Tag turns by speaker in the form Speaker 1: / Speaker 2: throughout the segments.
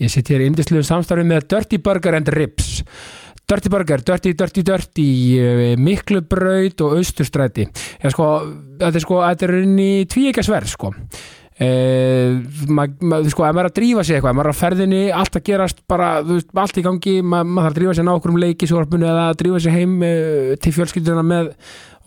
Speaker 1: Ég sitt hér í indisluðu samstarfi með Dirty Burger and Ribs. Dirty Burger, Dirty, Dirty, Dirty, eh, Miklubraut og Austurstræti. Ég sko, þetta er sko, þetta er inn í tvíekja sverð, sko. Uh, ma, ma, sko, ef maður er að drífa sig eitthvað ef maður er að ferðinni, allt að gerast bara, þú veist, allt í gangi, ma, maður þarf að drífa sig ná okkur um leikisvarpinu eða að drífa sig heim uh, til fjölskylduna með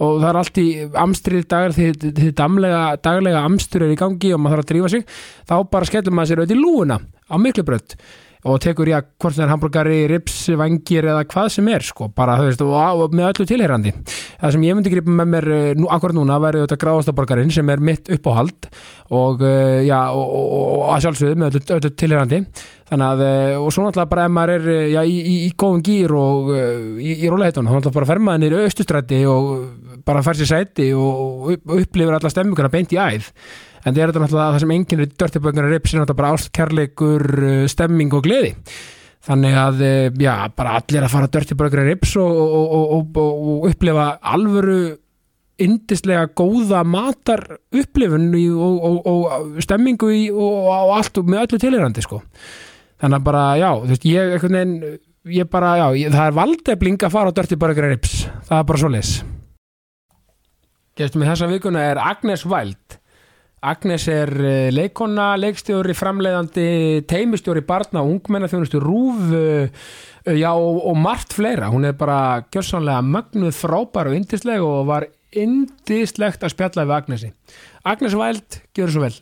Speaker 1: og það er allt í amstrið dagar því, því damlega, daglega amstur er í gangi og maður þarf að drífa sig þá bara skellum maður sér auðvitað í lúuna á miklu brödd og tekur í að hvort það er hambúrgari, rips, vangir eða hvað sem er sko, bara þú veist, og, og með öllu tilherrandi það sem ég myndi gripa með mér eh, nú, akkur núna væri auðvitað gráðastaborgarinn sem er mitt uppáhald og, eh, já, og, og, og, og að sjálfsögðu með öllu, öllu tilherrandi þannig að, eh, og svo náttúrulega bara ef maður er eh, já, í, í, í góðum gýr og eh, í, í róleheitun, þá náttúrulega bara fer maður niður austustræti og bara fer sér sæti og upp- upplifir alla stemminguna beint í æð en það er þetta náttúrulega það sem enginn er dörtibönguna rips er náttúrulega bara ástkærleikur stemming og gleði þannig að, eh, já, bara allir að fara dörtibönguna rips og, og, og, og, og, og upplifa alvöru yndislega góða matar upplifun í, og, og, og stemmingu í, og, og allt og með öllu tilherandi sko þannig að bara, já, þú veist, ég einhvern veginn, ég bara, já, ég, það er valdefling að fara á Dirty Burger and Rips, það er bara svoleiðis Gestum við þessa vikuna er Agnes Wild Agnes er eh, leikona, leikstjóri, framleiðandi, teimistjóri barna, ungmenna, þjónustu, rúf, já og, og margt fleira. Hún er bara gjörsanlega mögnuð frábær og yndisleg og var yndislegt að spjalla við Agnesi. Agnes Wild, gjör svo vel.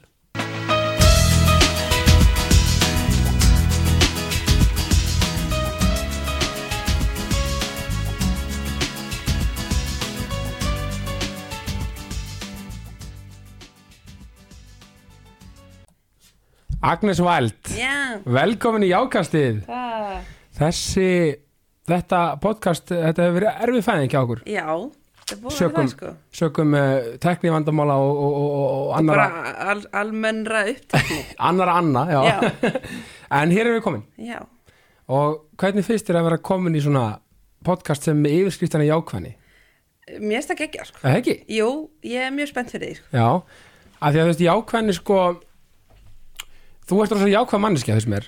Speaker 1: Agnes Wild,
Speaker 2: Já,
Speaker 1: velkomin í jákastið.
Speaker 2: það,
Speaker 1: Þessi, þetta podcast, þetta hefur verið erfið fæðing hjá okkur.
Speaker 2: já, það er búið að
Speaker 1: Sökum,
Speaker 2: það sko.
Speaker 1: sökum uh, tekni vandamála og, og, og, og annara,
Speaker 2: Bara al, almennra upptökni.
Speaker 1: annara anna, já.
Speaker 2: Já.
Speaker 1: en hér erum við komin.
Speaker 2: já,
Speaker 1: Og hvernig finnst þér að vera komin í svona podcast sem með yfirskriftan er jákvæðni?
Speaker 2: mér finnst það geggja sko.
Speaker 1: Er Það ekki?
Speaker 2: Jú, ég er mjög spennt fyrir því sko.
Speaker 1: Já, af því að þú veist, jákvæðni sko, þú ert rosa jákvæð manneskja þessum er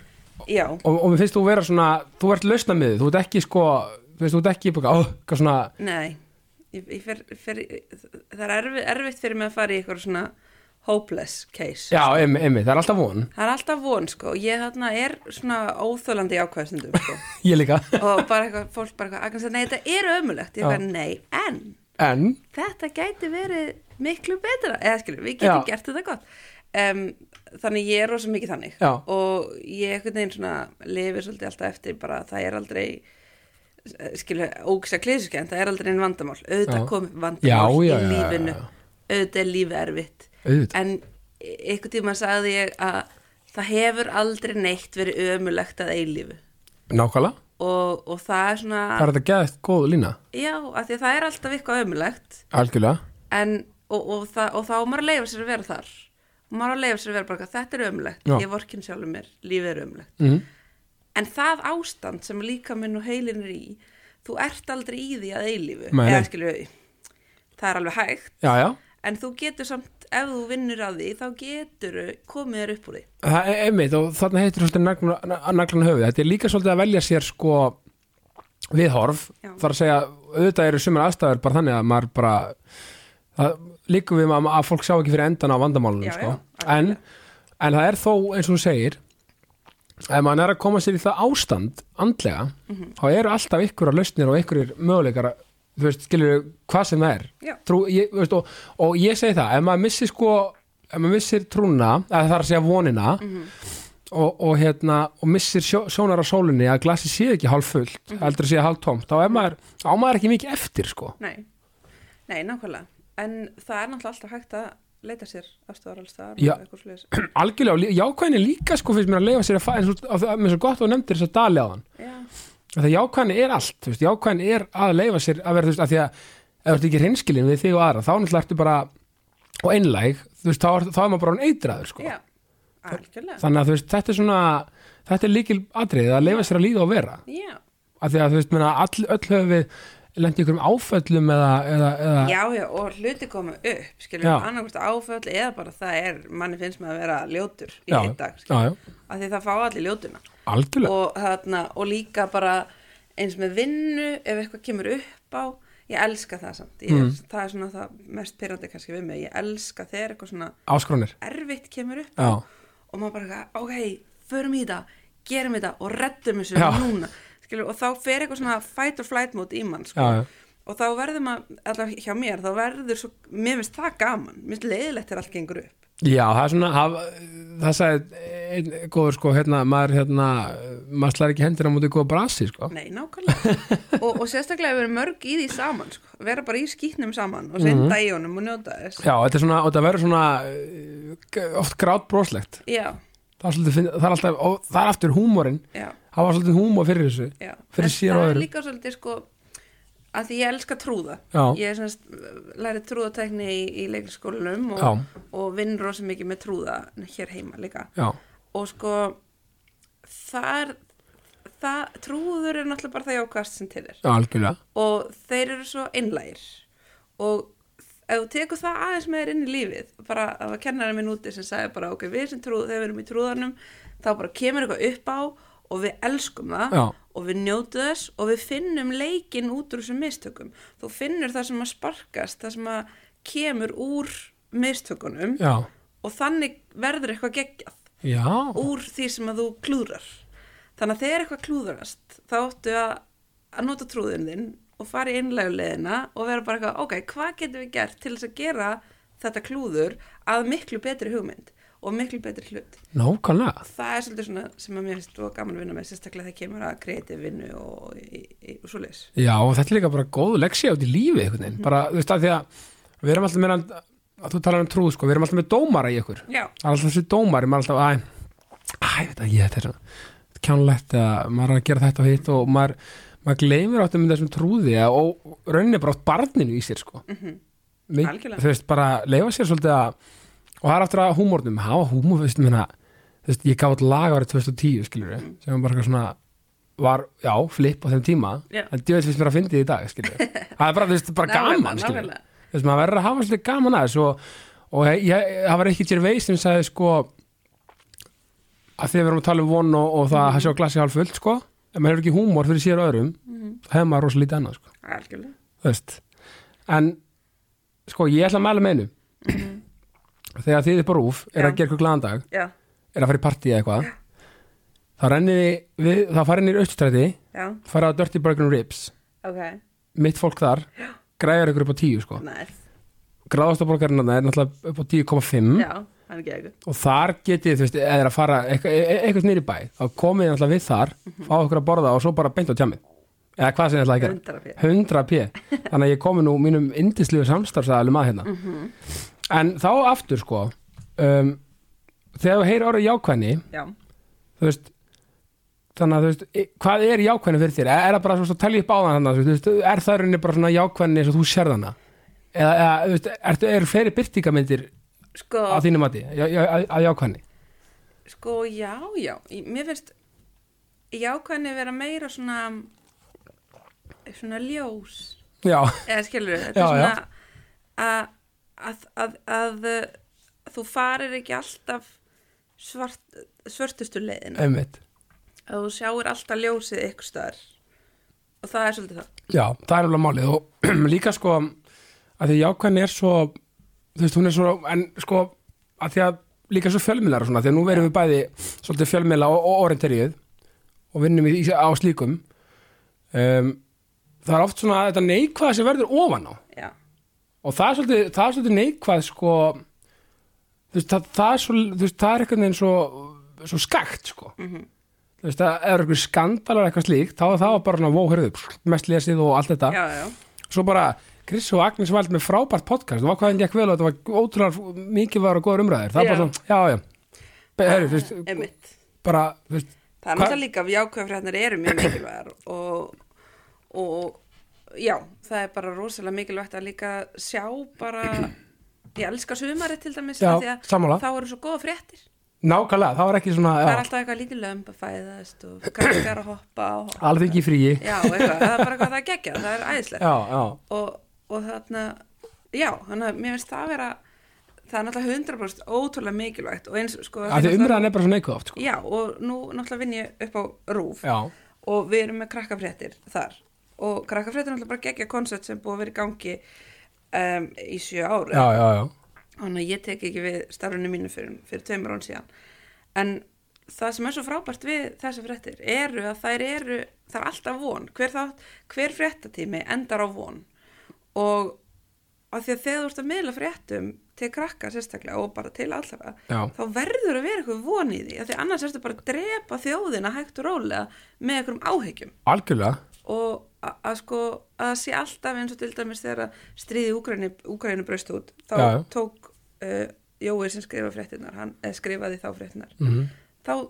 Speaker 2: Já,
Speaker 1: og, og mér finnst þú vera svona, þú ert lausna miðið, þú ert ekki sko, þú veist, þú ert ekki bara, oh, hvað svona,
Speaker 2: nei, ég, ég fer, fer, það er erfi, erfitt fyrir mig að fara í eitthvað svona hopeless case.
Speaker 1: já, emmi, emmi, það er alltaf von,
Speaker 2: Það er alltaf von sko, ég þarna er svona óþólandi ákvæðstundum sko
Speaker 1: ég líka,
Speaker 2: og bara eitthvað, fólk bara eitthvað, Agnes, nei þetta er ömulegt, ég
Speaker 1: Já.
Speaker 2: bara nei, en
Speaker 1: en,
Speaker 2: þetta gæti verið miklu betra, eða skilur, við getum
Speaker 1: Já.
Speaker 2: gert þetta gott. Um, þannig ég er rosa mikið þannig
Speaker 1: Já.
Speaker 2: og ég einhvern veginn svona lifir svolítið alltaf eftir bara að það er aldrei skilur, ógsa klísuskja en það er aldrei einn vandamál, auðvitað
Speaker 1: Já.
Speaker 2: kom vandamál
Speaker 1: Já, já,
Speaker 2: í
Speaker 1: já, já,
Speaker 2: lífinu,
Speaker 1: já, já.
Speaker 2: auðvitað er lífið erfitt
Speaker 1: auðvitað,
Speaker 2: en e, einhvern tíma sagði ég að það hefur aldrei neitt verið ömulegt að eilífu
Speaker 1: nákvæmlega,
Speaker 2: og, og það er svona
Speaker 1: það er þetta geðast góð lína,
Speaker 2: já, af því að það er alltaf eitthvað ömulegt
Speaker 1: algjörlega,
Speaker 2: en, og, og, það, og þá á maður að leifa sér að vera þar og maður á að leifa sér að vera bara þetta er ömulegt,
Speaker 1: Já.
Speaker 2: ég vorkin sjálfur mér lífið er ömulegt
Speaker 1: mm,
Speaker 2: en það ástand sem líka minn og heilin er í þú ert aldrei í því að eilífu
Speaker 1: Nei, nei.
Speaker 2: eða skilju, það er alveg hægt
Speaker 1: já, já,
Speaker 2: en þú getur samt, ef þú vinnur að því þá getur komið þér upp úr því
Speaker 1: Það er einmitt og þarna heitir svolítið naglan- að naglan höfuð. Þetta er líka svolítið að velja sér sko viðhorf.
Speaker 2: Já.
Speaker 1: Það er að segja, auðvitað eru sumar aðstæður bara þannig að maður bara, það líkum við að, að fólk sjá ekki fyrir endan á vandamálunum
Speaker 2: Já,
Speaker 1: sko.
Speaker 2: já,
Speaker 1: en,
Speaker 2: algjörlega.
Speaker 1: en það er þó eins og hún segir, ef maður er að koma sér í það ástand andlega,
Speaker 2: Mhm.
Speaker 1: þá eru alltaf ykkur að lausnir og ykkur möguleikar að, þú veist, skilur hvað sem það er
Speaker 2: Já.
Speaker 1: trú, ég, þú veist, og, og ég segi það ef maður missir sko ef maður missir trúna, eða það er að segja vonina og, og hérna og missir sjó, sjónar á sólinni að glasi sé ekki hálf fullt, heldur að sé hálf tómt þá er maður, á maður ekki mikið eftir sko
Speaker 2: Nei, nei, nákvæmlega. En það er náttúrulega alltaf hægt að leita sér afstöðar alls það.
Speaker 1: Já. algjörlega, og lí- jákvæðin er líka sko finnst mér að leifa sér að fara, eins og að- með svo gott og nefndir þess að dali á þann,
Speaker 2: Já,
Speaker 1: það jákvæðin er allt, þú veist, jákvæðin er að leifa sér að vera, þú veist, að því að ef þú ert ekki hreinskilin við þig og aðra, þá náttúrulega ertu bara og einlæg, þú veist, þá, er- þá er maður bara eitraður sko
Speaker 2: já, algjörlega.
Speaker 1: þannig að þú veist, þetta er svona þetta er líkil atrið að leifa sér að líða og vera
Speaker 2: Já,
Speaker 1: af því að þú veist, menna, all, öll höfum við lendi ykkur um áföllum eða, eða, eða
Speaker 2: já, já, og hluti koma upp, skiljum
Speaker 1: Já.
Speaker 2: við annarkvist áföll eða bara það er, manni finnst maður að vera ljótur í
Speaker 1: Já,
Speaker 2: einn dag,
Speaker 1: já,
Speaker 2: skiljum, af því það fá allir ljótuna.
Speaker 1: algjörlega
Speaker 2: og, þarna, og líka bara eins með vinnu ef eitthvað kemur upp á ég elska það
Speaker 1: Mm.
Speaker 2: samt ég er, það er svona það mest pyrrandi kannski við mig ég elska þegar eitthvað svona
Speaker 1: áskronir
Speaker 2: erfitt kemur upp á
Speaker 1: Já.
Speaker 2: og maður bara, eitthvað, ok, förum í það gerum þetta og reddum þessu
Speaker 1: Já.
Speaker 2: núna skilur, og þá fer eitthvað svona fight or flight mode í mann sko.
Speaker 1: Já, já.
Speaker 2: og þá verður maður, allavega hjá mér þá verður svo, mér finnst það gaman mér finnst leiðilegt þegar allt gengur upp
Speaker 1: Já, það er svona haf, það sagði einn góður sko hérna, maður hérna maður slæðir ekki hendur á móti góða brasi sko
Speaker 2: Nei, nákvæmlega og, og sérstaklega við erum mörg í því saman sko. vera bara í skýtnum saman
Speaker 1: Mhm.
Speaker 2: og senda í honum og njóta þess
Speaker 1: Já, þetta er svona, og þetta verður svona eh, g- oft grát broslegt
Speaker 2: Já,
Speaker 1: það er, svolítið, finn- það er alltaf, og það er aftur húmórin
Speaker 2: já,
Speaker 1: það var svolítið húmór fyrir þessu
Speaker 2: já
Speaker 1: Fyrir
Speaker 2: En
Speaker 1: síðan á
Speaker 2: það er
Speaker 1: öðrum.
Speaker 2: líka svolítið sko að því ég elska trúða
Speaker 1: Já.
Speaker 2: ég semst, læri trúðatækni í, í leikskólanum og,
Speaker 1: Já.
Speaker 2: og vinn rosa mikið með trúða hér heima líka
Speaker 1: Já,
Speaker 2: og sko það er það, trúður er náttúrulega bara það jákvæðast sem til er
Speaker 1: já, algjörlega
Speaker 2: og þeir eru svo einlægir og ef þú tekur það aðeins með þér inn í lífið bara, það var kennarinn minn úti sem sagði bara ok, við sem trúð, þegar við erum í trúðanum þá bara kemur eitthvað upp á og við elskum það
Speaker 1: Já.
Speaker 2: og við njótu þess og við finnum leikinn út úr þessum mistökum þú finnur það sem að sparkast það sem að kemur úr mistökunum
Speaker 1: Já,
Speaker 2: og þannig verður eitthvað geggjað
Speaker 1: já,
Speaker 2: úr því sem að þú klúðrar þannig að þegar eitthvað klúðrast þá áttu að, að nota trúðin þinn og fara í innlegulegina og vera bara eitthvað, ok, hvað getum við gert til þess að gera þetta klúður að miklu betri hugmynd og miklu betri hlut
Speaker 1: nákvæmlega
Speaker 2: það er svolítið svona sem að mér finnst og gaman að vinna með sérstaklega þegar kemur að kreatív vinnu og, í, í, og svoleiðis
Speaker 1: Já, og þetta er líka bara góð leksi át í lífi einhvern veginn, bara, þú veist að því að við erum alltaf meira, að þú talar um trú sko, við erum alltaf með dómara í ykkur
Speaker 2: Já,
Speaker 1: það er alltaf þessi dómari, maður er alltaf æ, æ, veit að ég, þetta er svona kjánlegt að maður er að gera þetta og hitt og maður, maður gleymir áttum með þessum trúði að- og rauninni bara átt barninu í sér sko mm
Speaker 2: Mhm. Algjörlega.
Speaker 1: þú veist, bara leifa sér svolítið að og það er aftur að húmórnum, hafa húmór þú veist, minna, þú veist, ég gaf út lag árið 2010, skilur
Speaker 2: Mhm.
Speaker 1: við, sem var bara eitthvað svona var, já, flip á þeim tíma
Speaker 2: Já.
Speaker 1: en djöðis finnst mér að fyndi í dag, skilur við það er bara, þú veist, bara
Speaker 2: Nákvæmlega,
Speaker 1: gaman, skilur
Speaker 2: nákvæmlega.
Speaker 1: við þú veist, maður verður að hafa svolítið gaman að þessu og, og ég, ég, það var ekki Gervais sem sagði sko að þegar við erum að tala um von og, og það að sjá glasi hálf fullt sko ef maður hefur ekki húmor fyrir sér og öðrum þá hefur maður rosa lítið annað sko
Speaker 2: algjörlega
Speaker 1: þú veist en sko ég ætla að mæla með einu þegar þið upp á rúf er að
Speaker 2: Já.
Speaker 1: gera ykkur glæðan dag
Speaker 2: Já,
Speaker 1: er að fara í partí eða eitthvað þá rennið þið við, þá farið niður austræti
Speaker 2: já,
Speaker 1: farið á Dirty Burger and Ribs
Speaker 2: ok,
Speaker 1: mitt fólk þar græjar ykkur upp á tíu sko
Speaker 2: næs
Speaker 1: gráðastaborgarinn er náttúrulega upp á 10,5
Speaker 2: Já, hann er gegn
Speaker 1: og þar getið, þú veist, eða er að fara eitthvað, e- e- eitthvað nýri bæ, þá komið þið alltaf við þar fá okkur að borða og svo bara beint á tjamið eða hvað sem þið ætlaði að gera
Speaker 2: 100 fyrir
Speaker 1: 100 p, þannig að ég komi nú mínum indisluðu samstarfsæðalum að hérna en þá aftur sko um, þegar þú heyrir orðið jákvæðni
Speaker 2: Já,
Speaker 1: þú veist þannig að þú veist, e- hvað er jákvæðni fyrir þér er það bara svona að telja upp á þann hana, þú veist, er það í rauninni bara svona jákvæðni eins og þú sér þann eða, eða þú veist, er, er fleiri byrtingamindir
Speaker 2: sko
Speaker 1: að þínu mati, já- já- að að jákvæðni
Speaker 2: Sko, já, já, Í- mér finnst jákvæðni vera meira svona svona ljós
Speaker 1: já,
Speaker 2: eða skilur við,
Speaker 1: Já,
Speaker 2: þetta er svona að, að, að, að uh, þú farir ekki alltaf svart, svörtustu leiðina
Speaker 1: einmitt Eh.
Speaker 2: að þú sjáir alltaf ljósið ykkur staðar og það er svolítið það
Speaker 1: Já, það er alveg málið og líka sko að því jákvæðin er svo þú veist, hún er svo, en sko að því að líka svo fjölmiðlar og svona því að nú verðum við bæði svolítið fjölmiðla og, og orienterið og vinnum í, í- á slíkum um, það er oft svona að þetta neikvæða sem verður ofan á
Speaker 2: Já,
Speaker 1: og það er svolítið, það er svolítið neikvæð sko þú veist, það, það er svo þú veist, það er eitthvað neginn svo svo skakt sko
Speaker 2: Mhm.
Speaker 1: þú veist, það er eitthvað skandalar eitthvað slíkt þá er það bara svona vóhörðu, mest lesið og allt þetta
Speaker 2: já, já,
Speaker 1: svo bara Chris og Agnes vald með frábært podcast og var hvað hann gekk vel og þetta var ótrúlega mikið var og góður umræðir, það er bara
Speaker 2: Já. Ah,
Speaker 1: svona, já, já Be- heyrðu, þú veist,
Speaker 2: einmitt
Speaker 1: bara, þú veist
Speaker 2: Það er
Speaker 1: Hva-
Speaker 2: náttúrulega líka að jákvæða frétnar eru mjög mikilvægar og, og já, það er bara rosalega mikilvægt að líka sjá bara, ég elska sumarið til dæmis,
Speaker 1: Já,
Speaker 2: af því að
Speaker 1: sammála.
Speaker 2: þá eru svo góða fréttir.
Speaker 1: nákvæmlega, það var ekki svona,
Speaker 2: Það er
Speaker 1: já,
Speaker 2: alltaf eitthvað lítið lömb að fæðast og krakkar að hoppa og
Speaker 1: alveg ekki fríi já,
Speaker 2: já, eitthvað, það er bara hvað það er geggjað, það er æðislegt
Speaker 1: já,
Speaker 2: og, og þarna já, þannig að mér finnst það vera það er náttúrulega 100% ótrúlega mikilvægt og eins sko
Speaker 1: að því umræðan er bara svo neikvæð oft sko.
Speaker 2: Já, og nú náttúrulega vinn ég upp á rúf
Speaker 1: já,
Speaker 2: og við erum með krakkafréttir þar og krakkafréttir er náttúrulega bara geggja koncept sem búið að vera í gangi um, í sjö ári
Speaker 1: já, já, já.
Speaker 2: þannig að ég tek ekki við starfinu mínu fyrir, fyrir tveimur án síðan en það sem er svo frábært við þessar fréttir eru að þær eru það er alltaf von, hver, þátt, hver fréttatími endar á von og af því að þegar þú ert að miðla fréttum til krakka sérstaklega og bara til allra
Speaker 1: Já.
Speaker 2: þá verður að vera eitthvað von í því af því annars ertu bara að drepa þjóðina hægt og rólega með einhverjum áhyggjum
Speaker 1: algjörlega
Speaker 2: og a- að sko að það sé alltaf eins og til dæmis þegar að stríði Úgræni, Úgræni braust út þá
Speaker 1: Já, já.
Speaker 2: tók uh, Jói sem skrifa fréttinnar, hann eh, skrifaði þá fréttinnar
Speaker 1: Mhm.
Speaker 2: þá,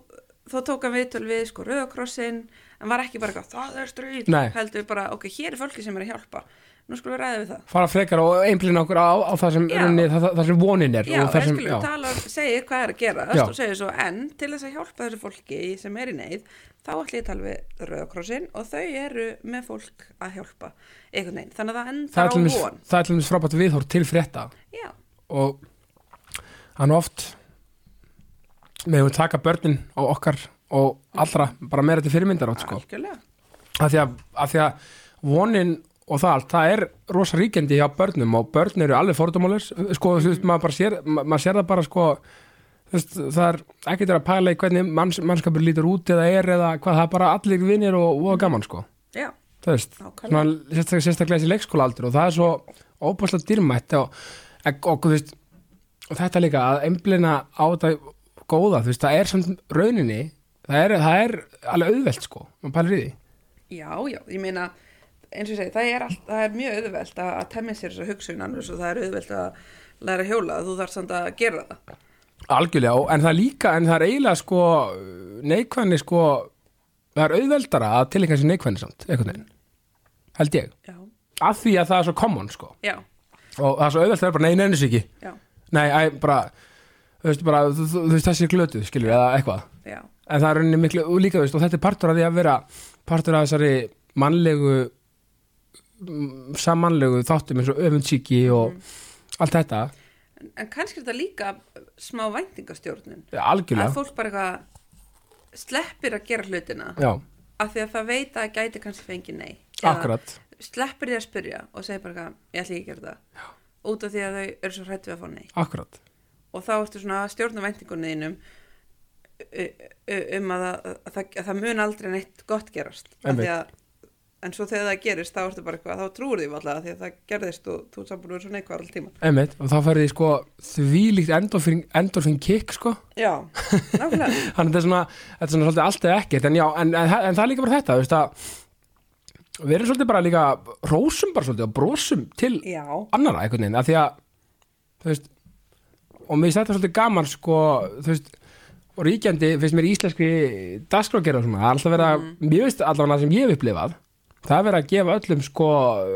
Speaker 2: þá tók hann viðtöl við sko rauðakrossin en var ekki bara eitthvað, það er stríð
Speaker 1: Nei.
Speaker 2: heldur bara, ok, hér er fólki sem er að hjálpa nú skulum við ræða við það
Speaker 1: fara frekar og einblina okkur á, á það, sem,
Speaker 2: Já.
Speaker 1: runni, það, það, það sem vonin er
Speaker 2: Já,
Speaker 1: og það sem,
Speaker 2: elskulega, tala, segir hvað er að gera
Speaker 1: Já.
Speaker 2: og segir svo, en til þess að hjálpa þessu fólki sem er í neyð, þá ætla ég að tala við Rauðakrossin og þau eru með fólk að hjálpa einhvern veginn þannig að það
Speaker 1: það
Speaker 2: endar
Speaker 1: er
Speaker 2: á
Speaker 1: til dæmis-
Speaker 2: von
Speaker 1: það er til dæmis frábært viðhór til frétta
Speaker 2: Já,
Speaker 1: og hann oft meðum við taka börnin og okkar og allra bara meira til fyrirmyndar átt sko.
Speaker 2: algjörlega
Speaker 1: af, því að, af því að vonin og það allt, það er rosa ríkjandi hjá börnum og börn eru alveg fordómálus sko, þú veist, maður bara sér ma- maður sér það bara sko þú veist, það er ekkert að pæla í hvernig manns, mannskapur lítur út eða er eða hvað, það er bara allir vinnir og, og gaman sko
Speaker 2: Já,
Speaker 1: þú veist,
Speaker 2: nákvæmlega
Speaker 1: svona sérstaklega, sérstaklega þessi leikskóla aldur og það er svo óbúslega dýrmætt og, og, og, þú veist, og þetta líka að einblina á þetta góða, þú veist, það er samt rauninni, það er, það er alveg auðvelt sko, maður pælir í því
Speaker 2: Já, já, ég meina eins og ég segi, það er, all, það er mjög auðvelt að, að temja sér þessa hugsun annars og það er auðvelt að læra að hjóla þú þarf samt að gera það
Speaker 1: algjörlega, og- en það er líka, en það er eiginlega sko neikvæðni sko það er auðveldara að tilika sér neikvæðni samt, einhvern veginn, held ég
Speaker 2: Já,
Speaker 1: af því að það er svo common sko
Speaker 2: já,
Speaker 1: og það er svo auðvelt að vera bara, nei, neinu sig ekki
Speaker 2: já,
Speaker 1: nei, æ, bara, þú veist, bara þú, þú, þú veist, þessi er glötuð, skilur, eða eitthvað
Speaker 2: já
Speaker 1: en það er rauninni miklu, og líka, þú veist, og þetta er partur af því að vera partur af þessari mannlegu mm, samanlegu þáttum eins og öfundsíki og allt þetta,
Speaker 2: En, en kannski er þetta líka smá væntingastjórnun að
Speaker 1: algjörlega
Speaker 2: fólk bara eitthvað sleppir að gera hlutina
Speaker 1: já,
Speaker 2: af því að það veit að það gæti kannski fengið nei Eða
Speaker 1: akkurat,
Speaker 2: sleppir því að spyrja og segir bara eitthvað, ég ætla ekki að gera það já. út af því að þau eru svo hrætt við að fá nei
Speaker 1: akkurat
Speaker 2: og þá ertu svona að stjórna væntingunni þínum u- u- um að, að, að, það- að það mun aldrei neitt gott gerast Af
Speaker 1: Einmitt.
Speaker 2: því að, en svo þegar það gerist þá ertu bara eitthvað, þá trúir því alltaf því að það gerðist og þú sambur verið svona eitthvað allir tíma
Speaker 1: einmitt, og þá færði sko þvílíkt endorfin, endorfin kick sko
Speaker 2: já, nákvæmlega
Speaker 1: þannig að þetta er svona, þetta er svona svolítið allt eða ekkert en já, en, en, en það er líka bara þetta, þú veist að við erum svolítið bara líka rósum bara svolítið og brosum til
Speaker 2: já,
Speaker 1: annara einhvern veginn, af því að þú veist, og mér finnst þetta svolítið gaman sko, þú veist og ríkjandi finnst mér íslenski dagskrágerða svona, það er alltaf verið að mér veist allavega sem ég hef upplifað það er verið að gefa öllum sko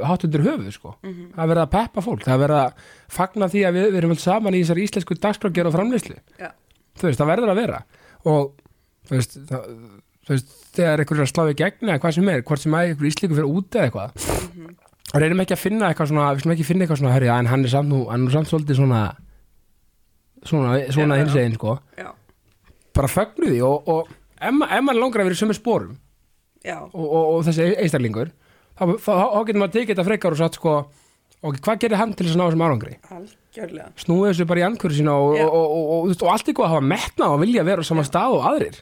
Speaker 1: hátt undir höfuð sko, það er verið að peppa fólk það er verið að fagna því að við, við erum öll saman í þessari íslensku dagskrágerða og framleyslu
Speaker 2: já,
Speaker 1: þú veist, það verður að vera og þú veist, það, þú veist þegar einhverju er að slá í gegn eða hvað sem er hvort sem að einhverju íslíku fyrir út eða eitthvað og reynum ekki að finna eitthvað svona við slum ekki finna eitthvað svona, herri, já, en hann er samt nú hann er nú samt svolítið svona svona, svona
Speaker 2: Já, já.
Speaker 1: hins einn, sko
Speaker 2: já,
Speaker 1: bara fögnu því og, og ef, ma- ef maður langar að vera í sömu spórum
Speaker 2: já
Speaker 1: og, og, og þessi einstaklingur þá, þá, þá getur maður tekið þetta frekar og satt sko og hvað gerir hann til þess að ná þessum árangri
Speaker 2: algjörlega
Speaker 1: snúið þessu bara í ankur sína og,
Speaker 2: Já.
Speaker 1: og, og, og, og, þú veist, og allt ykkur að hafa metna og vilja vera á sama stað og aðrir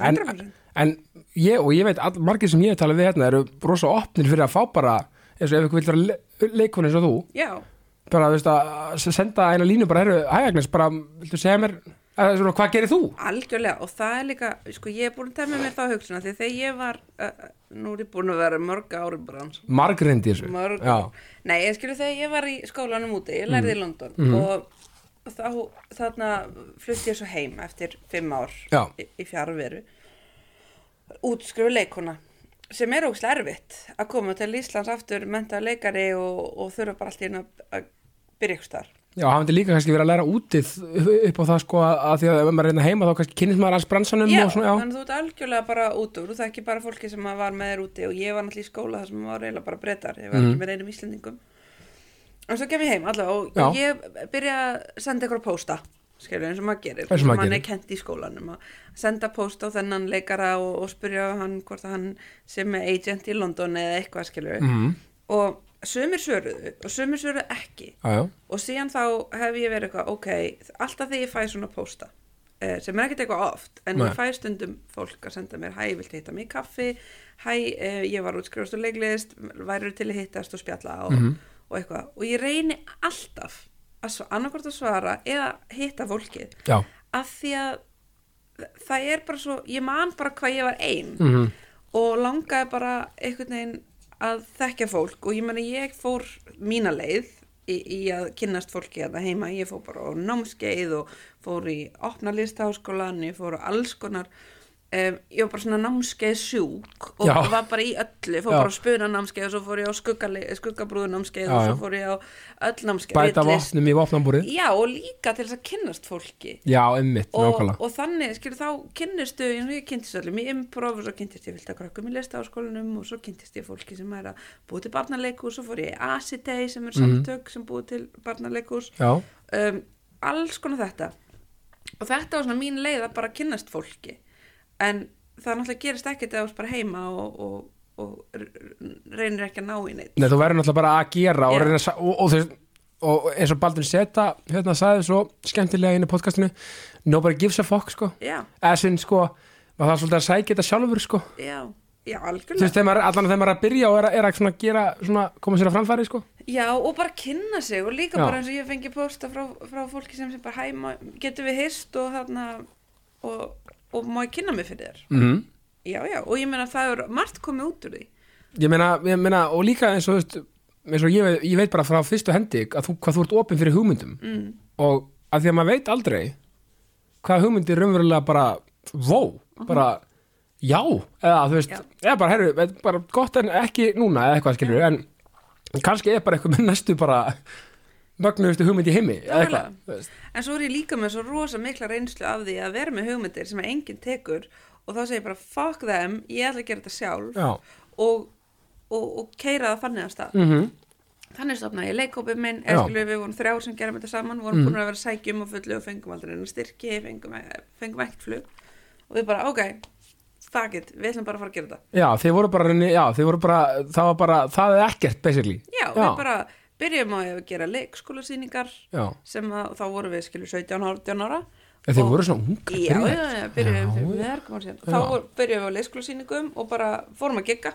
Speaker 1: en,
Speaker 2: 100%.
Speaker 1: en ég og ég veit all, margir sem ég hef talað við hérna eru rosa opnir fyrir að fá bara eins og ef ykkur vil vera le leikun eins og þú
Speaker 2: já,
Speaker 1: bara þú veist að s- senda eina línu bara herru, hæ Agnes, bara viltu segja mér eða, svona, hvað gerir þú?
Speaker 2: Algjörlega og það er líka, sko ég er búin að temja mér þá hugsun því þegar ég var, uh, nú er ég búin að vera mörg ári bara sko.
Speaker 1: Margrindi þessu
Speaker 2: Mörg.
Speaker 1: Já, Mm.
Speaker 2: Nei, ég skilur þegar ég var í skólanum úti, ég lærði í London
Speaker 1: Mhm.
Speaker 2: og þá, þarna flutti ég svo heim eftir fimm ár
Speaker 1: Já.
Speaker 2: í, í fjarveru útskrifu leikuna sem er ógst erfitt að koma til Íslands aftur menta leikari og, og þurfa bara allt í einu að- að byrja ykkur þar.
Speaker 1: Já, hann myndi líka kannski verið að læra útið upp á það sko að, að því að ef maður reyna heima þá kannski kynnist maður alls bransanum
Speaker 2: já,
Speaker 1: og svona, já.
Speaker 2: þannig að þú ert algjörlega bara út úr þú þekki bara fólki sem
Speaker 1: Mhm.
Speaker 2: að var með þér úti og ég var náttúrulega í skóla þar sem maður var reyla bara breytar ég var ekki með reynum íslendingum og svo kem ég heim allavega og
Speaker 1: Já.
Speaker 2: ég byrja að senda ykkur pósta skilur eins og maður gerir
Speaker 1: Eins og maður
Speaker 2: mann
Speaker 1: gerir.
Speaker 2: er kent í skólanum að senda pósta á þennan leikara og, og spyrja hann hvort að hann sem er agent í London eða eitthvað skilur
Speaker 1: Mhm.
Speaker 2: og sumir svöruðu og sumir svöruðu ekki
Speaker 1: já, já,
Speaker 2: og síðan þá hef ég verið eitthvað ok, alltaf þegar ég fæ svona pósta eh, sem er ekkert eitthvað oft en
Speaker 1: Nei.
Speaker 2: ég fæ stundum fólk að senda mér hæ, ég vilti hitta mig í kaffi hæ, eh, ég var útskrifast og leiklist væru til að hittast og spjalla og, og eitthvað, og ég reyni alltaf að annarkvort að svara eða hitta fólkið
Speaker 1: já,
Speaker 2: af því að það er bara svo, ég man bara hvað ég var ein
Speaker 1: Mhm.
Speaker 2: og langaði bara einhvern veginn að þekkja fólk og ég meni ég fór mína leið í, í að kynnast fólki að það heima, ég fór bara á námskeið og fór í opna listaháskólan, ég fór á alls konar Um, ég var bara svona námskeið sjúk og
Speaker 1: Já.
Speaker 2: var bara í öllu, fór
Speaker 1: Já.
Speaker 2: bara á spuna námskeið og svo fór ég á skuggale- skuggabrúðu námskeið og
Speaker 1: Já, já.
Speaker 2: svo fór ég á öll námskeið
Speaker 1: bæta
Speaker 2: ritlist.
Speaker 1: vopnum í vopnambúrið
Speaker 2: Já, og líka til þess að kynnast fólki
Speaker 1: já, einmitt,
Speaker 2: og,
Speaker 1: nákvæmlega
Speaker 2: og þannig, skilur þá kynnistu eins og ég kynntist öllum í improv og svo kynntist ég vilt að krakkum í listaháskólanum og svo kynntist ég fólki sem er að búi til barnaleikus og fór ég í Asitei sem er samtök sem búi til barnaleikus
Speaker 1: Mhm. já,
Speaker 2: um, alls konar þetta og þetta var svona mín leið að bara kynnast fólki en það náttúrulega gerist ekkert eða þú ert bara heima og, og, og r- r- reynir ekki að ná í neitt
Speaker 1: Nei, þú verður náttúrulega bara að gera og,
Speaker 2: Já.
Speaker 1: reyna, að sa- og, og, þess, og eins og Baldur Seta hérna sagði svo skemmtilega inn í podcastinu nobody gives a fuck sko
Speaker 2: já,
Speaker 1: eða sinn sko, maður þarf svolítið að sækja þetta sjálfur sko,
Speaker 2: já, já,
Speaker 1: þú
Speaker 2: algjörlega
Speaker 1: veist, þegar maður, allan þegar maður er að byrja og er, að- er að svona gera, svona koma sér að framfæri sko,
Speaker 2: Já, og bara kynna sig og líka
Speaker 1: Já.
Speaker 2: bara eins og ég fengi posta frá, frá fólki sem sem bara hæma, getur við hist og þarna og, og má ég kynna mig fyrir þér
Speaker 1: mm -hmm.
Speaker 2: Já, já, og ég meina það er margt komið út úr því
Speaker 1: ég meina, ég meina og líka eins og, þú veist, eins og ég, veit- ég veit bara frá fyrstu hendi að þú, hvað þú ert opinn fyrir hugmyndum
Speaker 2: mm.
Speaker 1: og að því að maður veit aldrei hvað hugmyndir raunverulega bara vó, bara já, eða þú veist,
Speaker 2: Mhm. Já.
Speaker 1: eða bara herru, þetta er bara gott en ekki núna eða eitthvað skilur, en kannski er bara eitthvað með næstu bara mögnuðustu hugmynd í heimi, eða
Speaker 2: Nákvæmlega.
Speaker 1: eitthvað þú veist.
Speaker 2: En svo er ég líka með svo rosa mikla reynslu af því að vera með hugmyndir sem að enginn tekur og þá segir ég bara fuck them, ég ætla að gera þetta sjálf
Speaker 1: já,
Speaker 2: og, og, og keira það þannig að stað
Speaker 1: mm
Speaker 2: Þannig stofnaði ég leikópið minn,
Speaker 1: Já. Mhm.
Speaker 2: eskjölu við vorum þrjár sem gerum þetta saman, vorum búin að vera sækjum og fullu og fengum aldrei enn styrki, fengum, e, fengum ekkert flug og við bara, ok, fuck it, við ætlum bara að fara að gera þetta.
Speaker 1: já, þeir voru bara reyni, já, þeir voru bara, það var bara það er ekkert, basically
Speaker 2: Já, við bara byrjum á að gera leikskólasýningar
Speaker 1: já,
Speaker 2: sem að, þá vorum við skilju 17-18 ára.
Speaker 1: En þeir
Speaker 2: Og-
Speaker 1: voru svona ungar
Speaker 2: Já, já, já, byrjum
Speaker 1: Já,
Speaker 2: við
Speaker 1: já.
Speaker 2: mörgum ár síðan. Þá
Speaker 1: Já.
Speaker 2: voru- byrjum við á leikskólasýningum og bara fórum að gegga,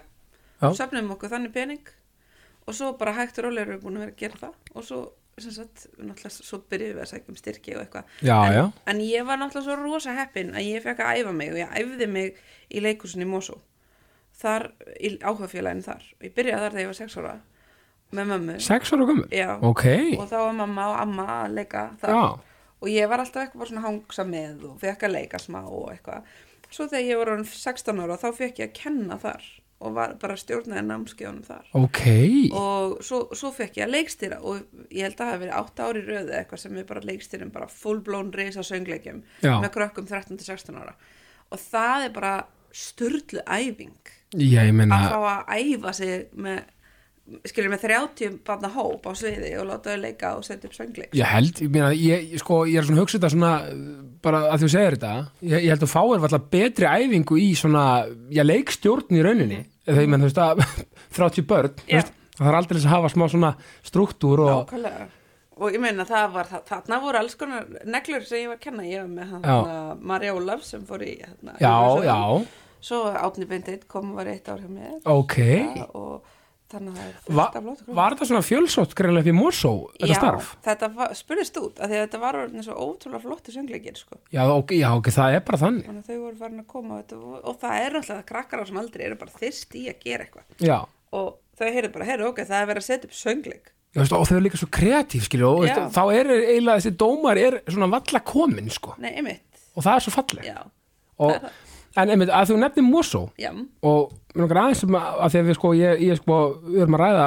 Speaker 1: Já.
Speaker 2: söfnum okkur þannig pening og svo bara hægt og rólega erum við búin að vera að gera það og svo, sem sagt, náttúrulega svo byrjum við að sækja um styrki og eitthvað.
Speaker 1: já,
Speaker 2: en,
Speaker 1: já,
Speaker 2: en ég var náttúrulega svo rosa heppin að ég fekk að æfa mig og ég æfði mig í leikusinni Mosó þar, í áhugafélaginu þar og ég byrjaði þar þegar ég var sex ára með mömmu
Speaker 1: sex ára gömur
Speaker 2: Já.
Speaker 1: ok,
Speaker 2: og þá var mamma og amma að leika þar
Speaker 1: já,
Speaker 2: og ég var alltaf eitthvað bara svona að hangsa með og fekk að leika smá og eitthvað svo þegar ég var orðin 16 ára þá fekk ég að kenna þar og var bara stjórnaði námskeiðunum þar
Speaker 1: ok
Speaker 2: og svo, svo fekk ég að leikstýra og ég held að það hafi verið 8 ári röðu eitthvað sem við bara leikstýrum bara fullblón reysa söngleikjum
Speaker 1: Já.
Speaker 2: með krökkum 13-16 ára og það er bara störlu æfing
Speaker 1: já, ég meina
Speaker 2: að fá að æfa sig með skilur með 30 barna hóp á sviði og láta þau leika og setja upp söngleik
Speaker 1: Ég held, ég meina, ég, ég- sko, ég er svona að hugsa þetta svona, uh, bara að þú segir þetta, ég, ég held að fáir alltaf betri æfingu í svona, ég leikstjórn í rauninni, þegar ég menn, þú veist að, 30 börn, þú
Speaker 2: Já.
Speaker 1: veist, það er aldrei að hafa smá svona struktúr og,
Speaker 2: Nákvæmlega. og ég meina það var það, þarna voru alls konar neglur sem ég var að kenna ég var með hann Marja Ólaf sem fór í hérna,
Speaker 1: já,
Speaker 2: Eurovision.
Speaker 1: já,
Speaker 2: svo Átni Bindeit kom og var eitt ár hjá mér
Speaker 1: ok,
Speaker 2: Já, og þannig að það er
Speaker 1: Va,
Speaker 2: fullt af blótugröfum.
Speaker 1: var þetta svona fjölsótt greinlega upp í Mosó, þetta
Speaker 2: já,
Speaker 1: starf?
Speaker 2: þetta var, spurðist út af því að þetta var orðin svo ótrúlega flotti söngleikir sko.
Speaker 1: Já, ok, já, ok, það er bara þannig,
Speaker 2: þannig að þau voru farin að koma og, þetta, vo- og það er náttúrulega krakkar á sem aldrei eru bara þyrst í að gera eitthvað
Speaker 1: já,
Speaker 2: og þau heyrðu bara, heyrðu ok, það er verið að setja upp söngleik
Speaker 1: já, veist, og þau eru líka svo kreatíf, skilju, og þú
Speaker 2: Já.
Speaker 1: veist, þá er eiginlega þessi dómar er svona valla komin, sko,
Speaker 2: nei, einmitt,
Speaker 1: og það er svo falleg.
Speaker 2: já,
Speaker 1: og, en einmitt, að þú nefnir Mosó
Speaker 2: já
Speaker 1: og mér langar aðeins um að að því að við sko, ég, ég sko, við erum að ræða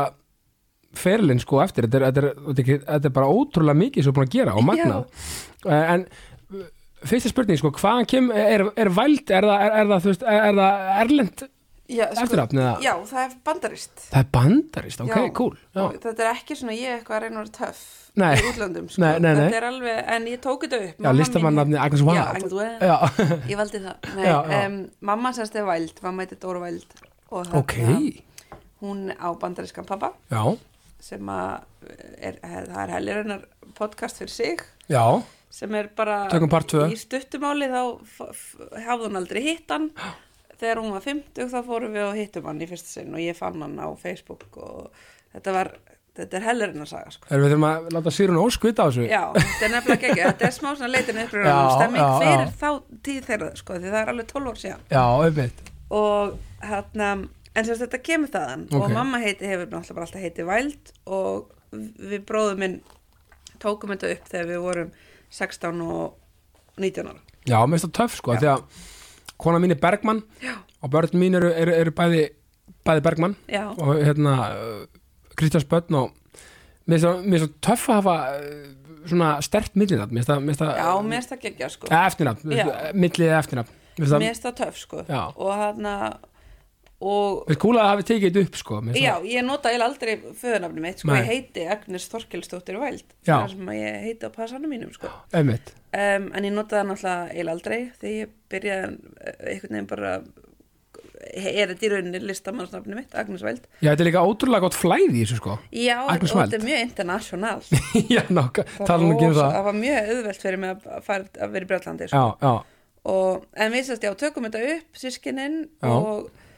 Speaker 1: ferilinn sko eftir þetta er, þetta, er, þetta, er, ekki- þetta er bara ótrúlega mikið sem er búin að gera og magnað Eh, en uh, fyrsta spurning sko, hvaðan kem er, er væld, er það, er, er það, þú veist, er, er það erlend
Speaker 2: Já, sko,
Speaker 1: Eftirnafn eða-
Speaker 2: Já, það er bandarist
Speaker 1: Það er bandarist, ok,
Speaker 2: Já.
Speaker 1: cool já.
Speaker 2: Og Þetta er ekki svona ég eitthvað að reyna að vera töff
Speaker 1: Nei.
Speaker 2: í útlöndum sko.
Speaker 1: Nei, nei, nei.
Speaker 2: Þetta er alveg, en ég tók þetta upp
Speaker 1: Já,
Speaker 2: Mamma
Speaker 1: listamannafni
Speaker 2: mín-
Speaker 1: Agnes Wild.
Speaker 2: Já, Agnes Wild.
Speaker 1: Já.
Speaker 2: Ég valdi það Nei,
Speaker 1: Já, já.
Speaker 2: em, Mamma semst er væld, mamma heitir Dóra væld og þarna-
Speaker 1: Ok,
Speaker 2: hún á bandarískan pappa
Speaker 1: já,
Speaker 2: sem að eh, er, er, það er helgirunnar podcast fyrir sig
Speaker 1: já
Speaker 2: sem er bara
Speaker 1: Tökum part tvö.
Speaker 2: í stuttumáli þá f- f- hafði hún aldrei hitt hann þegar hún var 50 þá fórum við og hittum hann í fyrsta sinn og ég fann hann á Facebook og þetta var þetta er helgirunnar saga sko
Speaker 1: Erum við þurfum að láta Sýrun Ósk vita á þessu
Speaker 2: Já, þetta er nefnilega ekki, þetta er smá svona leitin uppröðum,
Speaker 1: Já,
Speaker 2: stemming
Speaker 1: já,
Speaker 2: fyrir
Speaker 1: já.
Speaker 2: þá tíð þeirra, sko, því það er alveg 12 ár síðan
Speaker 1: já einmitt
Speaker 2: og hérna en sem sagt, þetta kemur þaðan
Speaker 1: Ok.
Speaker 2: og mamma heiti hefur náttúrulega bara alltaf heiti Væld og við bróðum minn tókum þetta upp þegar við vorum 16 og 19 ára
Speaker 1: Já, mér finnst það töff sko, því að kona mín er Bergmann
Speaker 2: Já.
Speaker 1: og börn mín eru, eru, eru bæði, bæði Bergmann
Speaker 2: Já.
Speaker 1: og hérna Kristjáns Börn og mér finnst það- mér finnst það töff að hafa uh, svona stert millinafn, mér finnst það- mér finnst
Speaker 2: Já,
Speaker 1: það
Speaker 2: mér finnst það geggja sko
Speaker 1: Eða eftirnafn,
Speaker 2: Já.
Speaker 1: eh, millið eða eftirnafn Mér finnst
Speaker 2: Mér
Speaker 1: það-
Speaker 2: finnst það töf sko
Speaker 1: Já.
Speaker 2: og hérna og
Speaker 1: mér finnst kúla að hafi tekið þetta upp sko, mér finnst
Speaker 2: Já, ég nota eiginlega aldrei föðunafni mitt, sko,
Speaker 1: Nei.
Speaker 2: ég heiti Agnes Þorkelsdóttir Væld,
Speaker 1: Já.
Speaker 2: það sem að ég heiti á passanum mínum, sko.
Speaker 1: það einmitt
Speaker 2: um, en ég notaði hann náttúrulega eiginlega aldrei þegar ég byrjaði eh, einhvern veginn bara er þetta í rauninni listamannsnafni mitt, Agnes Væld
Speaker 1: Já, þetta er líka ótrúlega gott flæði í þessu sko
Speaker 2: Já,
Speaker 1: Agnes
Speaker 2: og
Speaker 1: Wild.
Speaker 2: þetta er mjög international
Speaker 1: Já, nokka, tala nú ekki um
Speaker 2: rosa-
Speaker 1: það
Speaker 2: það var mjög auðvelt fyrir mig að, fara, að vera í Breitlandi sko.
Speaker 1: Já, já,
Speaker 2: og, en við sérst, já, tökum þetta upp sískininn
Speaker 1: Já.
Speaker 2: og,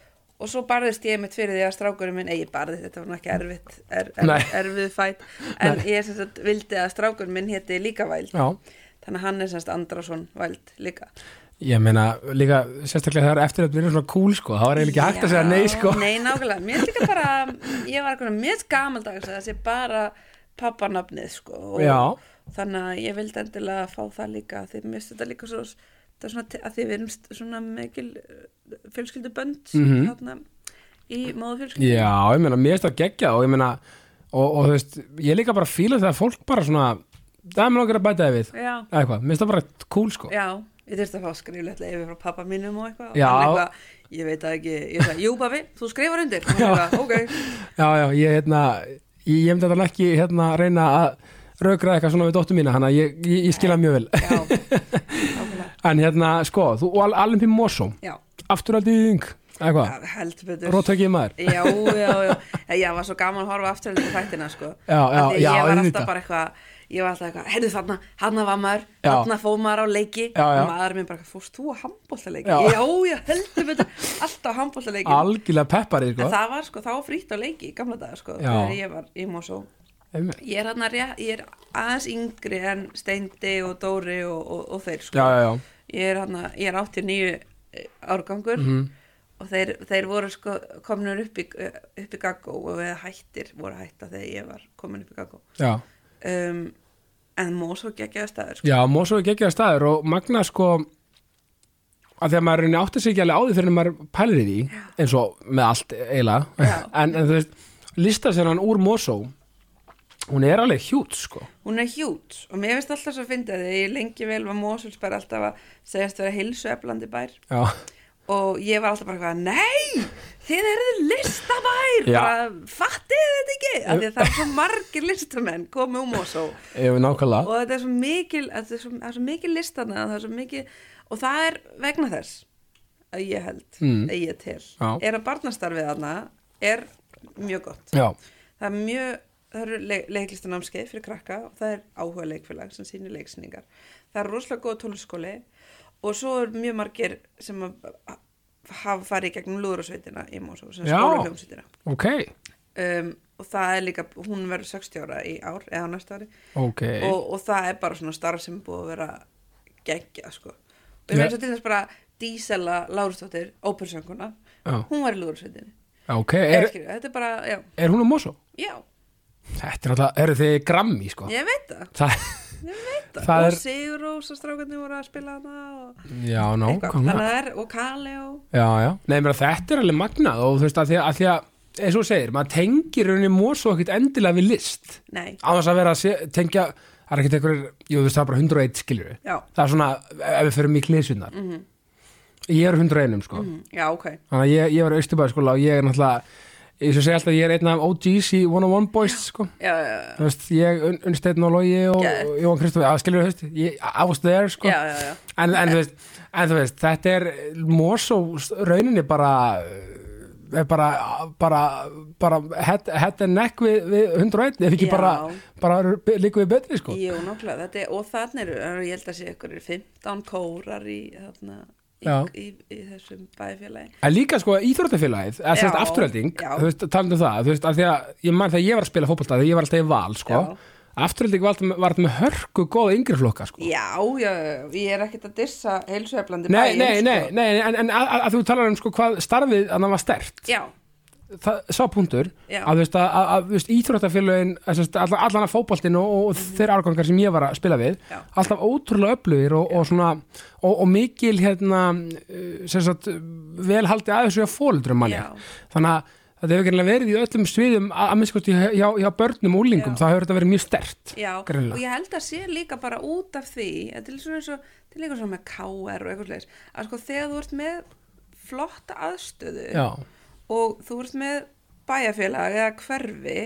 Speaker 2: og svo barðist ég mitt fyrir því að strákurinn minn, ei, ég barðist, þetta var nú ekki erfitt er, er,
Speaker 1: Nei.
Speaker 2: erfið fætt en ég sérst, vildi að strákurinn minn héti líka væld
Speaker 1: já
Speaker 2: þannig að hann er sérst Andrason væld líka
Speaker 1: Ég meina, líka, sérstaklega þegar eftir að byrja svona cool sko, það var eiginlega ekki hægt að segja nei sko
Speaker 2: Nei, nákvæmlega, mér er líka bara ég var eitthvað mjög gamaldags að það sé bara pappanafnið sko og
Speaker 1: Já.
Speaker 2: þannig að ég vildi endilega fá það líka því mér finnst þetta líka svo það er svona te- að því við erum st- svona mikil eh, fjölskyldubönd mm
Speaker 1: Mhm.
Speaker 2: þarna, í móðu fjölskyldu
Speaker 1: Já, ég meina, mér finnst það geggja og ég meina, og, og þú veist, ég líka bara fíla þegar fólk bara svona, það er mér langar að bæta það við,
Speaker 2: Já,
Speaker 1: eða eitthvað, mér finnst það bara cool sko.
Speaker 2: já, ég þurfti að fá skriflegt leiði frá pappa mínum og eitthvað og
Speaker 1: Já.
Speaker 2: hann eitthvað, ég veit það ekki, ég sagði, jú babi, þú skrifar undir og hann eitthvað, ok,
Speaker 1: Já, já, ég, hérna, ég, ég myndi þetta ekki, hérna, reyna að raugra eitthvað svona við dóttu mína, hann að ég, ég, ég skila mjög vel.
Speaker 2: já nákvæmlega,
Speaker 1: En hérna, sko, þú, og al, alveg mjög mósum,
Speaker 2: já,
Speaker 1: afturaldýðing, eitthvað,
Speaker 2: held betur
Speaker 1: róttökið maður.
Speaker 2: já, já, já, Nei, já, var svo gaman að horfa aftur í þættina, sko
Speaker 1: Já, já,
Speaker 2: Af því
Speaker 1: já,
Speaker 2: ég var alltaf
Speaker 1: auðvitað.
Speaker 2: bara eitthvað ég var alltaf eitthvað, heyrðu þarna, þarna var maður
Speaker 1: Já.
Speaker 2: þarna fóð maður á leiki
Speaker 1: Já, já.
Speaker 2: og maður minn bara, eitthvað, fórst þú á handbóltaleiki
Speaker 1: Já.
Speaker 2: já. já, já, heldur betur, alltaf handbóltaleiki
Speaker 1: Algjörlega pepparið,
Speaker 2: en
Speaker 1: sko.
Speaker 2: það var sko, þá var frítt á leiki í gamla daga, sko,
Speaker 1: Já.
Speaker 2: þegar ég var í Mosó
Speaker 1: Einmitt.
Speaker 2: ég er, þarna, rétt- ég er aðeins yngri en Steindi og Dóri og, og, og þeir, sko
Speaker 1: Já, já, já.
Speaker 2: ég er, hana, ég er 89 eh, árgangur og þeir, þeir voru sko komnur upp í, upp í gaggó og við hættir voru hætta þegar ég var komin upp í gaggó
Speaker 1: Já,
Speaker 2: um, en Mosó geggjaði staður sko.
Speaker 1: já mósum er geggjaða staður og magna, sko, að þegar maður reyni átti sig ekki alveg á því fyrir en maður pælir í því, eins og með allt eiginlega,
Speaker 2: Já.
Speaker 1: en, en þú veist, lista sér hann úr mósó, hún er alveg hjút, sko.
Speaker 2: hún er hjút og mér finnst alltaf svo að finna þegar ég lengi vel var Mosóls bara alltaf að segjast vera hilsu eflandi bær
Speaker 1: Já,
Speaker 2: og ég var alltaf bara eitthvað, nei þið eruð listabær
Speaker 1: Já.
Speaker 2: bara fattið þetta ekki af því að það er svo margir listamenn komið úr Mosó
Speaker 1: ef við nákvæmlega.
Speaker 2: og þetta er svo mikil þetta er svo, það er svo mikil listana það er svo mikil, og það er vegna þess að ég held,
Speaker 1: Mm.
Speaker 2: að ég tel
Speaker 1: Já.
Speaker 2: er að barnastarfið þarna er mjög gott
Speaker 1: Já,
Speaker 2: það er mjög, það eru le leiklistanámskeið fyrir krakka og það er áhuga leikfélag sem sýnir leiksýningar það er rosalega góð tónlistaskóli og svo er mjög margir sem að hafa farið í gegnum lúðrasveitina í Mosó, sem
Speaker 1: Já.
Speaker 2: skóla hljómsveitina
Speaker 1: ok,
Speaker 2: um, og það er líka, hún verður 60 ára í ár eða á næsta ári
Speaker 1: ok.
Speaker 2: og, og það er bara svona starf sem er búið að vera geggja sko. og
Speaker 1: Já.
Speaker 2: ég meins að til þess bara Dísela Lárusdóttir, ópersönguna
Speaker 1: Já.
Speaker 2: hún var í lúðursveitinni
Speaker 1: ok, er,
Speaker 2: þetta er bara, já,
Speaker 1: er hún um mósó?
Speaker 2: já,
Speaker 1: Þetta er alltaf, eru þið grammi, sko.
Speaker 2: ég veit það
Speaker 1: Það,
Speaker 2: ég veit það,
Speaker 1: Það
Speaker 2: og
Speaker 1: er-
Speaker 2: er... Sigur Rósa strákarnir voru að spila hana og,
Speaker 1: já,
Speaker 2: eitthvað, þannig
Speaker 1: nákvæmlega.
Speaker 2: að það er, og Kali og
Speaker 1: Já, já. Nei, mér að þetta er alveg magnað og þú veist að því að, að, því að eins og þú segir, maður tengir rauninni mósó ekkert endilega við list.
Speaker 2: nei,
Speaker 1: Á þess að vera að se, tengja, það er ekkert einhverjir, jú, þú veist það er bara 101 skiljur við.
Speaker 2: já,
Speaker 1: Það er svona, ef við förum í klísunar. Mm ég er hundra einum sko
Speaker 2: Mm, já, ok.
Speaker 1: þannig að ég, ég var austurbæðskóla og ég er náttúrulega eins og segja alltaf ég er einn af OGs í 101 Boys sko
Speaker 2: Já, já, já.
Speaker 1: þú veist, ég, Un- Unnsteinn og Logi og,
Speaker 2: Geðveikt.
Speaker 1: og Jóhann Kristofi, að skilur þú veist ég, I was there sko
Speaker 2: já, já, já.
Speaker 1: en, en, þú veist, en þú veist, þetta er Mosó rauninni bara er bara, bara, bara head, head and neck við, við 101 ef ekki
Speaker 2: Já.
Speaker 1: bara, bara líku við betri sko
Speaker 2: Jú, nákvæmlega, þetta er, og þannig eru, ég held að sé ykkur 15 kórar í, þarna, í,
Speaker 1: Já.
Speaker 2: í, í þessum bæfélagi.
Speaker 1: En líka sko íþróttafélagið, eða sérst
Speaker 2: Já,
Speaker 1: afturölding,
Speaker 2: já.
Speaker 1: þú veist, talandi um það, þú veist, af því að ég mann þegar ég var að spila fótbolta, þegar ég var alltaf í val, sko,
Speaker 2: Já.
Speaker 1: afturölding var, alltaf- var alltaf með hörku góða yngri flokka, sko.
Speaker 2: Já, já, já, ég er ekkert að dissa heilsueflandi
Speaker 1: Nei,
Speaker 2: bæinn.
Speaker 1: nei,
Speaker 2: sko.
Speaker 1: nei, nei, nei, en, en að, að- að þú talar um sko hvað starfið að það var stert,
Speaker 2: sko. Já,
Speaker 1: það, sá punktur,
Speaker 2: Já.
Speaker 1: að þú veist, að, að, að þú veist, íþróttafélagin, að, sérst, allan, allan að fótboltin og, og þeir árgangar sem ég var að spila við,
Speaker 2: Mhm. Já.
Speaker 1: alltaf ótrúlega öflugir og, og svona, og, og mikil, hérna, sem sagt, velhaldi aðeins og fóldrum manni.
Speaker 2: já,
Speaker 1: þannig að þetta hefur greinlega verið í öllum sviðum að að minnskosti hjá, hjá börnum og úlingum
Speaker 2: Já.
Speaker 1: þá hefur þetta verið mjög stert
Speaker 2: já,
Speaker 1: Greinilega.
Speaker 2: og ég held að sé líka bara út af því, þetta er svona eins og, til líka svona með KR og eitthvað slegis, að sko þegar þú ert með flotta aðstöðu
Speaker 1: já,
Speaker 2: og þú ert með bæjarfélag eða hverfi,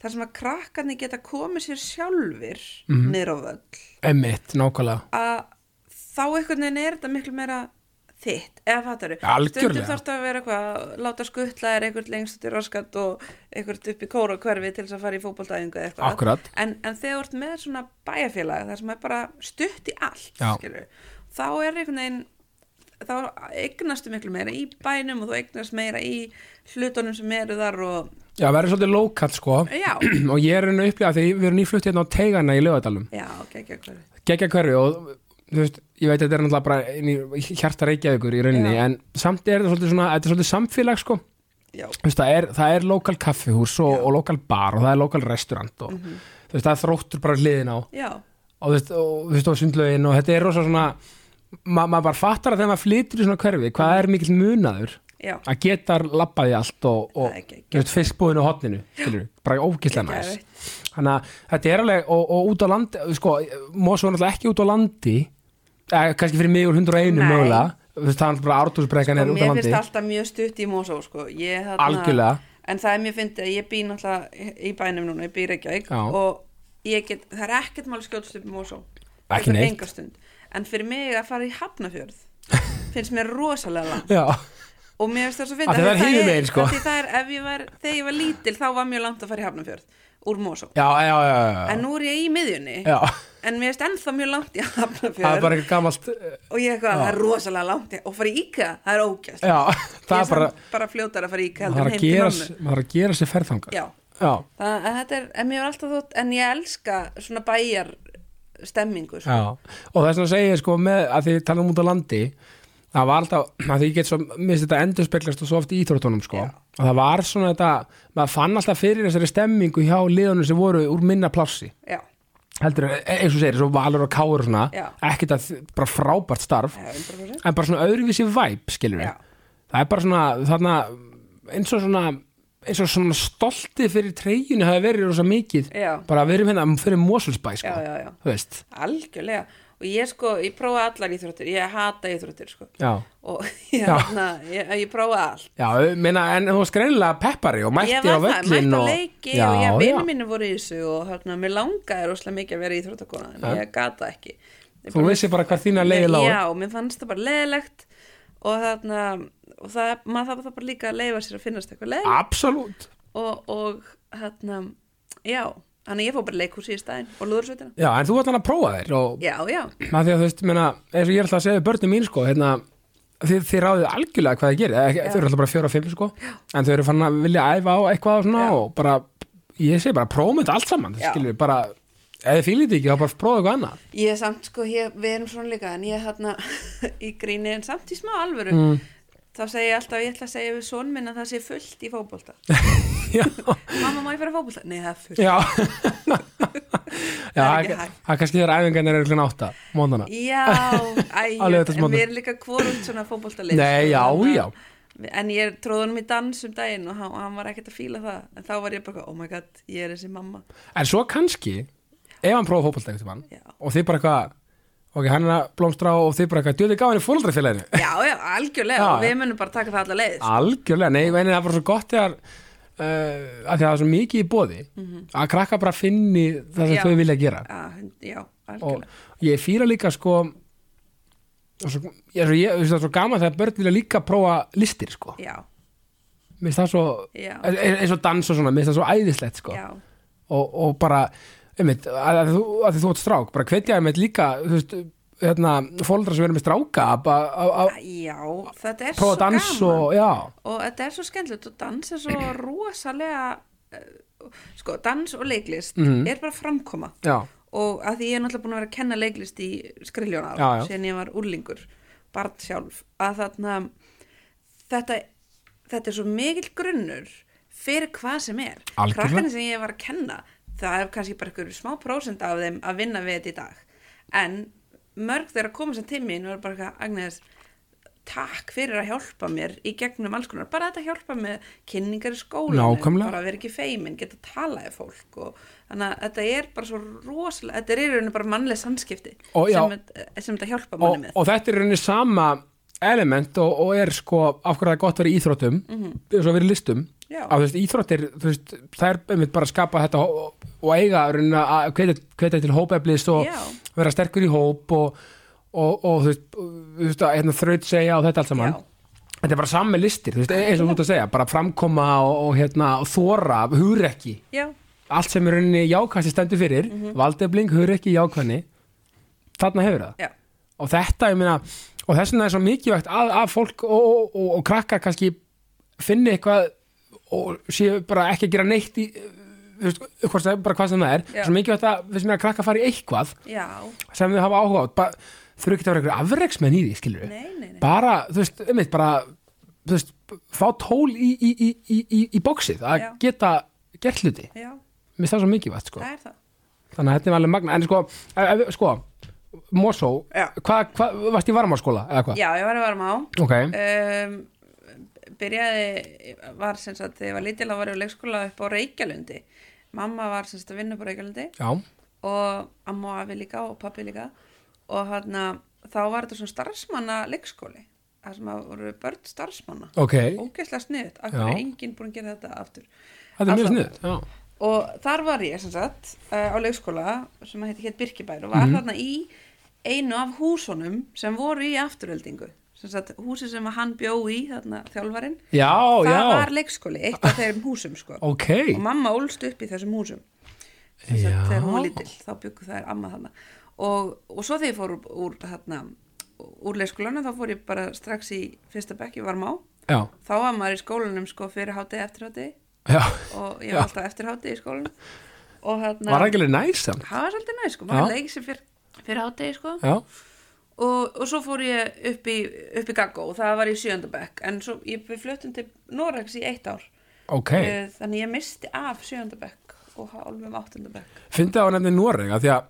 Speaker 2: þar sem að krakkarnir geta komið sér sjálfir mm
Speaker 1: Mhm.
Speaker 2: á völl.
Speaker 1: emmitt, nákvæmlega
Speaker 2: að þá einhvern veginn er þetta miklu meira þitt, eða fattar við
Speaker 1: Algjörlega.
Speaker 2: stundum þarf að vera eitthvað, láta skuttla er einhvern lengst út í raskat og einhvern upp í kóra hverfi til þess að fara í fótboltaæfingu eða eitthvað
Speaker 1: Akkúrat.
Speaker 2: en, en þegar þú ert með svona bæjarfélag þar sem er bara stutt í allt
Speaker 1: Já.
Speaker 2: skilurðu, þá er einhvern veginn þá eignastu miklu meira í bænum og þú eignast meira í hlutunum sem eru þar og
Speaker 1: já, verður svolítið lokalt sko
Speaker 2: já,
Speaker 1: og ég er henni upplega því við erum nýflutt hérna á teigana í lögadalum
Speaker 2: já, geggja hverfi
Speaker 1: geggja hverfi og þú veist, ég veit að þetta er náttúrulega bara inn í hjarta reykjaðugur í rauninni
Speaker 2: Já.
Speaker 1: en samt er þetta svolítið svona, þetta er svolítið samfélag sko
Speaker 2: já,
Speaker 1: Þú veist, það er, það er lokal kaffihús og, og lokal bar og það er lokal restaurant og þú veist, það er þróttur bara hliðin á
Speaker 2: já,
Speaker 1: og þú veist, og, þú veist, og sundlaugin og þetta er rosa svona ma maður bara fattar að þegar maður flytur í svona hverfi hvað er mikill munaður
Speaker 2: já
Speaker 1: að geta labbað í allt og, og
Speaker 2: Það er geggjað.
Speaker 1: þú veist, fiskbúðinu og hotninu skilur, bara ógislega næs
Speaker 2: Geðveikt.
Speaker 1: þannig að þetta er alveg og, og út á landi, sko, Mosó er náttúrulega ekki út á landi eh, kannski fyrir mig úr 101
Speaker 2: Nei.
Speaker 1: mögulega þú veist, það er bara ártúrsbrekkan er
Speaker 2: og
Speaker 1: út á
Speaker 2: mér
Speaker 1: landi
Speaker 2: finnst alltaf mjög stutt í Mosó sko. ég, þarna,
Speaker 1: Algjörlega.
Speaker 2: en það er mjög fyndið að ég bý náttúrulega í bænum núna, ég bý í Reykjavík
Speaker 1: Já.
Speaker 2: og ég get, það er ekkert mál skjóðst upp í Mosó
Speaker 1: Ekki
Speaker 2: Tekur
Speaker 1: neitt.
Speaker 2: enga stund. en fyrir mig að fara í Hafnafjörð finnst mér rosalega langt
Speaker 1: já,
Speaker 2: og mér finnst það svo
Speaker 1: Af því það er
Speaker 2: fyndið af því
Speaker 1: hinum megin, sko.
Speaker 2: af því það er, ef ég var, þegar ég var lítil þá var mjög langt að fara í Hafnafjörð úr Mosó
Speaker 1: já, já, já, já, já.
Speaker 2: en nú er ég í miðjunni
Speaker 1: já.
Speaker 2: en mér finnst ennþá mjög langt í
Speaker 1: það er
Speaker 2: Hafnafjörð
Speaker 1: bara eitthvað gamalt eh,
Speaker 2: og ég eitthvað, það er rosalega langt í- og fara í IKEA, það er ógjast
Speaker 1: já, það
Speaker 2: ég
Speaker 1: er bara
Speaker 2: samt bara fljótar að fara í IKEA
Speaker 1: maður
Speaker 2: heldur
Speaker 1: er að
Speaker 2: en heim til
Speaker 1: gera,
Speaker 2: mömmu
Speaker 1: maður er að gera sér ferðanga
Speaker 2: já,
Speaker 1: já.
Speaker 2: það, en þetta er, en mér er alltaf þótt en ég elska svona bæjar stemmingu sko.
Speaker 1: Já, og þess að segja sko með að því við talaðum út á landi það var alltaf, að því ég get svo minnst þetta endurspeglast og svo oft í íþróttunum sko
Speaker 2: Já.
Speaker 1: og það var svona þetta, maður fann alltaf fyrir þessari stemmingu hjá liðunum sem voru úr minna plássi,
Speaker 2: já,
Speaker 1: heldur en, eins og segir, svo valur og káur og svona,
Speaker 2: Já.
Speaker 1: ekkert að bara frábært starf,
Speaker 2: það er 100%
Speaker 1: en bara svona öðruvísi væp, skilur
Speaker 2: Já.
Speaker 1: það er bara svona, þarna eins og svona, eins og svona stoltið fyrir treyjunni hafa verið rosa mikið
Speaker 2: Já.
Speaker 1: bara við erum hérna fyrir Mosulsbæ sko,
Speaker 2: já, já, já,
Speaker 1: þú veist,
Speaker 2: algjörlega og ég sko, ég prófa allar íþróttir ég hata íþróttir sko
Speaker 1: já
Speaker 2: og ég,
Speaker 1: Já.
Speaker 2: na, ég, ég prófa allt
Speaker 1: Já, meina, en þú varst greinilega peppari og mætti
Speaker 2: ég
Speaker 1: á
Speaker 2: var það,
Speaker 1: völlin
Speaker 2: mætt á
Speaker 1: og...
Speaker 2: leiki
Speaker 1: já,
Speaker 2: og ég
Speaker 1: já.
Speaker 2: vinnu mínu voru í þessu og hérna, mér langaði rosalega mikið að vera íþróttakona en ég gata ekki
Speaker 1: Þú
Speaker 2: Ég bara-
Speaker 1: vissir bara hvað þína leiði lágur
Speaker 2: Já, mér fannst það bara leiðilegt og þarna og það, maður þarf það bara líka að leiða sér að finnast eitthvað leiðilegt
Speaker 1: Absolutt
Speaker 2: og, og þarna, já þannig að ég fór bara í leikhúsi í staðinn og lúðursveitina
Speaker 1: Já, en þú varst hann að prófa þér og
Speaker 2: Já, já,
Speaker 1: að því að þú veist, meina, eins og ég er alltaf að segja við börnum mín sko, hérna Þið, þið ráðið algjörlega hvað þið gerir Eða ekki- þau eru alltaf bara fjóra og fimm sko en þau eru fann að vilja æfa á eitthvað og svona
Speaker 2: Já.
Speaker 1: og bara, ég segi bara prófum þetta allt saman
Speaker 2: Já.
Speaker 1: skilur við bara, ef þið fílið þetta ekki þá bara prófa eitthvað annað
Speaker 2: ég er samt sko ég, við erum svona líka en ég þarna í gríni en samt í smá alvöru þá segi ég alltaf, ég ætla að segja við son minn að það sé fullt í fótbolta
Speaker 1: Já,
Speaker 2: Mamma, má ég fara í fótbolta? Nei, það er fullt
Speaker 1: já Já,
Speaker 2: Það er ekki
Speaker 1: það
Speaker 2: hægt.
Speaker 1: það er kannski þegar æfingarnir eru klun átta móndana
Speaker 2: Já, æ,
Speaker 1: Á laugardagsmorgun.
Speaker 2: en við erum líka kvorumt svona fótboltalið
Speaker 1: Nei, já,
Speaker 2: Þannig að-
Speaker 1: já.
Speaker 2: En ég tróðunum í dans um daginn og hann, hann var ekkert að fíla það En þá var ég bara, eitthvað, oh my god, ég er þessi mamma
Speaker 1: En svo kannski, ef hann prófa fótbolta einhvern tímann
Speaker 2: Já.
Speaker 1: og þið bara eitthvað, ok, hann er að blómstra og þið bara eitthvað, djöðu gaf henni fóldrafélaginu
Speaker 2: já, já, algjörlega
Speaker 1: Já. Ah.
Speaker 2: og við munum bara taka það alla leið sko.
Speaker 1: algjörlega, nei, en það var svo gott þegar uh, að því að það er svo mikið í bóði að krakka bara finni það sem
Speaker 2: Mhm. Já.
Speaker 1: þau vilja gera
Speaker 2: sko. já, hund- já,
Speaker 1: og
Speaker 2: algjörlega
Speaker 1: ég fýra líka sko og svo, ég, svo, ég, þú veist, það er svo gaman þegar börn vilja líka prófa listir sko,
Speaker 2: já,
Speaker 1: mér finnst það svo
Speaker 2: Já.
Speaker 1: e- eins og dans og svona, mér finnst það svo æðislegt sko,
Speaker 2: já,
Speaker 1: og, og bara einmitt, að, að, þú, að þú ert strák bara hvetja einmitt líka þú veist, hérna, fóldra sem eru með stráka að- að að
Speaker 2: já þetta er
Speaker 1: prófa
Speaker 2: svo
Speaker 1: dans
Speaker 2: gaman
Speaker 1: og, já,
Speaker 2: og þetta er svo skemmtilegt og dans er svo rosalega eh, sko, dans og leiklist
Speaker 1: Mhm.
Speaker 2: er bara framkoma
Speaker 1: já,
Speaker 2: og að því ég er náttúrulega búin að vera að kenna leiklist í skriljónar
Speaker 1: Já, já.
Speaker 2: síðan ég var úrlingur, barn sjálf að þarna þetta, þetta er svo mikill grunnur fyrir hvað sem er
Speaker 1: Algjörlega.
Speaker 2: krakkarnir sem ég var að kenna það er kannski bara einhverju smá prósent af þeim að vinna við þetta í dag en mörg þeirra koma sem til mín og er bara eitthvað, Agnes takk fyrir að hjálpa mér í gegnum alls konar, bara þetta hjálpa með kynningar í skólanum,
Speaker 1: Nákvæmlega.
Speaker 2: bara að vera ekki feimin geta talaði fólk og þannig að þetta er bara svo rosalega, þetta er í rauninu bara mannleg samskipti
Speaker 1: Ó, já.
Speaker 2: sem, þetta- sem þetta hjálpa
Speaker 1: og,
Speaker 2: manni með
Speaker 1: og þetta er í rauninni sama element og, og er sko af hverju það er gott að vera í íþróttum eins og að vera í listum
Speaker 2: Mhm. Já.
Speaker 1: að, þú veist, íþróttir, þú veist, það er einmitt bara að skapa þetta hó- og eiga í rauninni að hvetja, hvetja til hópeflis og
Speaker 2: Já.
Speaker 1: vera sterkur í hóp og, og, og þú veist, þú veist að, hérna, þraut segja og þetta allt saman
Speaker 2: Já.
Speaker 1: þetta er bara samme listir, þú veist, e- eins og þú ert að segja bara framkoma og, og, hérna, og þóra hugrekki,
Speaker 2: já,
Speaker 1: allt sem í rauninni jákvæmst stendur fyrir, mm
Speaker 2: Mhm.
Speaker 1: -hmm. valdefling hugrekki jákvæmni, þarna hefur það
Speaker 2: já,
Speaker 1: og þetta, ég meina og þess vegna er svo mikilvægt að, að fólk og, og, og, og krakkar kannski finni eitthvað og séu bara ekki að gera neitt í þú veist, hvort það er bara hvað sem það er
Speaker 2: Já.
Speaker 1: svo mikilvægt að, við sem er að krakka fara í eitthvað
Speaker 2: já
Speaker 1: sem þau hafa áhuga á bara, þurfi ekki að vera einhverju afreiksmenn í því, skilur við
Speaker 2: nei, nei, nei,
Speaker 1: bara, þú veist, einmitt bara þú veist, fá tól í, í, í, í, í, í bóksið að
Speaker 2: Já.
Speaker 1: geta gert hluti,
Speaker 2: já,
Speaker 1: mér finnst það svo mikilvægt sko.
Speaker 2: það er það
Speaker 1: þannig að þetta er alveg magna, en sko, ef- ef- sko Mosó,
Speaker 2: Já.
Speaker 1: hvað, hvað, varst í varmaskóla eða hvað?
Speaker 2: já, ég var að varum á
Speaker 1: Ok,
Speaker 2: um, byrjaði var sem sagt, þegar ég var lítil að var ég á leikskóla upp á Reykjalundi mamma var sem sagt að vinna upp á Reykjalundi
Speaker 1: já,
Speaker 2: og amma og afi líka og pappi líka og hann þá var þetta svona starfsmanna leikskóli það sem að voru börn starfsmanna
Speaker 1: ok
Speaker 2: ógeðslega sniðut, af hverju
Speaker 1: Já.
Speaker 2: er enginn búin að gera þetta aftur
Speaker 1: Þetta er mjög
Speaker 2: Alla-
Speaker 1: sniðut, já
Speaker 2: og þar var ég sem sagt eh, á leikskóla sem að hétt Birkibær og var
Speaker 1: Mhm.
Speaker 2: þarna í einu af húsunum sem voru í afturöldingu sem sagt húsi sem að hann bjó í þarna þjálfarinn
Speaker 1: Já,
Speaker 2: það
Speaker 1: já,
Speaker 2: var leikskóli, eitt af þeirrum húsum sko.
Speaker 1: ok
Speaker 2: og mamma ólst upp í þessum húsum Sem sagt,
Speaker 1: Já,
Speaker 2: þegar hún var lítill, þá byggu þær amma þarna og, og svo þegar ég fór úr, úr, þarna, úr leikskólanu þá fór ég bara strax í fyrsta bekk ég var má
Speaker 1: já,
Speaker 2: þá var maður í skólanum sko fyrir háti eftir háti
Speaker 1: já
Speaker 2: og ég
Speaker 1: Já.
Speaker 2: var alltaf eftir háti í skólanum og þarna,
Speaker 1: Var það ekki alveg næs samt?
Speaker 2: það var svolítið næst sko,
Speaker 1: Já.
Speaker 2: maður leikið sér fyrir, fyrir háti sko
Speaker 1: Já,
Speaker 2: og, og svo fór ég upp í, upp í gaggó og það var í sjöndabekk en svo ég, við fluttum til Noregs í eitt ár
Speaker 1: ok
Speaker 2: Eh, þannig ég misti af sjöndabekk og hálfum áttundabekk
Speaker 1: Fyndi það á nefni Noreg, af því að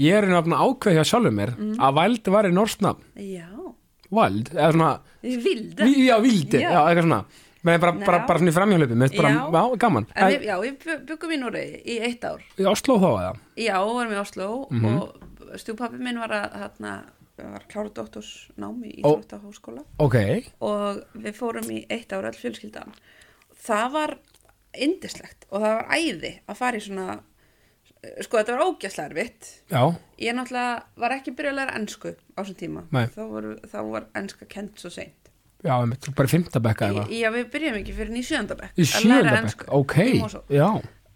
Speaker 1: ég er einhvern veginn ákveðja sjálfum mér
Speaker 2: Mm.
Speaker 1: að væld var í norsnafn,
Speaker 2: já,
Speaker 1: væld eða svona,
Speaker 2: ég vildi
Speaker 1: ví- já, vildi
Speaker 2: Já.
Speaker 1: já, eitthvað svona, menn bara,
Speaker 2: Já.
Speaker 1: bara, bara svona í framhjólöpi, mér finnst bara,
Speaker 2: Já.
Speaker 1: já, gaman
Speaker 2: En
Speaker 1: En
Speaker 2: við, já, við bu- byggum í Noregi í eitt ár.
Speaker 1: í Oslo þá eða?
Speaker 2: Já, varum í Oslo
Speaker 1: Mhm.
Speaker 2: og stjúpappi minn var að hérna, var að klára doktorsnám í
Speaker 1: Ó.
Speaker 2: Íþrótta háskóla
Speaker 1: Ok,
Speaker 2: og við fórum í eitt ár all fjölskyldan. Það var indislegt og það var æði að fara í svona, sko þetta var ógæslega erfitt.
Speaker 1: já,
Speaker 2: Ég náttúrulega var ekki byrjuð að læra ennsku á þessum tíma.
Speaker 1: Nei.
Speaker 2: Þá, voru, þá var ennska kent svo seint.
Speaker 1: já, einmitt, þú bara í fymta bekka eða?
Speaker 2: Já, við byrjum ekki fyrir nýsjöndabekk.
Speaker 1: Í sjönda bekka, ok,
Speaker 2: Í Mosó.
Speaker 1: já,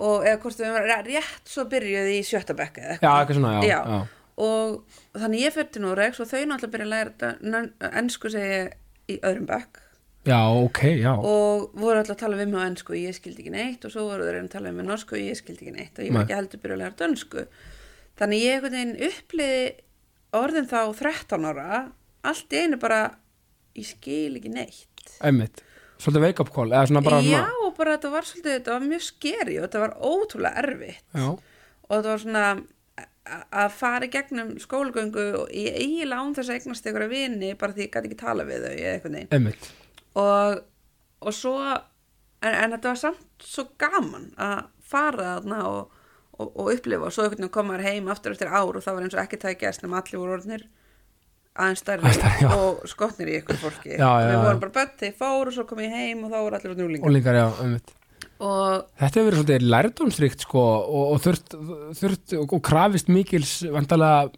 Speaker 2: og eða hvort við varum rétt svo byrjuð í sjötta bekka eða
Speaker 1: já, eitthvað svona, já,
Speaker 2: Já. og þannig ég fyrir til Noregs og þau náttúrulega byrja að læra þetta nön- ensku segi ég, í öðrum bekk
Speaker 1: Já, ok, já,
Speaker 2: og voru alltaf að tala við mig á ensku og ég skildi ekki neitt og svo voru þeir að tala við mig á norsku og ég skildi ekki neitt og ég var
Speaker 1: Nei.
Speaker 2: ekki heldur byrja að læra dönsku þannig ég einhvern veginn uppliði orðin þá 13 ára allt í einu bara ég skil ekki neitt
Speaker 1: einmitt Svolítið wake up call, eða svona bara
Speaker 2: já
Speaker 1: svona
Speaker 2: og bara þetta var svolítið þetta var mjög skeri og þetta var ótrúlega erfitt
Speaker 1: Já,
Speaker 2: og þetta var svona a- að fara í gegnum skólgöngu og ég eiginlega án þess að eignast einhverja vini bara því ég gæti ekki tala við þau eða eitthvað neginn
Speaker 1: einmitt
Speaker 2: og, og svo en, en þetta var samt svo gaman að fara þarna og, og, og upplifa og svo einhvern veginn komar heim aftur eftir ár og það var eins og ekkert það gæst nema allir voru orðnir aðeins stærri
Speaker 1: Aðeins stærri, já.
Speaker 2: og skotnir í ykkur fólki
Speaker 1: Já, já,
Speaker 2: við
Speaker 1: já.
Speaker 2: vorum bara börn þegar ég fór og svo kom ég heim og þá voru allir orðnir úlingar
Speaker 1: Úlingar, já, um
Speaker 2: og
Speaker 1: Þetta hefur verið svolítið lærdómsrikt sko, og, og þurft, þurft og, og krafist mikils vandalega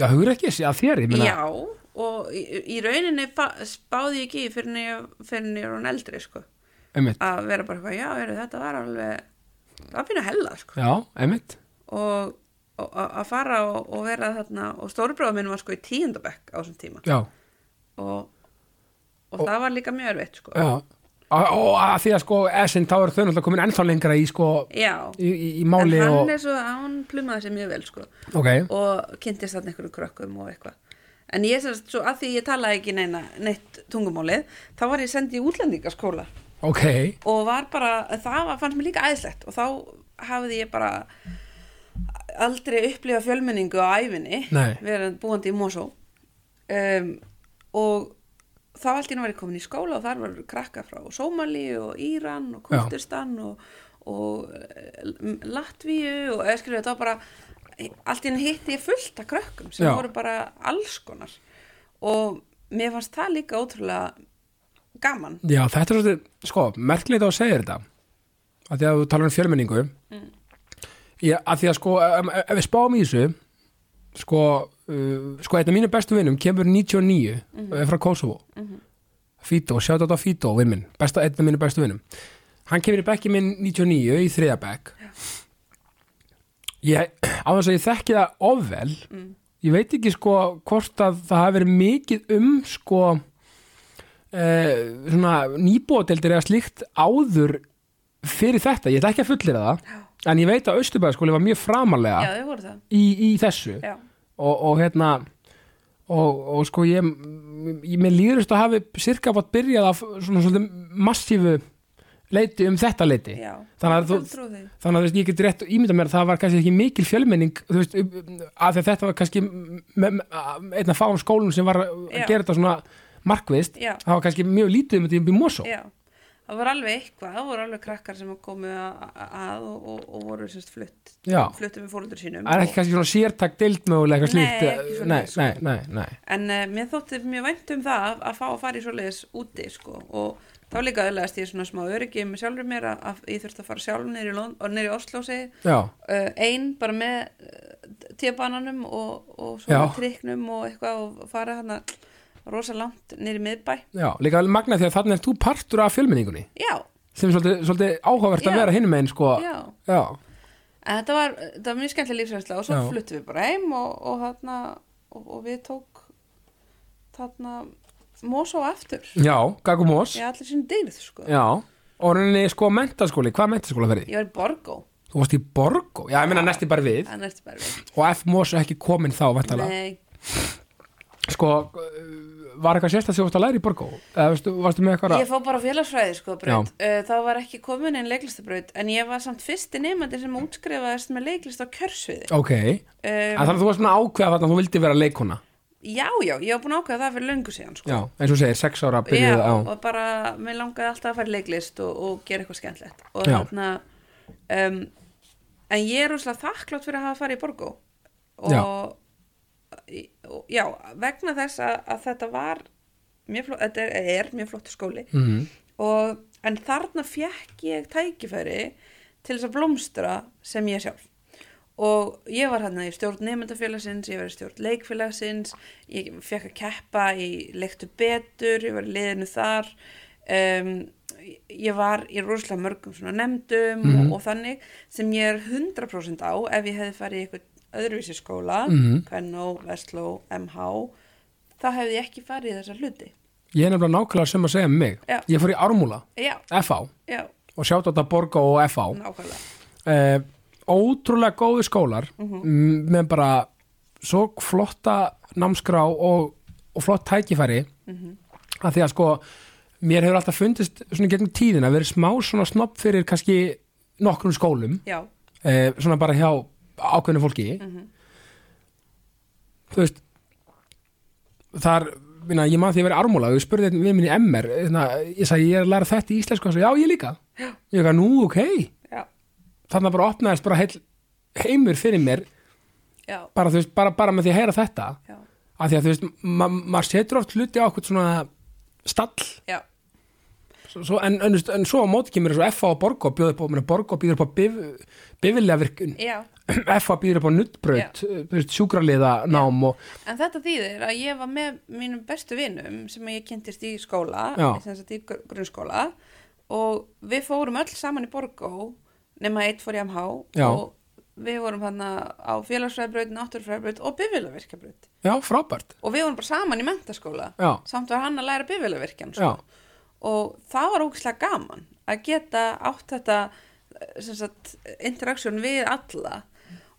Speaker 1: já, hugur ekki að þér ég meina,
Speaker 2: Já, og í, í rauninni ba- spáði ég ekki í fyrir en ég, fyrir en ég er hún eldri, sko.
Speaker 1: einmitt
Speaker 2: Að vera bara eitthvað, já, heyrðu, þetta var alveg, það var pínu hella, sko.
Speaker 1: Já, einmitt
Speaker 2: Og, og a- að fara og, og vera þarna, og stórubróða minn var sko í tíundabekk á þessum tíma.
Speaker 1: Já,
Speaker 2: Og, og, það var líka mjög erfitt, sko.
Speaker 1: já Og- og að því að sko Essend þá eru þau náttúrulega komin ennþá lengra í sko
Speaker 2: Já,
Speaker 1: í, í, í
Speaker 2: en
Speaker 1: máli
Speaker 2: hann
Speaker 1: og
Speaker 2: er svo, hann plumaði sér mjög vel, sko.
Speaker 1: Ok,
Speaker 2: og kynntist þarna einhverjum krökkum og eitthvað en ég semst svo að því ég talaði ekki neina neitt tungumálið þá var ég sendið í útlendingaskóla
Speaker 1: ok
Speaker 2: og var bara, það var, fannst mér líka æðislegt og þá hafði ég bara aldrei upplifa fjölmenningu á æfinni
Speaker 1: Nei.
Speaker 2: verið búandi í Mosó um, og þá allt í nú var ég komin í skóla og þar var krakka frá Sómali og Íran og
Speaker 1: Já.
Speaker 2: Kurdistan og, og eh, Latvíu og eða skrifa þetta var bara allt í nú hitti ég fullt af krökkum sem
Speaker 1: Já.
Speaker 2: voru bara alls konar og mér fannst það líka ótrúlega gaman
Speaker 1: Já, þetta er svolítið, sko, merkilegt að þú segir þetta að því að þú talar um fjölmenningu Já, að því að sko ef, ef við spáum í þessu sko, uh, sko einn af mínu bestu vinnum kemur 99
Speaker 2: Mhm.
Speaker 1: mm frá Kosovo Fító, sjátt á Fító, vinn minn besta, einn af mínu bestu vinnum hann kemur í bekki minn 99 í þriða bekk ég, á þess að ég þekki það ofvel
Speaker 2: Mm.
Speaker 1: ég veit ekki sko hvort að það hafi verið mikið um sko eh, svona nýbóðdeldir eða slíkt áður fyrir þetta, ég ætla ekki að fullera það en ég veit að Östubæðaskóli var mjög framalega
Speaker 2: já þau voru það
Speaker 1: í, í þessu
Speaker 2: Já,
Speaker 1: og, og hérna og, og sko ég, ég mér líðurist að hafi sirka fótt byrjað af svona svolítið massífu leiti um þetta leiti
Speaker 2: já.
Speaker 1: Þannig að þú-
Speaker 2: Ég trúi því.
Speaker 1: þannig að þú veist, ég get rétt ímynda mér að það var kannski ekki mikil fjölmenning þú veist, um, af því að þetta var kannski me- me- einn af fáum skólum sem var að
Speaker 2: Já.
Speaker 1: gera þetta svona markvist
Speaker 2: Já.
Speaker 1: það var kannski mjög lítið um þetta í Mosó
Speaker 2: Já, það voru alveg eitthvað, það voru alveg krakkar sem komu a- a- að og, og, og voru semst flutt,
Speaker 1: Já.
Speaker 2: fluttu með fóröldur sínum.
Speaker 1: það er ekki kannski svona sértak deild mögulega
Speaker 2: Nei,
Speaker 1: eitthvað slíkt
Speaker 2: ekki
Speaker 1: eh,
Speaker 2: svoleiðis,
Speaker 1: nei,
Speaker 2: sko.
Speaker 1: nei, nei, nei
Speaker 2: En uh, mér þótti mjög vænt um það að, að fá að fara í svoleiðis úti, sko, og þá líka öðlaðist ég svona smá öryggi með sjálfur mér að, að ég þurfti að fara sjálf niður í, Lond, niður í Oslósi,
Speaker 1: Já,
Speaker 2: uh, ein bara með uh, tebananum og, og
Speaker 1: Já.
Speaker 2: svona triknum og eitthvað og fara hana rosa langt niður í miðbæ.
Speaker 1: já, líka alveg magna því að þannig er þú partur af fjölmenningunni
Speaker 2: Já,
Speaker 1: sem er svolítið, svolítið áhugavert að
Speaker 2: Já.
Speaker 1: vera hinn megin sko.
Speaker 2: já.
Speaker 1: já,
Speaker 2: En þetta var, þetta var mjög skemmtileg lífsreynsla og svo
Speaker 1: Já.
Speaker 2: fluttum við bara heim og, og, þarna, og, og við tók þarna Mosó aftur.
Speaker 1: já Gagumós
Speaker 2: Ég
Speaker 1: já.
Speaker 2: allir sinni dyrð, sko.
Speaker 1: og henni sko mentaskóli, hvað mentaskóla ferði?
Speaker 2: Ég var í Borgó,
Speaker 1: Þú varst í Borgo, já, ég meina næsti bara við
Speaker 2: en eftir bara við.
Speaker 1: og F. Mós er ekki komin þá vantala.
Speaker 2: Nei,
Speaker 1: sko, uh, var eitthvað sérst að þú varst að læra í Borgo eða varstu, varstu með eitthvað
Speaker 2: ég fór bara á félagsfræði, sko, braut. Uh, þá var ekki komin einn leiklistabraut, en ég var samt fyrsti nefnandi sem útskrifaðist með leiklist á kjörsviði.
Speaker 1: ok, en
Speaker 2: Um,
Speaker 1: þannig að þú varst svona ákveða þarna að þú vildi vera leikona
Speaker 2: já, já, ég var búin að ákveða það fyrir löngu síðan, sko.
Speaker 1: já, eins og þú segir, sex ára
Speaker 2: Já,
Speaker 1: byrjuð á
Speaker 2: og bara, mér langaði alltaf að fara í leiklist og, og gera eitthvað skemmtlegt og
Speaker 1: Já.
Speaker 2: þarna um, en ég er úslega þakklátt fyrir að hafa farið í Borgó og
Speaker 1: Já.
Speaker 2: í- og- já, vegna þess að, að þetta var mjög flott, þetta er, er mjög flott skóli
Speaker 1: Mhm.
Speaker 2: og, en þarna fekk ég tækifæri til þess að blómstra sem ég sjálf og ég var hérna í stjórn nefndafélagsins, ég var í stjórn leikfélagsins ég fekk að keppa í leiktu betur, ég var í liðinu þar um, ég var í rosalega mörgum svona nefndum og, og þannig sem ég er 100% á ef ég hefði farið í eitthvað öðruvísi skóla
Speaker 1: Mhm.
Speaker 2: Kvennó, Vestló, MH þá hefði ég ekki farið í þessa hluti
Speaker 1: ég er nefnilega nákvæmlega sem að segja um mig
Speaker 2: Já.
Speaker 1: ég fór í Ármúla,
Speaker 2: já,
Speaker 1: FH
Speaker 2: já,
Speaker 1: og sjátt á þetta Borgo og FH
Speaker 2: nákvæmlega
Speaker 1: eh, ótrúlega góði skólar mm, með bara svo flotta námskrá og, og flott tækifæri að því að sko mér hefur alltaf fundist svona gegnum tíðina verið smá svona snopp fyrir kannski nokkrum skólum
Speaker 2: já,
Speaker 1: eh, svona bara hjá ákveðinu fólki þú veist þar minna, ég maður því að vera armúla og ég spurði einn við minni MR hérna, ég sagði ég er að læra þetta í íslensku og hann sagði já ég líka ég ekki að nú ok
Speaker 2: já,
Speaker 1: þannig að bara opnaðist bara heil heimur fyrir mér
Speaker 2: já,
Speaker 1: bara, þú veist, bara, bara með því að heyra þetta
Speaker 2: já,
Speaker 1: af því að þú veist, ma maður setur oft hluti á okkur svona stall
Speaker 2: já,
Speaker 1: svo, svo- en, en, en svo á móti kemur svo FA og Borgo bjóði upp á, meina, Borgo býður upp á bif, bifilega virkun
Speaker 2: já.
Speaker 1: FA býður upp á nuttbraut yeah. sjúkraliða nám og
Speaker 2: En þetta þýðir að ég var með mínum bestu vinum sem ég kynntist í skóla,
Speaker 1: Já.
Speaker 2: sem sagt í gr- grunnskóla og við fórum öll saman í Borgó nema eitt fór í MH
Speaker 1: Já.
Speaker 2: og við vorum hann á félagsfræðbraut, náttúrfræðbraut og bifilavirkjabraut
Speaker 1: já, frábært
Speaker 2: og við vorum bara saman í mentaskóla
Speaker 1: Já.
Speaker 2: samt var hann að læra sko. bifilavirkjan
Speaker 1: já,
Speaker 2: og það var ógislega gaman að geta átt þetta eh, sem sagt, interaksjón við alla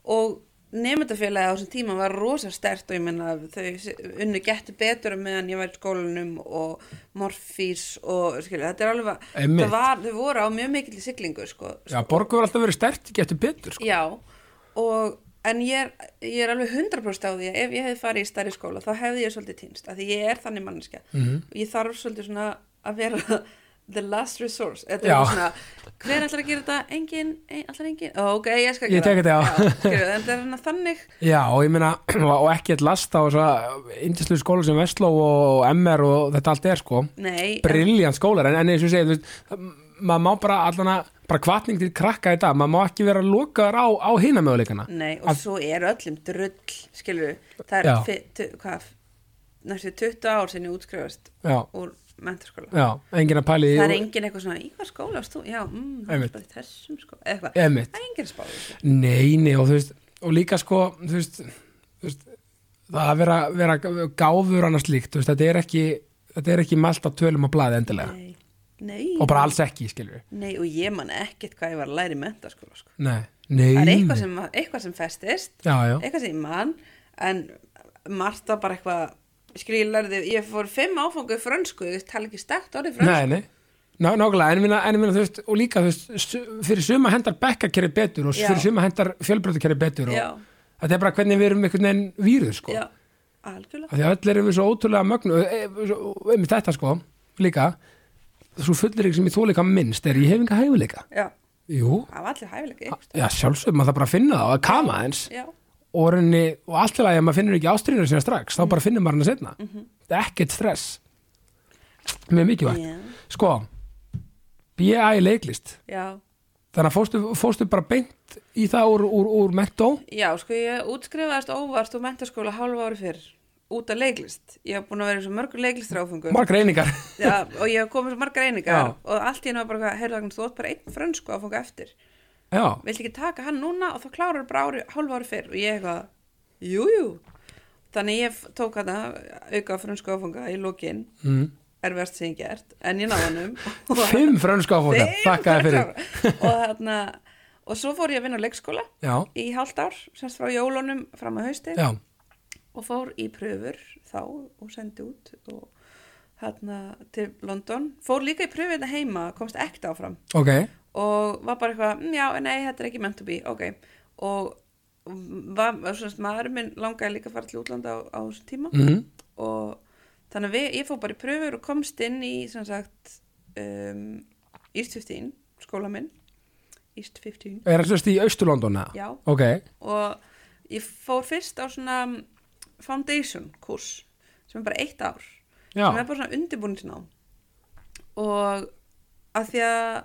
Speaker 2: og nefndafélagi á þessum tíma var rosa stert og ég menna þau unnu gettu betur á meðan ég var í skólanum og morfís og skilja, þetta er alveg
Speaker 1: Einmitt.
Speaker 2: það var, þau voru á mjög mikill siglingu sko,
Speaker 1: já Borgo er alltaf verið stert getur betur sko.
Speaker 2: Já, og en ég er, ég er alveg 100% á því að ef ég hefði farið í stærri skóla þá hefði ég svolítið týnst, af því ég er þannig manneskja
Speaker 1: Mhm.
Speaker 2: -hmm. og ég þarf svolítið svona að vera the last resource Þetta er
Speaker 1: Já.
Speaker 2: bara svona, hver ætlar að gera þetta? Engin, ein, allar engin? Ó, ok, ég skal
Speaker 1: Ég
Speaker 2: gera
Speaker 1: tek þetta, já.
Speaker 2: skilurðu, en það er hana þannig
Speaker 1: já, og ég meina og ekki eitt last á þess að indislu skóla sem Vestló og MR og þetta allt er sko
Speaker 2: Nei, en-
Speaker 1: briljant skólar en, en eins og segja, þú veist, það- maður má bara allan að bara hvatning til krakka í dag, maður má ekki vera lokaður á, á hina möguleikana
Speaker 2: Nei, og svo er öllum drull, skilur það
Speaker 1: Já.
Speaker 2: er fi- tu- hvað, næstu 20 ár sinni útskrifast
Speaker 1: já,
Speaker 2: úr mentarskóla
Speaker 1: já, enginn að pæli
Speaker 2: það er engin eitthvað svona, í hvað skóla varst þú? Já, mm, það
Speaker 1: Einmitt.
Speaker 2: er bara í þessum skóla eitthvað,
Speaker 1: Einmitt.
Speaker 2: það er engin spáð
Speaker 1: Nei, nei, og þú veist, og líka sko, þú veist, þú veist það að vera, vera gáfur annars líkt, þú veist, þetta er ekki, þetta er ekki mælt á tölum og blaði endilega
Speaker 2: nei, nei,
Speaker 1: og bara alls ekki, skilur við.
Speaker 2: nei, og ég man ekkert hvað ég var að læra í mentaskóla sko.
Speaker 1: Nei, nei.
Speaker 2: það er
Speaker 1: nei.
Speaker 2: eitthvað sem, eitthvað sem festist
Speaker 1: Já, já,
Speaker 2: eitthvað sem ég man en margt var bara eitthvað skrýlarði, ég fór fimm áfangu í frönsku, ég tala ekki stækt orðið
Speaker 1: nei,
Speaker 2: frönsku
Speaker 1: nei. Ná, nákvæmlega, en ég minna, en ég minna, þú veist, og líka, þú veist, su- fyrir suma hendar bekkakerri betur og
Speaker 2: Já.
Speaker 1: fyrir suma hendar fjölbrötukerri betur og
Speaker 2: Já.
Speaker 1: þetta er bara hvernig við erum einhvern veginn víruð, sko.
Speaker 2: já, algjörlega
Speaker 1: af því að öll erum við svo ótrúlega mögnu e, svo, einmitt þetta sko, líka svo fullir ykkur sem ég þó líka minnst er ég hef enga hæfileika
Speaker 2: já,
Speaker 1: jú,
Speaker 2: það var allir hæfilega ykkur
Speaker 1: já sjálfsögum maður það bara að finna það og að kama eins
Speaker 2: já,
Speaker 1: og, rauninni, og allt í lagi að maður finnur ekki ástríðinu sína strax, þá bara finnur maður hana setna
Speaker 2: Mhm.
Speaker 1: þetta er ekkert stress mjög mikilvægt,
Speaker 2: Já.
Speaker 1: sko B.I. leiklist
Speaker 2: já
Speaker 1: þannig að fórstu, fórstu bara beint í það úr, úr, úr mentó
Speaker 2: Já, sko, ég útskrifaðist óvart úr mentaskóla hálfa ári fyrr út af leiklist. Ég haf búin að vera í svo mörgur leiklistráfungur
Speaker 1: margar einingar
Speaker 2: Já, og ég hef komið svo margar einingar
Speaker 1: Já.
Speaker 2: og allt í hennu var bara, heyrðu Agnes, þú átt bara einn frönsku áfanga eftir.
Speaker 1: já,
Speaker 2: Viltu ekki taka hann núna og þá klárar bara ári, hálfa ári fyrr og ég eitthvað, jú, jú. Þannig ég f- tók hann auka frönsku áfanga í lokin, mm. erfast sem ég gert, en ég náði hann um.
Speaker 1: fimm frönsk áfóka, þakkaði fyrir
Speaker 2: og þarna, og svo fór ég að vinna á leikskóla
Speaker 1: já,
Speaker 2: í hálft ár, semst frá jólunum fram að hausti
Speaker 1: já,
Speaker 2: og fór í pröfur þá og sendi út og hérna til London fór líka í pröfur þetta heima, komst ekkert áfram
Speaker 1: ok
Speaker 2: og var bara eitthvað, "Mm, já, nei, þetta er ekki meant to be, ok og var, svona, maður minn langaði líka að fara til útlanda á, á þessum tíma
Speaker 1: Mhm.
Speaker 2: og þannig að við, ég fór bara í pröfur og komst inn í, sem sagt um, East 15 skóla minn East 15
Speaker 1: Er það sérst í Austurlondona?
Speaker 2: Já.
Speaker 1: Ok,
Speaker 2: og ég fór fyrst á svona foundation kurs sem er bara eitt ár
Speaker 1: Já.
Speaker 2: sem er bara svona undirbúningsnám og að því að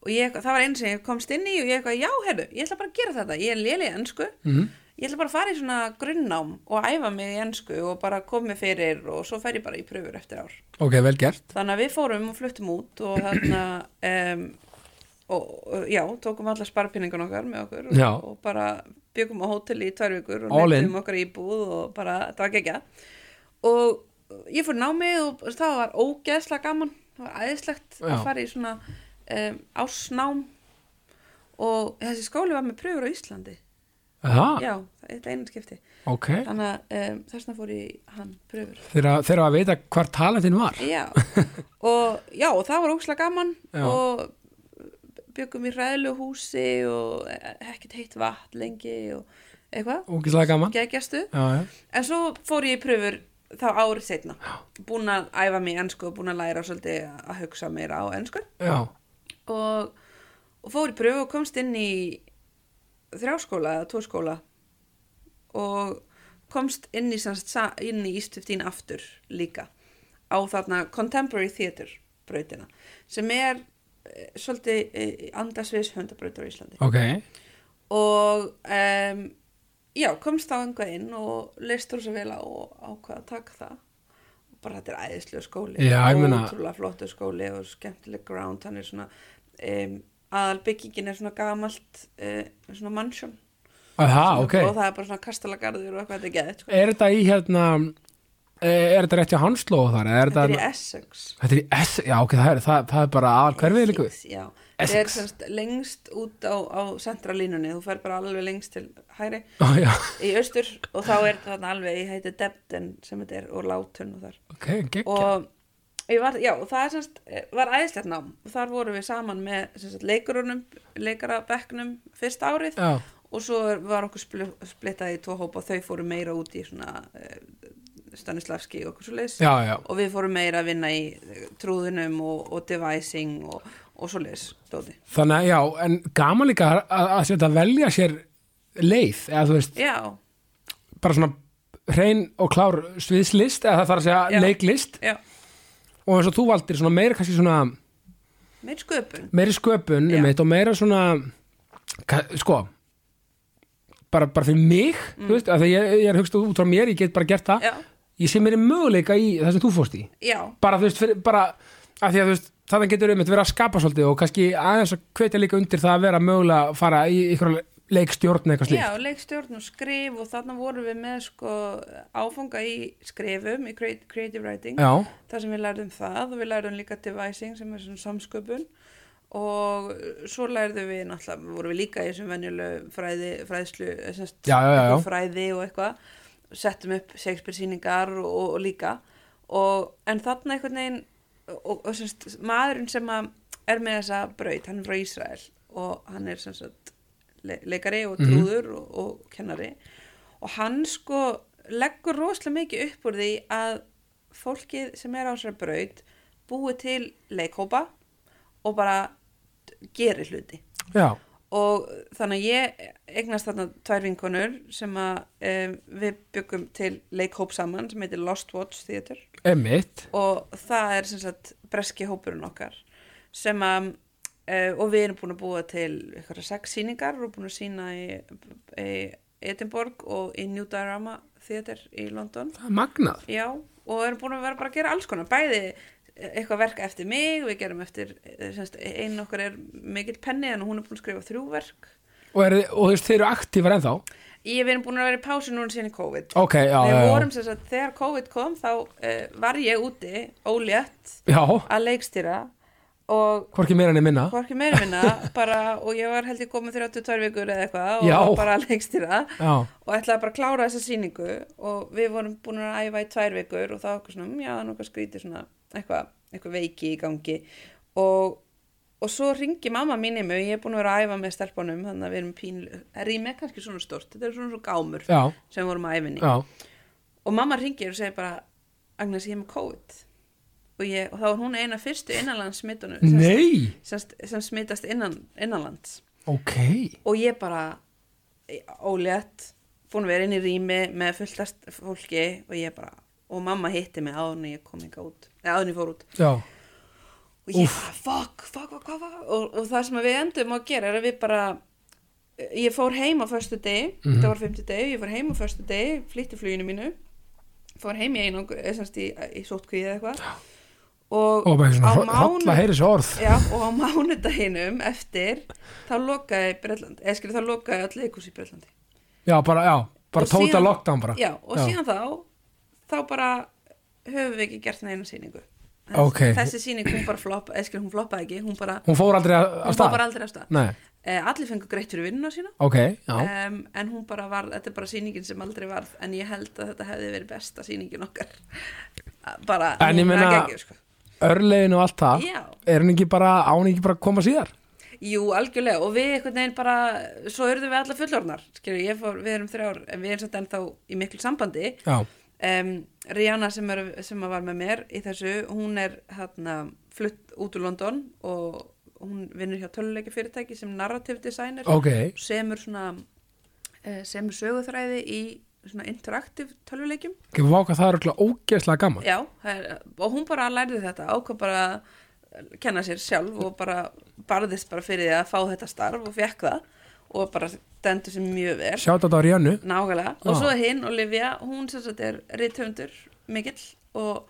Speaker 2: og ég, það var einu sem ég komst inn í og ég eitthvað, já, herru, ég ætla bara að gera þetta ég er lélega ennsku mm. ég ætla bara að fara í svona grunnnám og æfa mig í ennsku og bara koma mig fyrir og svo fer ég bara í pröfur eftir ár
Speaker 1: ok, vel gert.
Speaker 2: þannig að við fórum og fluttum út og þarna um, og, og já, tókum alla sparpinningun okkar með okkur og,
Speaker 1: Já.
Speaker 2: og bara byggum á hótel í tvær vikur og
Speaker 1: All in.
Speaker 2: nefnum okkar íbúð og bara, þetta var gegja og ég fór námið og það var ógeðslega gaman það var æðislegt
Speaker 1: Já.
Speaker 2: að fara í svona um, ásnám og þessi skóli var með pröfur á Íslandi
Speaker 1: Aha,
Speaker 2: já, það er einu skipti
Speaker 1: ok.
Speaker 2: þannig að um, þessna fór ég í hann pröfur
Speaker 1: Þeirra, þeirra að vita hvar talentin var.
Speaker 2: Já, og, já, og það var ókslega gaman
Speaker 1: Já.
Speaker 2: og byggum í ræðluhúsi og e, ekkert heitt vatn lengi og eitthvað,
Speaker 1: Ógislega gaman.
Speaker 2: geggjastu.
Speaker 1: Já, já.
Speaker 2: En svo fór ég í pröfur þá árið setna, búin að æfa mig í ennsku og búin að læra svolítið að hugsa meira á ennsku
Speaker 1: Já,
Speaker 2: og, og fór í pröfu og komst inn í þrjáskóla eða tóskóla og komst inn í, semst, sa- inn í East 15 aftur líka á þarna Contemporary Theatre brautina sem er eh, svolítið eh, andasviðs höndabrautur á Íslandi
Speaker 1: ok,
Speaker 2: og um, já, komst þá einhvað inn og leist þú svo vel á og ákvað að taka það og bara þetta er æðislega skóli
Speaker 1: Já, ég meina-
Speaker 2: ótrúlega flottu skóli og skemmtileg ground hann er svona um, aðalbyggingin er svona gamalt uh, svona mansion
Speaker 1: aha,
Speaker 2: Svona-
Speaker 1: Ah, ok
Speaker 2: og það er bara svona kastalagarður og eitthvað þetta er geðið sko.
Speaker 1: er þetta í hérna eh, er þetta rétt hjá hansló þar eða er
Speaker 2: þetta er í
Speaker 1: þetta,
Speaker 2: Essex
Speaker 1: þetta er í S, já ok, það er, það, það er bara aðal hverfið líku
Speaker 2: Essex, já.
Speaker 1: Essex.
Speaker 2: Þetta er semst lengst út á, á centralínunni, þú fer bara alveg lengst til hæri
Speaker 1: oh, já,
Speaker 2: í austur og þá er þetta þarna alveg, ég heiti Debden sem þetta er og Látun og þar
Speaker 1: ok, geggjað
Speaker 2: og ég var, já, og það er semst var æðislegt nám og þar vorum við saman með semst leikurunum, leikarabekknum fyrst árið
Speaker 1: já,
Speaker 2: og svo var okkur spl- splittað í tvo hópa og þau fóru meira út í svona uh, Stanislavski og okkur svo leis
Speaker 1: já, já,
Speaker 2: og við fórum meira að vinna í eh, trúðunum og, og devising og, og svo leis, stóði
Speaker 1: þannig að já, en gaman líka að, að, að setja að velja sér leið, eða þú veist,
Speaker 2: já,
Speaker 1: bara svona hrein og klár sviðslist eða það þarf að segja
Speaker 2: Já.
Speaker 1: leiklist
Speaker 2: já,
Speaker 1: og eins og þú valdir svona meira kannski svona
Speaker 2: meir sköpun
Speaker 1: meiri sköpun
Speaker 2: Já.
Speaker 1: einmitt, og meira svona ka- sko bara, bara fyrir mig þú veist, að ég, ég er hugst út frá mér, ég get bara gert það
Speaker 2: Mm. já,
Speaker 1: ég sé meiri möguleika í það sem þú fórst í
Speaker 2: já,
Speaker 1: bara þú veist, fyrir, bara af því að þú veist þannig getur einmitt verið að skapa svolítið og kannski aðeins að hvetja líka undir það að vera mögulega að fara í ykkur leikstjórn eða eitthvað slíkt
Speaker 2: Já, leikstjórn og skrif og þarna vorum við með sko áfanga í skrifum, í creat- creative writing,
Speaker 1: já,
Speaker 2: þar sem við lærðum það og við lærðum líka devising sem er svona samsköpun og svo lærðum við náttúrulega, vorum við líka í þessum venjulegu fræði, fræðslu, eh, sem sagt,
Speaker 1: Já, já, já, já.
Speaker 2: eitthvað fræði og eitthvað, settum upp Shakespeare síningar og, og, og líka og en þarna einhvern veginn og, og semst, maðurinn sem að er með þessa braut, hann er frá Ísrael og hann er sem sagt le leikari og
Speaker 1: Mhm.
Speaker 2: trúður og, og kennari og hann sko leggur rosalega mikið upp úr því að fólkið sem er á þessari braut búi til leikhópa og bara gerir hluti
Speaker 1: já,
Speaker 2: og þannig að ég eignast þarna tvær vinkonur sem að um, við byggum til leikhóp saman sem heitir Lost Watch Theatre
Speaker 1: einmitt
Speaker 2: og það er sem sagt breski hópurinn okkar sem að uh, og við erum búin að búa til eitthvað sex síningar og búin að sína í, í Edinborg og í New Diorama Theatre í London
Speaker 1: það er magnað
Speaker 2: Já, og erum búin að vera bara að gera alls konar bæði eitthvað verk eftir mig við gerum eftir, eh, semst, einu okkar er mikill penni en hún er búin að skrifa þrjú verk
Speaker 1: og, er, og þú veist, þeir eru aktífar ennþá
Speaker 2: ég við erum búin að vera í pásu núna síðan í COVID
Speaker 1: ok, já,
Speaker 2: við
Speaker 1: já,
Speaker 2: vorum sem sagt, þegar COVID kom þá uh, var ég úti ólétt
Speaker 1: já, já
Speaker 2: að leikstýra og
Speaker 1: hvorki meira enn minna
Speaker 2: hvorki meira minna bara, og ég var held ég komin 32 vikur eða eitthvað og
Speaker 1: Já.
Speaker 2: var bara að leikstýra
Speaker 1: já,
Speaker 2: og ætlaði bara að klára þessa sýningu og við vorum búin að æfa í tvær vikur og það var eitthvað svona, "Mm, já, það er nú eitthvað skrítið svona eitthvað, eitthvað veiki í gangi og, og svo ringi mamma mín í mig, ég er búin að vera að æfa með stelpunum þannig að við erum pínlu, rými er kannski svona stort þetta er svona svona gámur
Speaker 1: já,
Speaker 2: sem við vorum að æfinni
Speaker 1: já
Speaker 2: og mamma ringir og segir bara Agnes, ég er með COVID og, ég, og þá er hún eina fyrstu innanlands smittunum sem,
Speaker 1: nei,
Speaker 2: sem, sem smittast innan, innanlands
Speaker 1: ok
Speaker 2: og ég bara eh, ólétt, búin að vera inn í rými með fulltast fólki og ég bara, og mamma hitti mig áður en ég kom ekki út, eða áður en ég fór út
Speaker 1: já,
Speaker 2: og ég bara, fuck, fuck, fuck, fuck, fuck. Og, og það sem við endum að gera er að við bara e, ég fór heim á föstu deg
Speaker 1: Mhm.
Speaker 2: þetta var fymti deg, ég fór heim á föstu deg flýtti fluginu mínu fór heim í einang, eða semst í, í sótkvíð eða eitthvað og,
Speaker 1: og bara
Speaker 2: á
Speaker 1: svona
Speaker 2: mánu-
Speaker 1: hotla heyri svo orð
Speaker 2: Já, og á mánudaginum eftir þá lokaði Breitlandi, eða skilur þá lokaði allir leikus í Breitlandi
Speaker 1: já, bara, já, bara
Speaker 2: Og
Speaker 1: tóta
Speaker 2: síðan-
Speaker 1: lockdown bara
Speaker 2: Já, og
Speaker 1: Já.
Speaker 2: síðan þá þá bara höfum við ekki gert neina sýningu
Speaker 1: Ok.
Speaker 2: Þessi sýning, hún bara floppa, eða skilur hún floppaði ekki hún bara,
Speaker 1: hún fór aldrei að að
Speaker 2: hún fór
Speaker 1: stað
Speaker 2: bara aldrei af stað
Speaker 1: nei,
Speaker 2: eh, Allir fengur greitt fyrir vinnuna sína
Speaker 1: ok, já,
Speaker 2: um, en hún bara var, þetta er bara sýningin sem aldrei varð en ég held að þetta hefði verið besta sýningin okkar bara,
Speaker 1: En ég
Speaker 2: hún var
Speaker 1: meina-
Speaker 2: geggjuð, sko.
Speaker 1: örlegin og allt það
Speaker 2: Já.
Speaker 1: er hann ekki bara, á hann ekki bara að koma síðar
Speaker 2: Jú, algjörlega og við einhvern veginn bara, svo urðum við alla fullornar skilur, ég fór, við erum þrjár en við erum satt ennþá í miklu sambandi
Speaker 1: já,
Speaker 2: um, Rihanna sem, er, sem að var með mér í þessu, hún er hérna flutt út úr London og hún vinnur hjá töluleiki fyrirtæki sem narrative designer
Speaker 1: ok,
Speaker 2: semur svona eh, semur söguþræði í svona interaktiv töluleikjum
Speaker 1: ekki váka það er okkur ógeðslega gaman
Speaker 2: Já, það er, og hún bara lærði þetta ákvað bara að kenna sér sjálf og bara barðist bara fyrir því að fá þetta starf og fekk það og bara stendur sér mjög vel
Speaker 1: sjátt á Ríanu
Speaker 2: nákvæmlega og
Speaker 1: Já.
Speaker 2: svo hinn Olivia, hún sem sagt er rithöfundur mikill og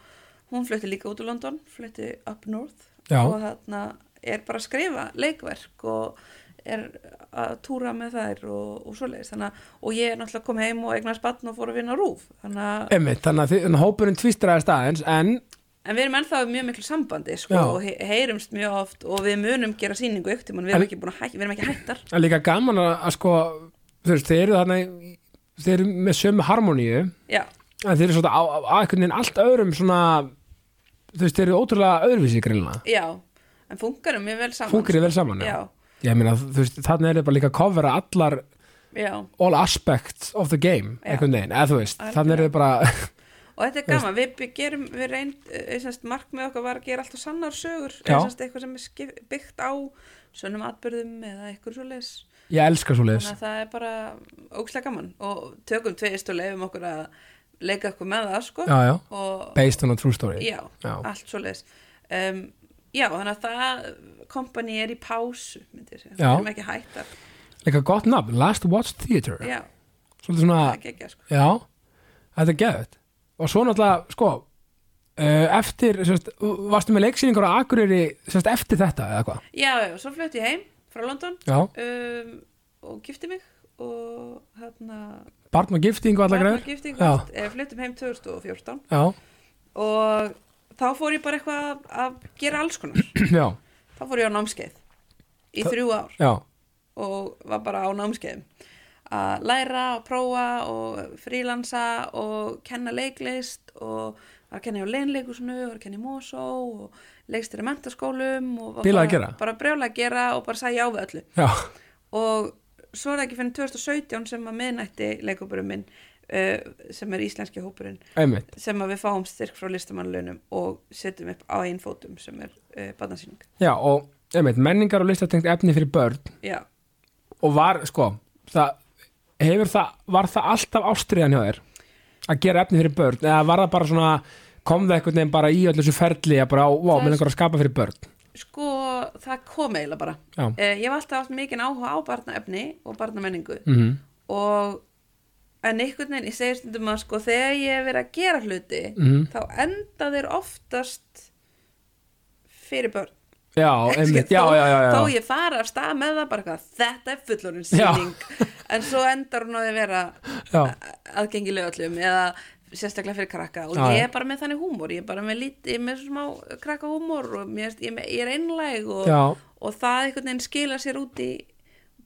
Speaker 2: hún flutti líka út úr London, flutti up north
Speaker 1: Já.
Speaker 2: og þarna er bara að skrifa leikverk og er að túra með þær og, og svoleiðis þannig að, og ég er náttúrulega kom heim og eignast batn og fór að vinna á rúf þannig að
Speaker 1: Einmitt, þannig að þið- þannig að hópurinn tvistraðist aðeins en
Speaker 2: En við erum ennþá í mjög miklu sambandi sko,
Speaker 1: Já.
Speaker 2: og he heyrumst mjög oft og við munum gera sýningu ykti, við,
Speaker 1: En-
Speaker 2: erum ekki búin að hæ- við erum ekki hættar
Speaker 1: en líka gaman að, að sko þú veist, þeir eru þarna í- þeir eru með sömu harmoníu
Speaker 2: Já,
Speaker 1: en þeir eru svona á, á, á einhvern veginn allt öðrum svona þú veist, þeir eru ótrúlega öðruvísi greinlega
Speaker 2: já, en funkarum mjög vel saman
Speaker 1: fúkir
Speaker 2: sko.
Speaker 1: er vel saman
Speaker 2: Já,
Speaker 1: ég meina, þú veist, þarna er þeir bara líka að covera allar
Speaker 2: já,
Speaker 1: all aspects of the game
Speaker 2: Já.
Speaker 1: einhvern veginn, eða þú veist, þarna er þeir bara
Speaker 2: og þetta er gaman við by- gerum, við reynd, eh, semst, markmið okkar var að gera alltaf sannar sögur
Speaker 1: Já.
Speaker 2: eða semst, eitthvað sem er skip- byggt á sönnum atbyrðum eða eitthvað svo leis
Speaker 1: ég elska svo leiðis
Speaker 2: þannig að það er bara ógslag gaman og tökum tveist og leifum okkur að leika okkur með það sko
Speaker 1: já, já,
Speaker 2: og
Speaker 1: based on a true story
Speaker 2: já,
Speaker 1: Já.
Speaker 2: allt svo leis um, já, þannig að það kompani er í pásu myndi ég segja,
Speaker 1: Já.
Speaker 2: við erum ekki hættar
Speaker 1: líka gott nafn, Last Watch Theatre
Speaker 2: já,
Speaker 1: svolítið svona,
Speaker 2: það er ekki sko.
Speaker 1: já þetta er geðvægt og svo náttúrulega, sko uh, eftir, sérst, varstu með leiksýningar á Akureyri, sérst, eftir þetta eða hvað,
Speaker 2: já, já, svo flutti ég heim frá London
Speaker 1: já,
Speaker 2: um, og gifti mig og hérna
Speaker 1: barn og gifting og allar
Speaker 2: barn og
Speaker 1: greiður,
Speaker 2: gifting,
Speaker 1: Já.
Speaker 2: allt, eh, fluttum heim 2014
Speaker 1: já,
Speaker 2: og þá fór ég bara eitthvað að- að gera alls konar
Speaker 1: já
Speaker 2: þá fór ég á námskeið í
Speaker 1: Það-
Speaker 2: þrjú ár
Speaker 1: já,
Speaker 2: og var bara á námskeiðum að læra og prófa og frílansa og kenna leiklist og var að kenna hjá leinleikusinu og var að kenna í Mosó og leikstir í mentaskólum og var
Speaker 1: Bilað að
Speaker 2: bara,
Speaker 1: gera.
Speaker 2: bara brjóla að gera og bara sagði já við öllu
Speaker 1: já,
Speaker 2: og svo er það ekki fyrir 2017 sem að miðnætti leikuburum minn uh, sem er íslenski hópurinn
Speaker 1: einmitt
Speaker 2: sem að við fáum styrk frá listamannlaunum og setjum upp á einn fótum sem er uh, barnasýning
Speaker 1: já, og einmitt, menningar og listatengt efni fyrir börn
Speaker 2: já,
Speaker 1: og var, sko, það hefur það, var það alltaf ástriðan hjá þér að gera efni fyrir börn eða var það bara svona, kom það einhvern veginn bara í öllu þessu ferli að bara, vá,
Speaker 2: Það er-
Speaker 1: með einhver að skapa fyrir börn
Speaker 2: sko það kom eiginlega bara
Speaker 1: já,
Speaker 2: Eh, Ég hef alltaf haft mikinn áhuga á barnaefni og barnamenningu
Speaker 1: mhm
Speaker 2: og en einhvern veginn, ég segir stundum að sko þegar ég hef verið að gera hluti
Speaker 1: Mhm.
Speaker 2: þá enda þeir oftast fyrir börn
Speaker 1: Já, einmitt,
Speaker 2: Skil,
Speaker 1: já,
Speaker 2: þó,
Speaker 1: já, já, já.
Speaker 2: þó ég fara af stað með það bara hvað, þetta er fullorinn síning en svo endar hún á því að vera
Speaker 1: Já.
Speaker 2: a- aðgengileg öllum eða sérstaklega fyrir krakka og
Speaker 1: Já, já.
Speaker 2: ég er bara með þannig húmor, ég er bara með lítið, ég er með svona smá krakka húmor og mér, finnst- ég, er með- ég er einlæg og,
Speaker 1: Já.
Speaker 2: og það einhvern veginn skila sér út í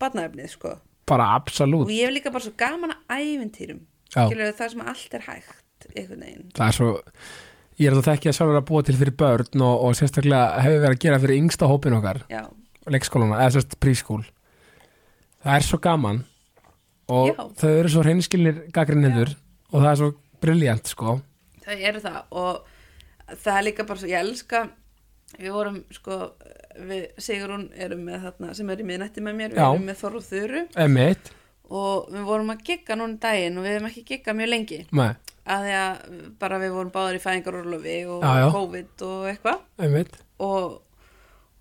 Speaker 2: barnaefnið sko
Speaker 1: bara
Speaker 2: og
Speaker 1: absolutt,
Speaker 2: ég hef líka bara svo gaman að ævintýrum
Speaker 1: Já.
Speaker 2: skilur það sem allt er hægt einhvern veginn
Speaker 1: það er svo ég er það ekki að sjálfur að búa til fyrir börn og, og sérstaklega hefur verið að gera fyrir yngsta hópin okkar,
Speaker 2: Já.
Speaker 1: leikskólana eða sérst prískúl það er svo gaman og
Speaker 2: Já.
Speaker 1: þau eru svo hreinskilnir gaggrinnindur og það er svo briljant sko
Speaker 2: það eru það og það er líka bara svo, ég elska við vorum sko við Sigrún erum með þarna sem er í miðnætti með mér, við
Speaker 1: Já.
Speaker 2: erum með Þorru Þuru
Speaker 1: emitt,
Speaker 2: og við vorum að gigga núna um daginn og við hefum ekki giggað mjög lengi
Speaker 1: með,
Speaker 2: að því að bara við vorum báðar í fæðingarorlofi og
Speaker 1: Já, já.
Speaker 2: COVID og eitthvað
Speaker 1: emitt
Speaker 2: og,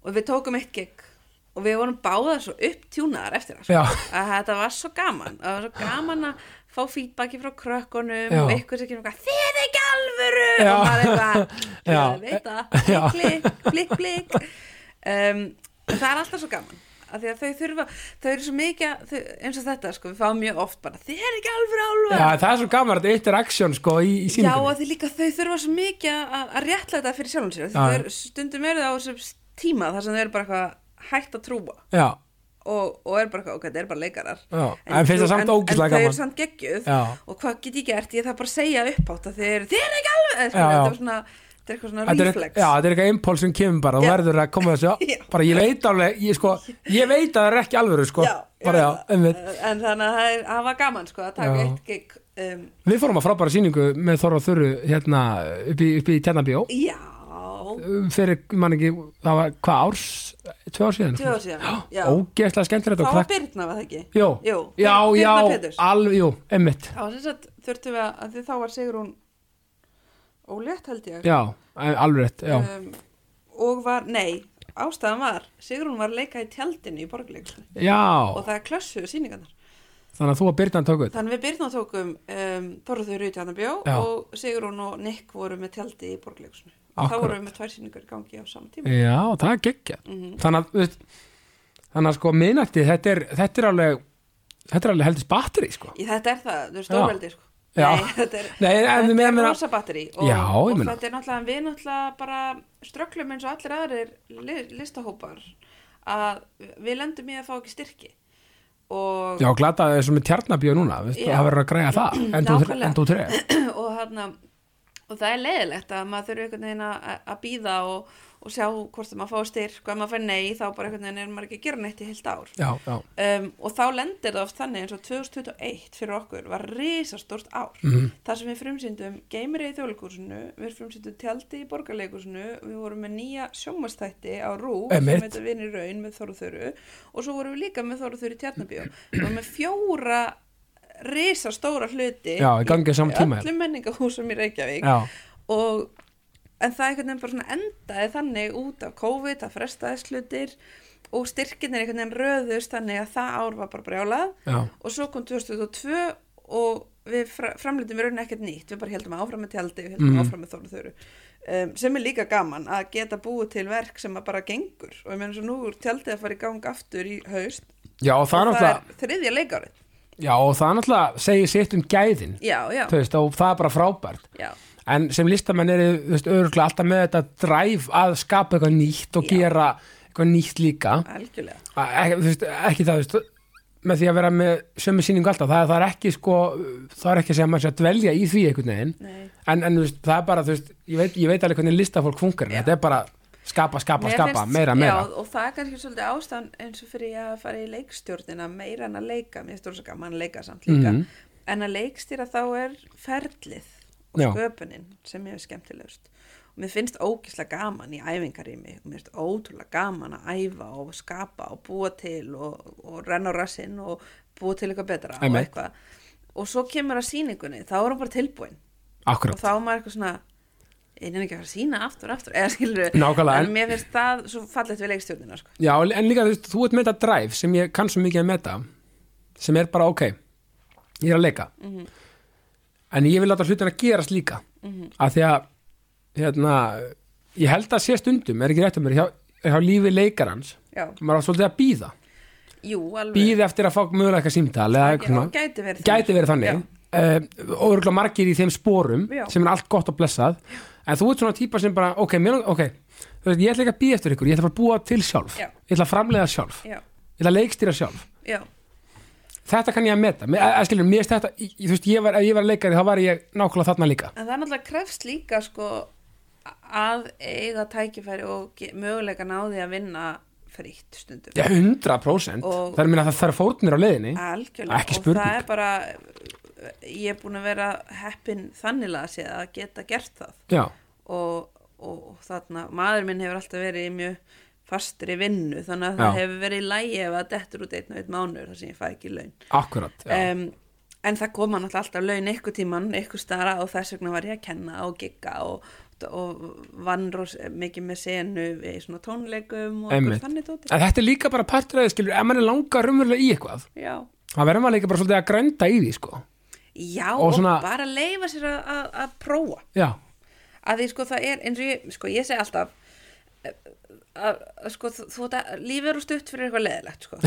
Speaker 2: og við tókum eitt gig og við vorum báðar svo upptjúnaðar eftir það sko.
Speaker 1: Já.
Speaker 2: að þetta var svo gaman það var svo gaman að fá feedbacki frá krökkunum
Speaker 1: Já.
Speaker 2: og eitthvað sem kemur eitthvað þið er ekki alvöru
Speaker 1: Já.
Speaker 2: og maður eitthvað,
Speaker 1: Já.
Speaker 2: "Ég veit
Speaker 1: Já.
Speaker 2: það klikk, klikk, klikk, klikk um, en það er alltaf svo gaman af því að þau þurfa, þau eru svo mikið að- þau, eins og þetta sko, við fáum mjög oft bara þið er ekki alvöru
Speaker 1: já,
Speaker 2: álvar
Speaker 1: það er svo gaman þetta interaction sko í, í
Speaker 2: Já,
Speaker 1: síningunni
Speaker 2: að því líka þau þurfa svo mikið að, að réttla þetta fyrir sjálfum sér. af því
Speaker 1: Já, já.
Speaker 2: Þau eru, stundum eru það á þessum tíma þar sem þau eru bara eitthvað hægt að trúa
Speaker 1: já,
Speaker 2: og, og eru bara eitthvað, ok, þetta eru bara leikarar.
Speaker 1: já, en, finnst það
Speaker 2: trú-
Speaker 1: samt ógislega
Speaker 2: En þau
Speaker 1: gaman
Speaker 2: eru samt geggjuð
Speaker 1: Já.
Speaker 2: og hvað get ég gert? Ég þarf bara að segja upp átt að þau eru, þið eru ekki alveg,
Speaker 1: Já,
Speaker 2: eða skilur,
Speaker 1: já.
Speaker 2: þetta er svona, þetta er eitthvað svona
Speaker 1: Þetta er,
Speaker 2: reflex.
Speaker 1: já, þetta er eitthvað impuls sem kemur bara og
Speaker 2: Já.
Speaker 1: verður að koma þessu
Speaker 2: Já.
Speaker 1: já. bara ég veit alveg, ég, sko, ég veit að það er ekki alvöru sko.
Speaker 2: Já, ég
Speaker 1: bara, já,
Speaker 2: veit það.
Speaker 1: einmitt.
Speaker 2: en þannig að það er, það var gaman sko að taka
Speaker 1: Já.
Speaker 2: eitt gig um,
Speaker 1: við fórum að frábæra sýningu með Þorra og Þurru hérna upp í, upp í Tjarnabíó
Speaker 2: já,
Speaker 1: fyrir, man ekki, það var hvað árs, tvö ár síðan
Speaker 2: Tvö ár síðan, já.
Speaker 1: ógeðslega skemmtilegt
Speaker 2: þá
Speaker 1: og
Speaker 2: var
Speaker 1: krakk
Speaker 2: Birna var það ekki
Speaker 1: Jó,
Speaker 2: Jú,
Speaker 1: já,
Speaker 2: Birna
Speaker 1: já, Ah.
Speaker 2: Péturs.
Speaker 1: alveg, jú, emmitt
Speaker 2: þá sem sagt þurftum við að, að því þá var Sigrún ólétt held ég
Speaker 1: Já, alveg rétt, já
Speaker 2: um, og var, nei ástæðan var, Sigrún var að leika í tjaldinu í borgarleikusinu
Speaker 1: Já,
Speaker 2: og það er klössu sýningarnar
Speaker 1: þannig að þú og Birna tóku þetta
Speaker 2: þannig við Birna tókum um, Þorður Rutjarnabjó
Speaker 1: Já.
Speaker 2: og Sigrún og Nick voru með tjaldi í borgarleikusinu og þá
Speaker 1: Akkurat.
Speaker 2: vorum við með tvær sýningar í gangi á sama tíma
Speaker 1: Já, það er geggja
Speaker 2: Mhm.
Speaker 1: Þannig að, þú veist, þannig að sko minnætti, þetta er, þetta er alveg Þetta er alveg heldist batteri, sko
Speaker 2: Í þetta er það, þú er
Speaker 1: Já.
Speaker 2: stórveldi sko.
Speaker 1: Já.
Speaker 2: Nei, þetta er,
Speaker 1: Nei, en við
Speaker 2: þetta er
Speaker 1: meina-
Speaker 2: rosa batteri og,
Speaker 1: Já, ég
Speaker 2: og
Speaker 1: meina.
Speaker 2: þetta er náttúrulega við náttúrulega bara ströklum eins og allir aðrir li- listahópar að við lendum í að fá ekki styrki og,
Speaker 1: Já, glata að þessu með tjarnabíu núna, veist,
Speaker 2: Já.
Speaker 1: það verður að græja það En þú þre-
Speaker 2: Nákvæmlega.
Speaker 1: en þú treð
Speaker 2: og, hana, og það er leiðilegt að maður þurfi einhvern veginn að, að býða og, og sjá hvort að maður fá styrk og ef maður fær nei þá bara einhvern veginn er maður ekki að gera neitt í heilt ár
Speaker 1: Já, já,
Speaker 2: um, og þá lendir það oft þannig eins og 2021 fyrir okkur var risastort ár
Speaker 1: Mhm.
Speaker 2: þar sem við frumsýndum geimrið í þjóðleikursinu við frumsýndum tjaldi í borgarleikursinu við vorum með nýja sjómastætti á Rú
Speaker 1: Einmitt.
Speaker 2: sem heitir Vinni Raun með Þorðurþöru og svo vorum við líka með Þorðurþöru í Tjarnabíu við vorum með fjóra risastóra hluti
Speaker 1: Já, í gangi á sama tíma, já.
Speaker 2: öllum menningahúsum í Reykjavík
Speaker 1: já,
Speaker 2: og en það einhvern veginn bara svona endaði þannig út af COVID, það frestaði slutir og styrkinir einhvern veginn röðust þannig að það ár var bara brjálað
Speaker 1: já
Speaker 2: og svo kom 2002 og við fra framlýtum í rauninni ekkert nýtt við bara heldum áfram með tjaldi, við heldum
Speaker 1: Mhm.
Speaker 2: áfram með þóru þöru um, sem er líka gaman að geta búið til verk sem að bara gengur og ég meina svo nú er tjaldið að fara í gang aftur í haust
Speaker 1: Já, og það er
Speaker 2: og það
Speaker 1: náttúrulega
Speaker 2: er þriðja leikárið
Speaker 1: Já, og það náttúrulega segir sitt um gæðin
Speaker 2: já, já,
Speaker 1: þú veist, og það er bara frábært
Speaker 2: já,
Speaker 1: en sem listamenn eru, þú veist, örgulega alltaf með þetta dræf að skapa eitthvað nýtt og
Speaker 2: Já.
Speaker 1: gera eitthvað nýtt líka
Speaker 2: algjörlega
Speaker 1: ekki, þú veist, ekki það, þú veist með því að vera með sömu sýningu alltaf það, það er ekki sko, það er ekki að segja að maður sé að dvelja í því einhvern veginn
Speaker 2: Nei.
Speaker 1: en, en þú veist, það er bara, þú veist, ég veit, ég veit alveg hvernig listafólk funkar,
Speaker 2: Já.
Speaker 1: þetta er bara skapa, skapa,
Speaker 2: Mér
Speaker 1: skapa,
Speaker 2: finnst-
Speaker 1: meira, meira
Speaker 2: já, og það er kannski svolítið ástæðan eins og fyrir ég að fara í leikstjórnina meira en að leika, mér stóður svo gaman að leika samt líka,
Speaker 1: Mhm.
Speaker 2: en að leikstýra þá er ferlið og
Speaker 1: Já.
Speaker 2: sköpunin sem ég er skemmtilegust og mér finnst ógislega gaman í æfingarými og mér finnst ótrúlega gaman að æfa og skapa og búa til og, og renna á rassinn og búa til eitthvað betra og
Speaker 1: Einmitt.
Speaker 2: eitthvað og svo kemur að sýningunni, þá er hún bara tilbúin og
Speaker 1: akkurat,
Speaker 2: þá er maður eitthvað svona ég nefnir ekki að fara að sína aftur og aftur eða skilur
Speaker 1: Nákvæmlega, en-
Speaker 2: en mér finnst það svo fallegt við leikstjórnina sko.
Speaker 1: já, en líka þú veist, þú ert með þetta dræf sem ég kann svo mikið að meta sem er bara, ok ég er að leika en ég vil láta hlutina gerast líka af því að hérna, ég held að sé stundum er ekki rétt um mér, hjá, hjá lífi leikarans
Speaker 2: já,
Speaker 1: maður á svolítið að býða
Speaker 2: jú, alveg
Speaker 1: býða eftir að fá möguleika símtal eða
Speaker 2: Já,
Speaker 1: eitthvað svona.
Speaker 2: gæti verið
Speaker 1: gæti verið
Speaker 2: Já.
Speaker 1: þannig uh, og örgulega margir í þeim spórum
Speaker 2: Já.
Speaker 1: sem er allt gott og blessað en þú ert svona típa sem bara, ok, mér, ok þú veist, ég ætla ekki að býða eftir ykkur, ég ætla bara að búa til sjálf
Speaker 2: Já.
Speaker 1: ég ætla að framleiða sjálf,
Speaker 2: já,
Speaker 1: ég ætla að leikstýra sjálf
Speaker 2: já,
Speaker 1: þetta kann ég að meta, Mér- að, að skilur, mér finnst þetta ég, þú veist, ég var, ef ég var leikari þá var ég nákvæmlega þarna líka
Speaker 2: en það er náttúrulega krefst líka sko að eiga tækifæri og ge- möguleika náði að vinna frítt stundum
Speaker 1: Já, 100%
Speaker 2: Og- Ah.
Speaker 1: Það er að minna að það þarf fórnir á leiðinni
Speaker 2: algjörlega
Speaker 1: Ekki
Speaker 2: og
Speaker 1: spurning.
Speaker 2: það er bara ég er búin að vera heppin þannilega að sé að geta gert það
Speaker 1: Já,
Speaker 2: og, og þarna maður minn hefur alltaf verið í mjög fastri vinnu þannig að það
Speaker 1: Já.
Speaker 2: hefur verið í lægi ef að dettur út einn og einn mánur þar sem ég fæ ekki laun
Speaker 1: akkurat já.
Speaker 2: um, en það koma náttúrulega alltaf laun ykkur tíman, ykkur stara og þess vegna var ég að kenna og gigga og, og vann ros, mikið með senu í svona tónleikum og
Speaker 1: Einmitt.
Speaker 2: einhver þannig tóti
Speaker 1: En þetta er líka bara partur að þið skilur ef mann er langar raunverulega í eitthvað
Speaker 2: Já,
Speaker 1: það verður maður líka bara svolítið að grænda í því sko.
Speaker 2: Já
Speaker 1: Og
Speaker 2: og,
Speaker 1: svona-
Speaker 2: bara leifa sér að, að, að prófa
Speaker 1: Já,
Speaker 2: að því sko það er eins og ég, sko ég segi alltaf eh, að, að sko þú, þú ert að- lífið eru stutt fyrir eitthvað leðilegt sko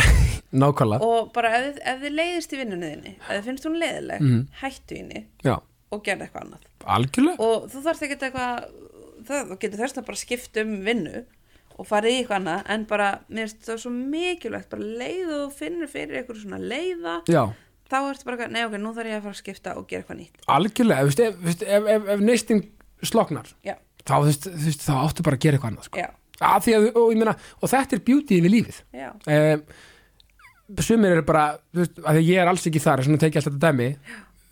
Speaker 1: nákvæmlega
Speaker 2: og bara ef, þið- ef þið leiðist í vinnunni þinni ef þið finnst hún leiðileg, hættu henni
Speaker 1: Já,
Speaker 2: og gerði eitthvað annað
Speaker 1: algjörlega
Speaker 2: og þú þarft ekki eitthvað það, þú getur þess að bara skipt um vinnu og farið í eitthvað annað en bara, mér finnst það svo mikilvægt bara leið og þú finnur fyrir eitthvað svona leiða
Speaker 1: Já,
Speaker 2: þá ertu bara, eitthvað, nei ok, nú þarf ég að fara að skipta og gera eitthvað nýtt
Speaker 1: algjörlega Þú veist, Ef, þú veist, ef, ef, ef neistin sloknar
Speaker 2: já,
Speaker 1: þá, þú veist, þú veist, þá áttu bara að gera eitthvað annað sko.
Speaker 2: já,
Speaker 1: að því að, og, ég meina, og þetta er beauty við lífið
Speaker 2: já,
Speaker 1: um, sumir eru bara þú veist, að því að ég er alls ekki þar þess vegna tek ég alltaf þetta dæmi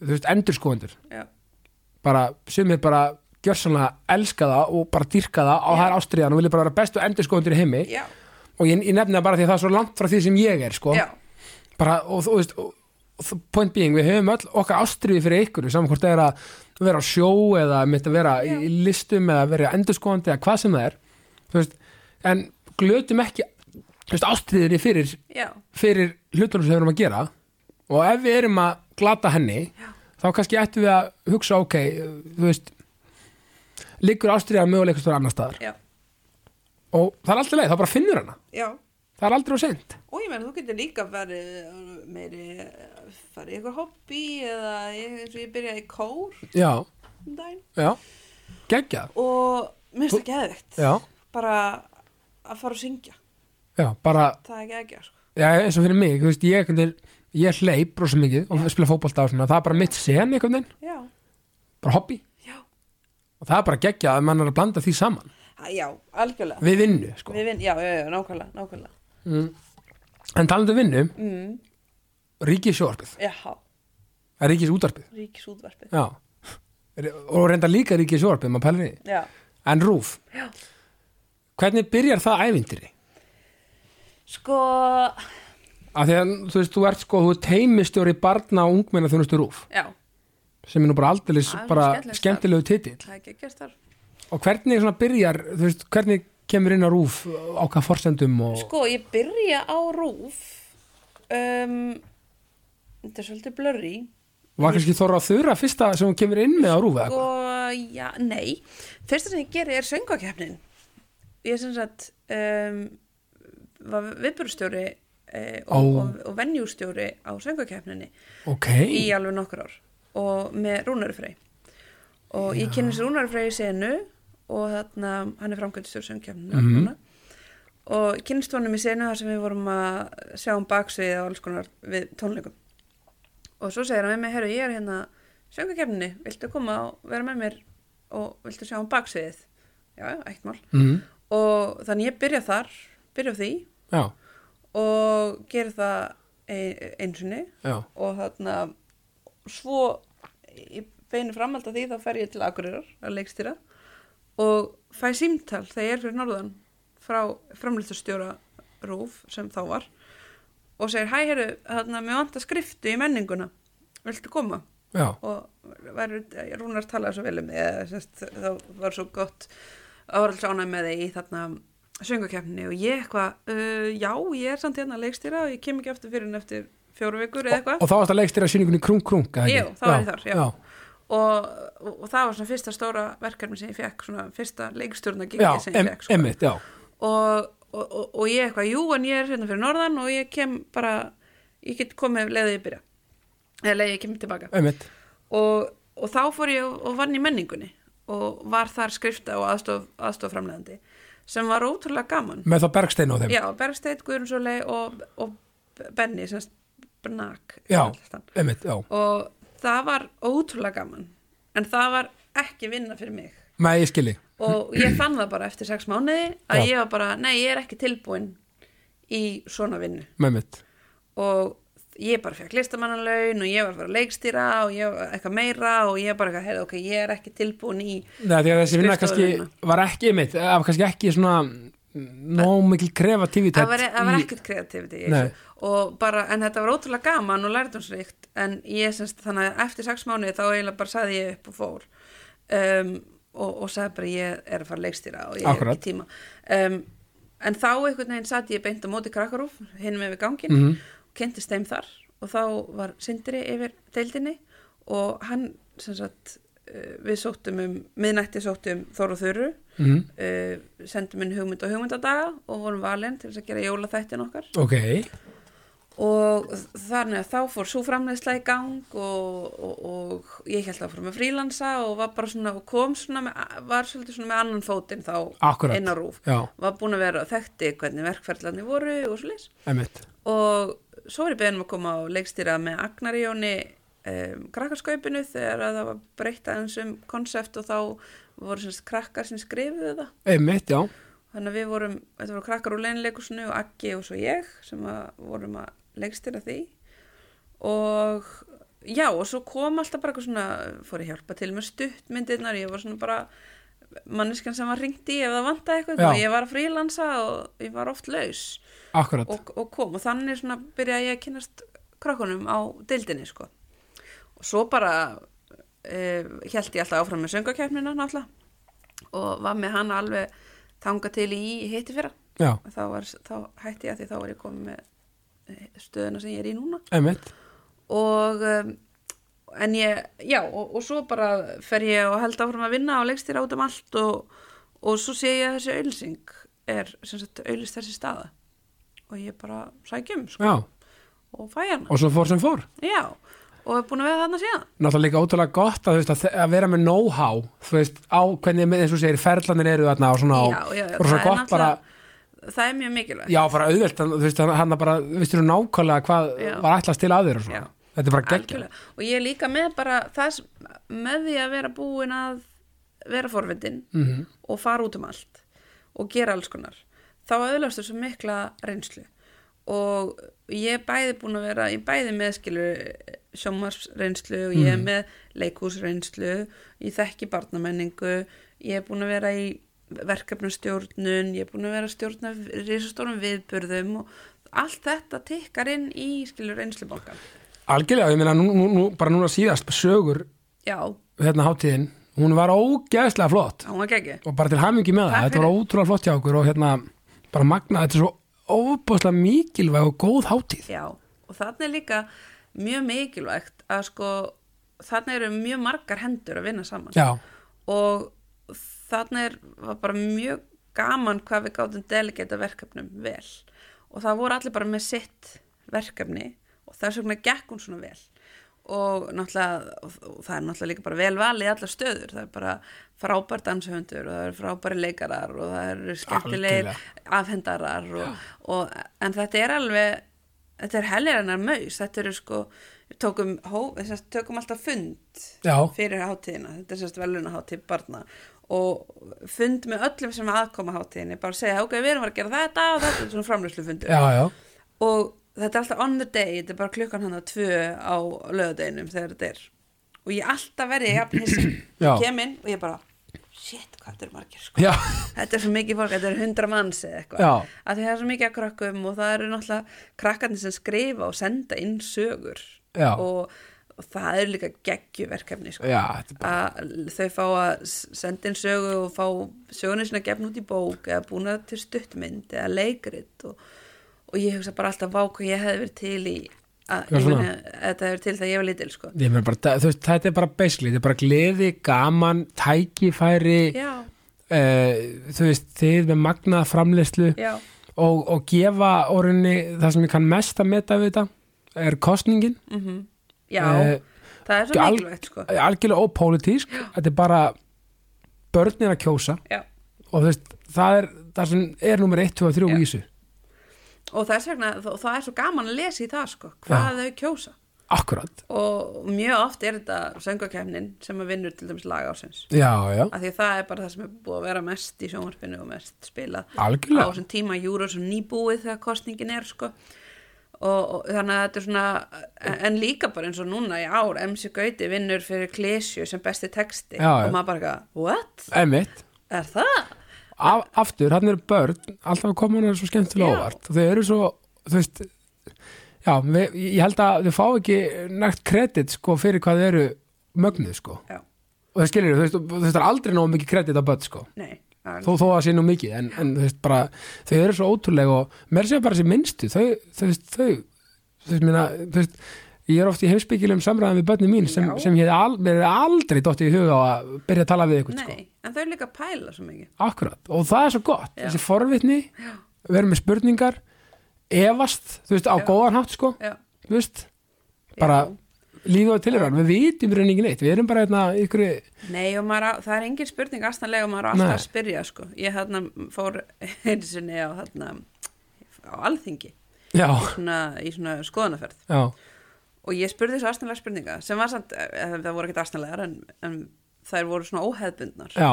Speaker 1: þú veist, endurskoðendur
Speaker 2: já
Speaker 1: bara, sumir bara gjörsanlega elska það og bara dýrka það og það er ástriðan og vilja bara vera bestu endurskoðundur í heimi
Speaker 2: já,
Speaker 1: og ég, ég nefni það bara því að það er svo langt frá því sem ég er sko.
Speaker 2: já,
Speaker 1: bara, og þú veist og, og, point being, við höfum öll okkar ástriði fyrir ykkur, saman hvort það er að vera á sjó eða mitt að vera í listum eða vera endurskoðandi eða hvað sem það er þú veist, en glötum ekki þú veist, ástriðinni fyrir
Speaker 2: já,
Speaker 1: fyrir hlutunum sem við erum að gera og ef við erum að glata henni þá kannski ættum við að hugsa ok, þú veist liggur ástriðan möguleik einhvers staðar annar staðar
Speaker 2: já,
Speaker 1: og það er alltaf leið, þá bara finnur hana
Speaker 2: já.
Speaker 1: það er aldrei á sent
Speaker 2: Og ég menn, þú getur líka farið uh, meiri, uh, farið í eitthvað hobby eða ég, eins og ég byrjaði í kór
Speaker 1: já,
Speaker 2: um daginn
Speaker 1: já, geggjað
Speaker 2: og mér finnst það geðveikt
Speaker 1: já,
Speaker 2: bara að fara að syngja,
Speaker 1: já, bara
Speaker 2: það er geðveikt sko.
Speaker 1: já, eins og fyrir mig, þú veist, ég einhvern veginn ég hleyp rosa mikið og spila fótbolta og svona það er bara mitt sen einhvern veginn,
Speaker 2: Já,
Speaker 1: bara hobby
Speaker 2: já,
Speaker 1: og það er bara geggjað að mann er að blanda því saman
Speaker 2: Ha, já, algjörlega
Speaker 1: við vinnu, sko
Speaker 2: Við vinn, já, já, já, nákvæmlega, nákvæmlega
Speaker 1: en talandi um vinnu,
Speaker 2: mm,
Speaker 1: ríkisjórpið,
Speaker 2: Já,
Speaker 1: ríkisútarpið
Speaker 2: ríkisútvarpið
Speaker 1: eh, Já, og reynda líka ríkið sjórpið, maður pælir því.
Speaker 2: Já,
Speaker 1: En Rúf,
Speaker 2: já
Speaker 1: hvernig byrjar það ævindiri?
Speaker 2: Sko,
Speaker 1: Af því að þú veist, þú ert sko, þú ert heimistjóri barna og ungmenna þjónustu Rúf,
Speaker 2: já,
Speaker 1: sem er nú bara aldeilis
Speaker 2: Það er
Speaker 1: bara
Speaker 2: skemmtilegt sko.
Speaker 1: skemmtilegu titill.
Speaker 2: það er geðveikt þar
Speaker 1: Og hvernig svona byrjar, þú veist, hvernig kemur inn á Rúf á hvað forsendum og...
Speaker 2: Sko, ég byrja á rúf um, Þetta er svolítið blurry
Speaker 1: var kannski Þóra Þura fyrsta sem hún kemur inn með á Rúf eða
Speaker 2: Sko,
Speaker 1: eitthvað?
Speaker 2: já, nei Fyrsta sem ég geri er söngvakefnin Ég sem sagt um, var viðburustjóri uh, og,
Speaker 1: Ó.
Speaker 2: og, og venjústjóri á söngvakefninni
Speaker 1: Ok,
Speaker 2: Sko, í alveg nokkur ár og með Rúnari Frey og ég kynni sér Rúnari Frey í senu og þarna, hann er framkvæmstjóri söngkefninu mm og kynnist honum í senu þar sem við vorum að sjá um baksvið og alls konar við tónleikum og svo segir hann með mig, herru ég er hérna söngkefninu, viltu koma og vera með mér og viltu sjá um baksviðið já, já, eitt mál
Speaker 1: Mhm.
Speaker 2: og þannig ég byrja þar, byrja á því
Speaker 1: já,
Speaker 2: og gera það ein- einu sinni
Speaker 1: já,
Speaker 2: og þarna svo í beinu framhald að því þá fer ég til Akureyrar að leikstýra og fæ símtal þegar ég er fyrir norðan frá framlýstustjóra Rúf sem þá var og segir hæ herru, þarna mér vant að skriftu í menninguna, viltu koma?
Speaker 1: já,
Speaker 2: og verður, eh, Rúnar talaði svo vel um því eða, sérst, þá var svo gott að voru alls ánæg með því í þarna söngukeppni og ég eitthvað uh, já, ég er samt hérna að leikstýra og ég kem ekki aftur fyrir en eftir fjóru vikur eða eitthvað
Speaker 1: Og þá varst að leikstýra sýningunni Krung Krung, eða
Speaker 2: Jú,
Speaker 1: ekki?
Speaker 2: þá var ég þar, já,
Speaker 1: Já,
Speaker 2: Og, og, og það var svona fyrsta stóra verkefni sem ég fekk svona fyrsta leikstjórna
Speaker 1: já,
Speaker 2: sem ég
Speaker 1: em,
Speaker 2: fekk sko.
Speaker 1: emmitt, já.
Speaker 2: og, og, og, og ég eitthvað, jú, en ég er hérna fyrir norðan og ég kem bara ég get komið leiðið ég byrja eða leiðið ég kemur tilbaka
Speaker 1: Einmitt.
Speaker 2: og, og þá fór ég og- og vann í menningunni og var þar skrifta og aðstof, aðstofframlegandi sem var ótrúlega gaman
Speaker 1: Með þá Bergstein á þeim.
Speaker 2: Já, Bergsteit, Guðrunsolei og, og Benny sem Bnak
Speaker 1: Já, einmitt, já.
Speaker 2: og það var ótrúlega gaman en það var ekki vinna fyrir mig
Speaker 1: Nei, ég skilji.
Speaker 2: og ég fann það bara eftir sex mánuði að
Speaker 1: Já.
Speaker 2: ég var bara, nei, ég er ekki tilbúin í svona vinnu
Speaker 1: Með mitt.
Speaker 2: og ég bara fekk listamannalaun og ég var bara að leikstýra og ég var eitthvað meira og ég bara eitthvað, heyrðu, ok, ég er ekki tilbúin í
Speaker 1: Nei, því að þessi vinna kannski
Speaker 2: Skrifstofuvinna.
Speaker 1: var ekki einmitt, það var kannski ekki svona nóg mikil kreatívitet.
Speaker 2: það var, það var ekkert kreativiti í
Speaker 1: Nei.
Speaker 2: þessu. og bara, en þetta var ótrúlega gaman og lærdomsrikt en ég semst þannig að eftir sex mánuði þá eiginlega bara saði ég upp og fór um, og, og sagði bara ég er að fara að leikstýra og ég hef
Speaker 1: Akkurat.
Speaker 2: ekki tíma um, en þá einhvern veginn satt ég beint á móti krakkarúf hinn með við gangin
Speaker 1: Mhm.
Speaker 2: og kynntist þeim þar og þá var Sindri yfir deildinni og hann sem sagt uh, við sóttum um, miðnætti sóttum Þóru og Þuru
Speaker 1: Mhm.
Speaker 2: uh, sendum inn hugmynd og hugmyndadaga og vorum valin til þess að gera jólaþættin okkar
Speaker 1: Ok,
Speaker 2: og þannig að þá fór svo framleiðsla í gang og, og, og ég held að fór með frílansa og var bara svona og kom svona með, var svolítið svona með annan fótinn þá
Speaker 1: Akkurat.
Speaker 2: inn á rúf
Speaker 1: já,
Speaker 2: var búin að vera og þekkti hvernig verkferðlarnir voru og svo leys
Speaker 1: einmitt.
Speaker 2: og svo er ég beðin um að koma á leikstýra með Agnar Jóni um, krakkarskaupinu þegar að það var breytt aðeins um konsept og þá voru semst krakkar sem skrifuðu það
Speaker 1: Einmitt, já.
Speaker 2: Þannig að við vorum, þetta voru krakkar úr leinileikusinu og Aggi og svo ég sem að vorum að leikstýra því og já og svo kom alltaf bara eitthvað svona fór að hjálpa til með stuttmyndirnar ég var svona bara manneskan sem var ringt í ef það vantaði eitthvað
Speaker 1: Já.
Speaker 2: og ég var að frílansa og ég var oft laus
Speaker 1: akkurat,
Speaker 2: og, og kom og þannig svona byrjaði ég að kynast krakkunum á deildinni sko og svo bara uh, held ég alltaf áfram með söngakefnina náttúrulega og var með hana alveg þanga til í hitti fyrra
Speaker 1: já,
Speaker 2: þá, var, þá hætti ég að því þá var ég komið með eh, stöðuna sem ég er í núna
Speaker 1: einmitt
Speaker 2: og um, en ég, já, og, og svo bara fer ég og held áfram að vinna og leggst þér át um allt og, og svo sé ég að þessi auðlýsing er sem sagt auðlýst þessi staða og ég bara sækjum sko,
Speaker 1: já,
Speaker 2: og fæ hana
Speaker 1: og svo fór sem fór
Speaker 2: já, og er búin að vera þarna síðan
Speaker 1: náttúrulega líka ótrúlega gott að, þú veist, að, þe- að vera með know-how þú veist, á hvernig, eins og þú segir, ferlanir eru þarna og svona,
Speaker 2: já, já, já,
Speaker 1: og
Speaker 2: það
Speaker 1: svona
Speaker 2: er
Speaker 1: gott bara
Speaker 2: náttúrulega- það er mjög mikilvægt
Speaker 1: já, bara auðvelt, hann- þú veist, hann- hann bara visstur þú nákvæmlega hvað
Speaker 2: Já.
Speaker 1: var ætlast til að þér og svona,
Speaker 2: Já.
Speaker 1: þetta er bara geggja
Speaker 2: Algjörlega. og ég er líka með bara það sem, með því að vera búin að vera forvindin -hmm. og fara út um allt og gera alls konar þá auðlastu svo mikla reynslu og ég er bæði búin að vera ég er bæði með skilu sjómarsreynslu og ég er með leikúsreynslu ég þekki barnamenningu ég er búin að vera í verkefnastjórnun, ég er búin að vera að stjórna risastórum viðburðum og allt þetta tikkar inn í skilur reynslubankan
Speaker 1: algjörlega, ég meina, nú, nú, nú, bara núna síðast sögur,
Speaker 2: Já,
Speaker 1: hérna hátíðin hún var ógeðslega flott
Speaker 2: hún var geggjum.
Speaker 1: og bara til hamingi með það,
Speaker 2: Takk
Speaker 1: þetta var
Speaker 2: fyrir.
Speaker 1: ótrúlega flott hjá okkur og hérna, bara magna, þetta er svo óbúslega mikilvæg og góð hátíð
Speaker 2: Já, og þarna er líka mjög mikilvægt að sko, þarna eru mjög margar hendur að vinna saman.
Speaker 1: já,
Speaker 2: Og þarna er, var bara mjög gaman hvað við gátum delegata verkefnum vel. Og það voru allir bara með sitt verkefni og þess vegna gekk hún svona vel. Og náttúrulega, og og það er náttúrulega líka bara vel valið í allar stöður. Það er bara frábær danshöndur og það eru frábæri leikarar og það eru skemmtilegir
Speaker 1: Algjörlega.
Speaker 2: afhendarar og, og, en þetta er alveg þetta er helgarinnar maus þetta eru sko, við tókum, hó, þess að tökum alltaf fund
Speaker 1: já,
Speaker 2: fyrir hátíðina, þetta er sérst veluna hátíð barna og fund með öllum sem aðkoma hátíðinni, bara segja ok, við erum að gera þetta og þetta er svona framlýslu fundur
Speaker 1: já, já
Speaker 2: og þetta er alltaf on the day, þetta er bara klukkan hann á tvö á lögadeginum þegar þetta er og ég alltaf verði, ég
Speaker 1: Já.
Speaker 2: kem inn og ég bara, shit, hvað þetta eru margir sko
Speaker 1: já,
Speaker 2: þetta er svo mikið fólk, þetta er hundra manns eða eitthvað,
Speaker 1: Já.
Speaker 2: að það er svo mikið að krakkum og það eru náttúrulega krakkarnir sem skrifa og senda inn sögur
Speaker 1: Já.
Speaker 2: og, og það eru líka geggjuverkefni sko.
Speaker 1: já, þetta er bara
Speaker 2: að þau fá að s- senda inn sögu og fá sögunni sinna gefn út í bók eða búna til stuttmynd eða leikrit og, og ég hugsa bara alltaf vá hvað ég hefði verið til í að,
Speaker 1: Já,
Speaker 2: ég
Speaker 1: svona.
Speaker 2: meni, að þetta hefur til þegar ég var lítil sko.
Speaker 1: Ég meina bara, það- þú veist, þetta er bara basically, þetta er bara gleði, gaman, tækifæri,
Speaker 2: já,
Speaker 1: uh, þú veist, þið með magnaða framleyslu
Speaker 2: já,
Speaker 1: og, og gefa orðinni það sem ég kann mest að meta við þetta er kostningin,
Speaker 2: Mm. já
Speaker 1: Eh,
Speaker 2: það er svo
Speaker 1: al-
Speaker 2: mikilvægt sko.
Speaker 1: algjörlega ópólitísk, þetta er bara börnin að kjósa
Speaker 2: já
Speaker 1: og þú veist, það er það sem er nummer 1, 2 og 3
Speaker 2: Já.
Speaker 1: í þessu.
Speaker 2: og þess vegna, og það er svo gaman að lesa í það sko, hvað þau kjósa
Speaker 1: Akkurat,
Speaker 2: og mjög oft er þetta söngakefnin sem að vinnur til dæmis laga ásins
Speaker 1: já, já,
Speaker 2: af því að það er bara það sem er búið að vera mest í sjónvarpinu og mest spilað á
Speaker 1: algjörlega.
Speaker 2: þessum tíma júra sem nýbúið þegar kostningin er sko og, og þannig að þetta er svona en, en líka bara eins og núna í ár MC Gauti vinnur fyrir Klesju sem besti texti
Speaker 1: Já, já.
Speaker 2: og maður bara eitthvað, what?
Speaker 1: Einmitt,
Speaker 2: Er það?
Speaker 1: af, aftur, hann eru börn alltaf að koma hann er svo skemmtilega
Speaker 2: Já.
Speaker 1: óvart og þau eru svo, þú veist já, við, ég held að þau fá ekki nægt kredit sko fyrir hvað þau eru mögnuð sko
Speaker 2: Já,
Speaker 1: og það skilur þau, veist, og þú veist, það er aldrei nóg mikið kredit á börn sko,
Speaker 2: nei það er-
Speaker 1: þó, þó að sé nú mikið en, en þú veist bara, þau eru svo ótrúlega og mér sé bara þessi minnstu þau, þau, veist, þau, þau, minna, þau veist, ég er oft í heimsbyggilum samræðan við börnum mín sem,
Speaker 2: Já.
Speaker 1: sem ég hef al, mér er aldrei dottið í huga á að byrja að tala við ykkur sko
Speaker 2: Nei, en þau er líka að pæla svo mikið
Speaker 1: Akkurat, og það er svo gott,
Speaker 2: Já.
Speaker 1: þessi forvitni verður með spurningar efast, þú veist, á góðan hátt sko,
Speaker 2: Já,
Speaker 1: þú veist bara
Speaker 2: Já.
Speaker 1: lífið á tilhverjan, við vitum reyni ekki neitt, við erum bara hérna ykkur
Speaker 2: Nei og maður, á, það er engin spurning astanlega og maður á alltaf
Speaker 1: Nei.
Speaker 2: að spyrja sko. Ég hérna fór einu sinni á, hérna, á alþingi
Speaker 1: Já,
Speaker 2: svona, í svona skoðanaferð
Speaker 1: já,
Speaker 2: og ég spurði svo astanlega spurninga sem var samt, eh, það voru ekkert astanlegar en, en þær voru svona óheðbundnar
Speaker 1: já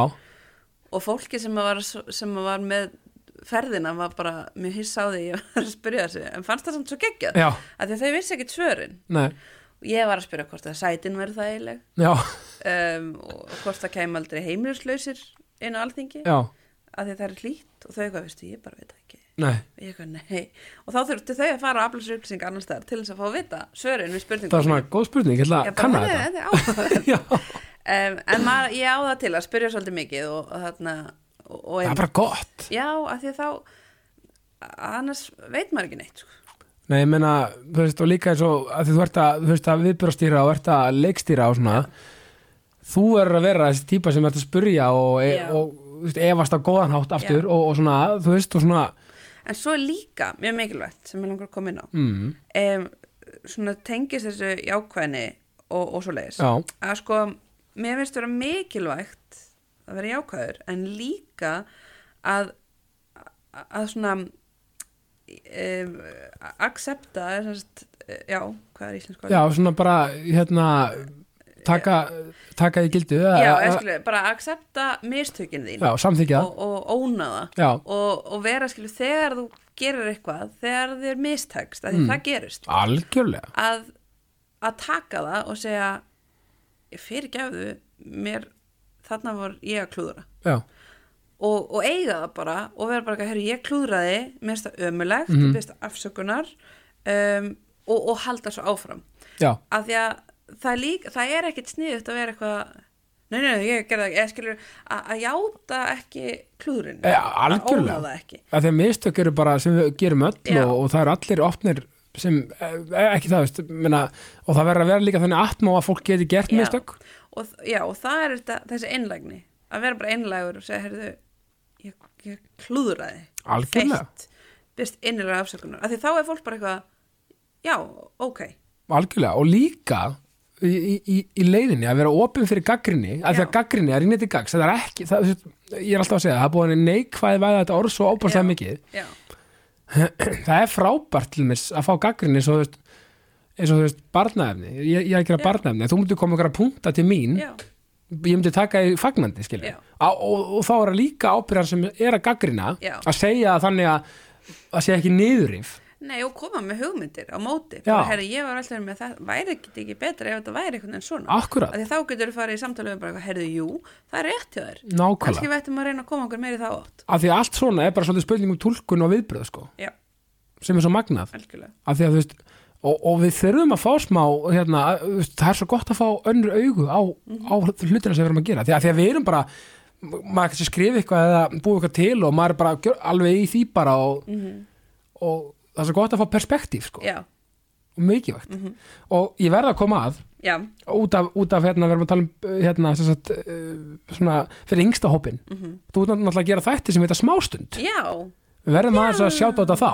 Speaker 2: og fólki sem var, sem var með ferðina var bara mjög hissa á því ég var að spyrja þessu en fannst það samt svo geggjað
Speaker 1: Já.
Speaker 2: að því að þau vissi ekki svörin
Speaker 1: Nei,
Speaker 2: ég var að spyrja hvort að sætin verður það eiginleg
Speaker 1: já,
Speaker 2: um, og hvort það kæm aldrei heimilislausir inn á alþingi
Speaker 1: já,
Speaker 2: að því að það er hlýtt og þau eitthvað, veistu, ég bara veit það ekki
Speaker 1: nei
Speaker 2: og ég eitthvað, nei og þá þurftu þau að fara að afla sér upplýsing annars staðar til þess að fá að vita svörin við spurningum
Speaker 1: það er svona góð spurning, ég ætla
Speaker 2: Ég
Speaker 1: að
Speaker 2: bara,
Speaker 1: kanna
Speaker 2: "Heyrðu,
Speaker 1: þetta
Speaker 2: þetta er áhugavert."
Speaker 1: já,
Speaker 2: um, en maður, ég á það til að spyrja svolítið mikið og, og þarna og, og
Speaker 1: það er bara gott
Speaker 2: já, af því að þá annars veit maður ekki neitt sko.
Speaker 1: nei, ég meina, þú veist, og líka eins og að því þú ert að, þú veist, að viðbjörastýra og ert að leikstýra og svona þú er að vera þessi típa sem ert að spurja og, e,
Speaker 2: Já.
Speaker 1: og þú veist, efast á góðan hátt aftur og, og svona, þú veist, og svona
Speaker 2: en svo er líka mjög mikilvægt sem ég langar að koma inn á
Speaker 1: mm,
Speaker 2: um, svona tengist þessu jákvæðni og, og svo leiðis
Speaker 1: já,
Speaker 2: að sko, mér finnst vera mikilvægt að vera jákvæður en líka að að svona um, accepta sem sagt, eh, já, hvað er íslensk orð?
Speaker 1: já, svona bara hérna, taka taka í gildu eða-
Speaker 2: já,
Speaker 1: eða-
Speaker 2: ég skilur, bara að accepta mistökin þín
Speaker 1: já, samþykja,
Speaker 2: og, og óna það
Speaker 1: já,
Speaker 2: og, og vera skilur þegar þú gerir eitthvað þegar þér mistekst,
Speaker 1: Mm.
Speaker 2: að því það gerist
Speaker 1: algjörlega
Speaker 2: að, að taka það og segja fyrirgefðu, mér þarna var ég að klúðra
Speaker 1: já,
Speaker 2: og, og eiga það bara og vera bara, herru, ég klúðraði mér finnst það ömulegt,
Speaker 1: Mhm.
Speaker 2: mm -hmm. besta afsökunar um, og, og halda svo áfram
Speaker 1: já,
Speaker 2: af því að það er, lík, það er ekkit sniðut að vera eitthvað nei, nei, nei, ég gerði það ekki, eða skilur að, að játa ekki klúðurinn
Speaker 1: Já,
Speaker 2: að óna
Speaker 1: algjörlega.
Speaker 2: það ekki
Speaker 1: að því að mistök eru bara sem við gerum öll
Speaker 2: Já.
Speaker 1: og, og það eru allir opnir sem, eh, ekki það veist minna, og það verður að vera líka þannig atmó að fólk geti gert
Speaker 2: Já.
Speaker 1: mistök
Speaker 2: og, þ- já, og það er þetta, þessi einlægni að vera bara einlægur og segja, herðu ég, ég klúðraði
Speaker 1: Algjörlega.
Speaker 2: Feitt. best innilega afsökunar af því þá er fólk bara eitthvað já, ok,
Speaker 1: algjörlega og líka í, í, í leiðinni að vera opin fyrir gaggrinni að því
Speaker 2: Já.
Speaker 1: að gaggrinni, að rínið til gags það er ekki, það, þú veist, ég er alltaf að segja það er búin að neikvæði væða þetta orð svo
Speaker 2: Já.
Speaker 1: ábærslega mikið
Speaker 2: já,
Speaker 1: það er frábært til mér að fá gaggrinni svo, þú veist, eins og þú veist barnaefni, ég, ég er ekki að
Speaker 2: Já.
Speaker 1: barnaefni þú myndir koma okkar að punta til mín
Speaker 2: já
Speaker 1: ég myndi taka í fagnandi skilja
Speaker 2: Já.
Speaker 1: og, og þá er það líka ábyrðar sem er að gaggrina
Speaker 2: Já.
Speaker 1: að segja þannig að að segja ekki niðurif
Speaker 2: Nei, og koma með hugmyndir á móti
Speaker 1: Já.
Speaker 2: bara, herri, ég var alltaf með það, væri ekki, ekki betra ef þetta væri einhvern veginn svona
Speaker 1: akkurat,
Speaker 2: að því þá getur þú farið í samtalið bara, eitthvað, herri, jú, það er rétt hjá þér kannski
Speaker 1: nákvæmlega
Speaker 2: við ættum að reyna að koma okkur meiri þá átt
Speaker 1: af því að allt svona er bara svolítið spurning um tólkun og viðbröð sko,
Speaker 2: já,
Speaker 1: sem er svo magnað
Speaker 2: algjörlega
Speaker 1: af því að þú veist og, og við þurfum að fá smá hérna, að- þú veist, það er svo gott að fá önnur augu á, á hlutina sem við erum að gera því að, því að við erum bara maður kannski skrifa eitthvað eða búið eitthvað til og maður er bara gjör, alveg í því bara og, og það er svo gott að fá perspektíf sko,
Speaker 2: já,
Speaker 1: og mikilvægt og ég verð að koma að
Speaker 2: já,
Speaker 1: út af, út af hérna, við erum að tala um uh, hérna, sem sagt, uh, svona, fyrir yngsta hópin þú ert náttúrulega að gera þætti sem heita smástund
Speaker 2: já
Speaker 1: við verðum aðeins að sjáta á þetta þá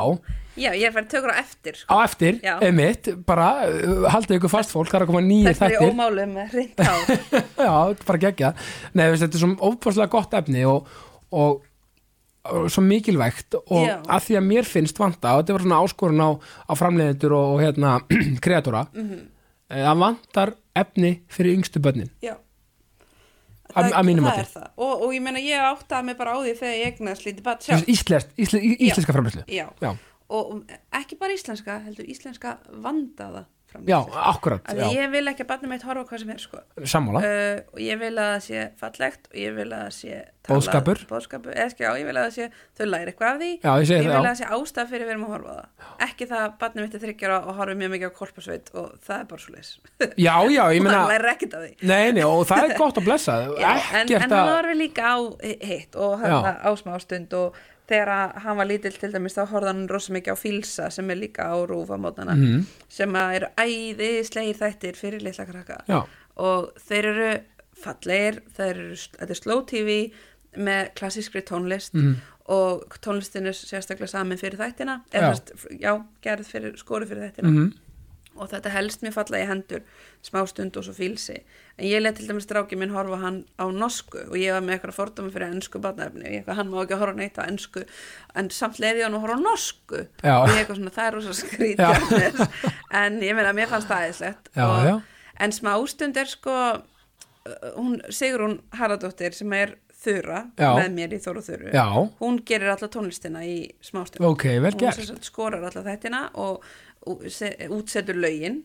Speaker 2: já, ég er færið tökur á eftir sko.
Speaker 1: á eftir,
Speaker 2: Já.
Speaker 1: emitt, bara uh, haldið ykkur fast fólk, það er að koma nýjir
Speaker 2: það er
Speaker 1: þættir
Speaker 2: ómálu með reynd á
Speaker 1: Já, bara gegja Nei, veist, þetta er svo óbúrslega gott efni og, og, og svo mikilvægt og
Speaker 2: Já.
Speaker 1: að því að mér finnst vanta og þetta var svona áskorun á, á framleiðendur og, og hérna, kreatúra mm
Speaker 2: Mhm.
Speaker 1: að vantar efni fyrir yngstu bönnin
Speaker 2: já
Speaker 1: Að-
Speaker 2: Það-
Speaker 1: að mínu
Speaker 2: það
Speaker 1: mati.
Speaker 2: er það. og, og ég meina ég áttaði mig bara á því þegar ég egnaði slítið bat sjálf
Speaker 1: Íslest, ísle, í-
Speaker 2: Já.
Speaker 1: íslenska framleiðslu
Speaker 2: já.
Speaker 1: Já,
Speaker 2: og og ekki bara íslenska heldur íslenska vandaða
Speaker 1: já,
Speaker 2: framleiðslu.
Speaker 1: akkurat
Speaker 2: Af
Speaker 1: já.
Speaker 2: því ég vil ekki að barnið mitt horfa á hvað sem er sko.
Speaker 1: Sammála,
Speaker 2: uh, og ég vil að það sé fallegt og ég vil að það sé talað-
Speaker 1: Boðskapur.
Speaker 2: boðskapur eða skjá, ég vil að það sé þau læri eitthvað af því
Speaker 1: Já, ég segi
Speaker 2: vil
Speaker 1: það, já.
Speaker 2: að það sé ástæð fyrir við erum að horfa á það ekki það að barnið mitt er þryggjara og horfa mjög mikið á kolpasveit og það er bara svo leis
Speaker 1: já, já, ég
Speaker 2: það
Speaker 1: meina
Speaker 2: læri ekkert af því
Speaker 1: Nei, nei, og það er gott að blessa
Speaker 2: Já, en,
Speaker 1: Ekkert
Speaker 2: en hann
Speaker 1: að
Speaker 2: horfi líka á hitt og hann á smástund og þegar að hann var lítill til dæmis þá horfði hann rosa mikið á Fílsa sem er líka á rúfamótana
Speaker 1: Mhm.
Speaker 2: mm. sem að eru æðislegir þættir fyrir litla krakka
Speaker 1: Já.
Speaker 2: og þeir eru fallegir þeir eru, þetta er slow tv með klassískri tónlist og tónlistinu sérstaklega samin fyrir þættina
Speaker 1: Já.
Speaker 2: eða já. já, gerð fyrir skori fyrir þættina
Speaker 1: mhm.
Speaker 2: og þetta helst mér falla í hendur smástund og svo fílsi en ég let til dæmis strákið minn horfa á hann á norsku og ég var með eitthvað fordómi fyrir ennsku batnaefni og ég eitthvað hann má ekki horfa neitt á ennsku en samt leiði ég hann að horfa á norsku
Speaker 1: Já.
Speaker 2: og ég eitthvað svona það er rosa
Speaker 1: Já.
Speaker 2: skrítjarnis en ég meina mér fannst það aðeinslegt
Speaker 1: Já, já.
Speaker 2: en smástund er sko uh, hún, Sigrún Haraldóttir sem er þura
Speaker 1: Já.
Speaker 2: með mér í Þóru Þuru
Speaker 1: Já.
Speaker 2: hún gerir alla tónlistina í smástund
Speaker 1: Ok, vel
Speaker 2: hún
Speaker 1: gert.
Speaker 2: sem sagt skorar alla þættina og og se- útsetur lögin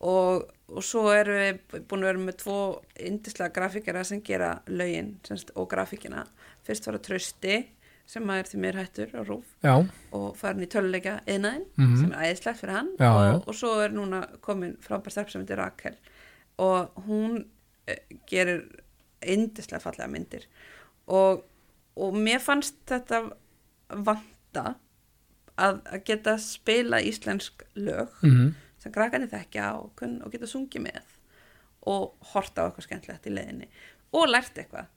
Speaker 2: og, og svo erum við búin að vera með tvo yndislega grafíkara sem gera lögin semst, og grafíkina fyrst var að trösti sem að er því mér hættur á rúf
Speaker 1: já,
Speaker 2: og farin í töluleika einaðin
Speaker 1: Mhm.
Speaker 2: sem er æðislegt fyrir hann
Speaker 1: Já,
Speaker 2: og,
Speaker 1: já.
Speaker 2: og svo er núna komin frábær starf sem heitir Rakel og hún eh, gerir yndislega fallega myndir og, og mér fannst þetta vanta að, að geta spila íslensk lög
Speaker 1: mhm,
Speaker 2: sem krakkarnir þekkja og, kunn, og geta sungið með og horta á eitthvað skemmtilegt í leiðinni og lært eitthvað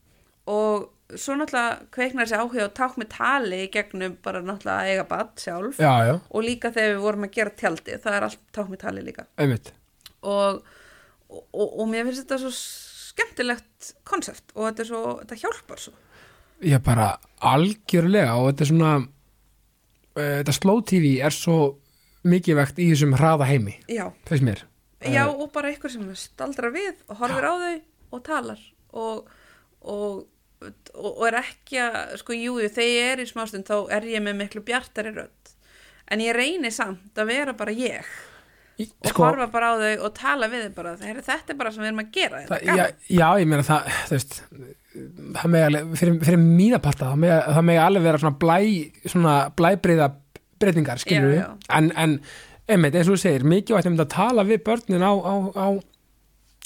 Speaker 2: og svo náttúrulega kveiknar þessi áhuga og ták með tali í gegnum bara náttúrulega að eiga bad sjálf
Speaker 1: já, já,
Speaker 2: og líka þegar við vorum að gera tjaldi það er allt ták með tali líka
Speaker 1: einmitt
Speaker 2: og, og, og, og mér finnst þetta svo skemmtilegt konsept og þetta, er svo, þetta hjálpar svo
Speaker 1: ég bara algjörlega og þetta er svona uh, þetta slow tv er svo mikið vegt í þessum hraða heimi
Speaker 2: já,
Speaker 1: fyrst mér
Speaker 2: já
Speaker 1: Eh.
Speaker 2: og bara einhver sem staldrar við og horfir á þau og talar og, og, og, og er ekki að sko jú, jú, þegar ég er í smástund þá er ég með miklu bjartari rödd en ég reyni samt að vera bara ég
Speaker 1: Í-
Speaker 2: og horfa bara á þau og tala við þau bara "Heyrðu, þetta er bara sem við erum að gera þetta
Speaker 1: það,
Speaker 2: er
Speaker 1: já,
Speaker 2: gaman."
Speaker 1: já, ég meina það, þú veist það megi alveg, fyrir, fyrir mína parta það megi, það megi alveg vera svona blæ svona blæbreyða breytingar skilur
Speaker 2: Já,
Speaker 1: við,
Speaker 2: já.
Speaker 1: en, en einmitt, eins og þú segir, mikið vært um að tala við börnin á, á, á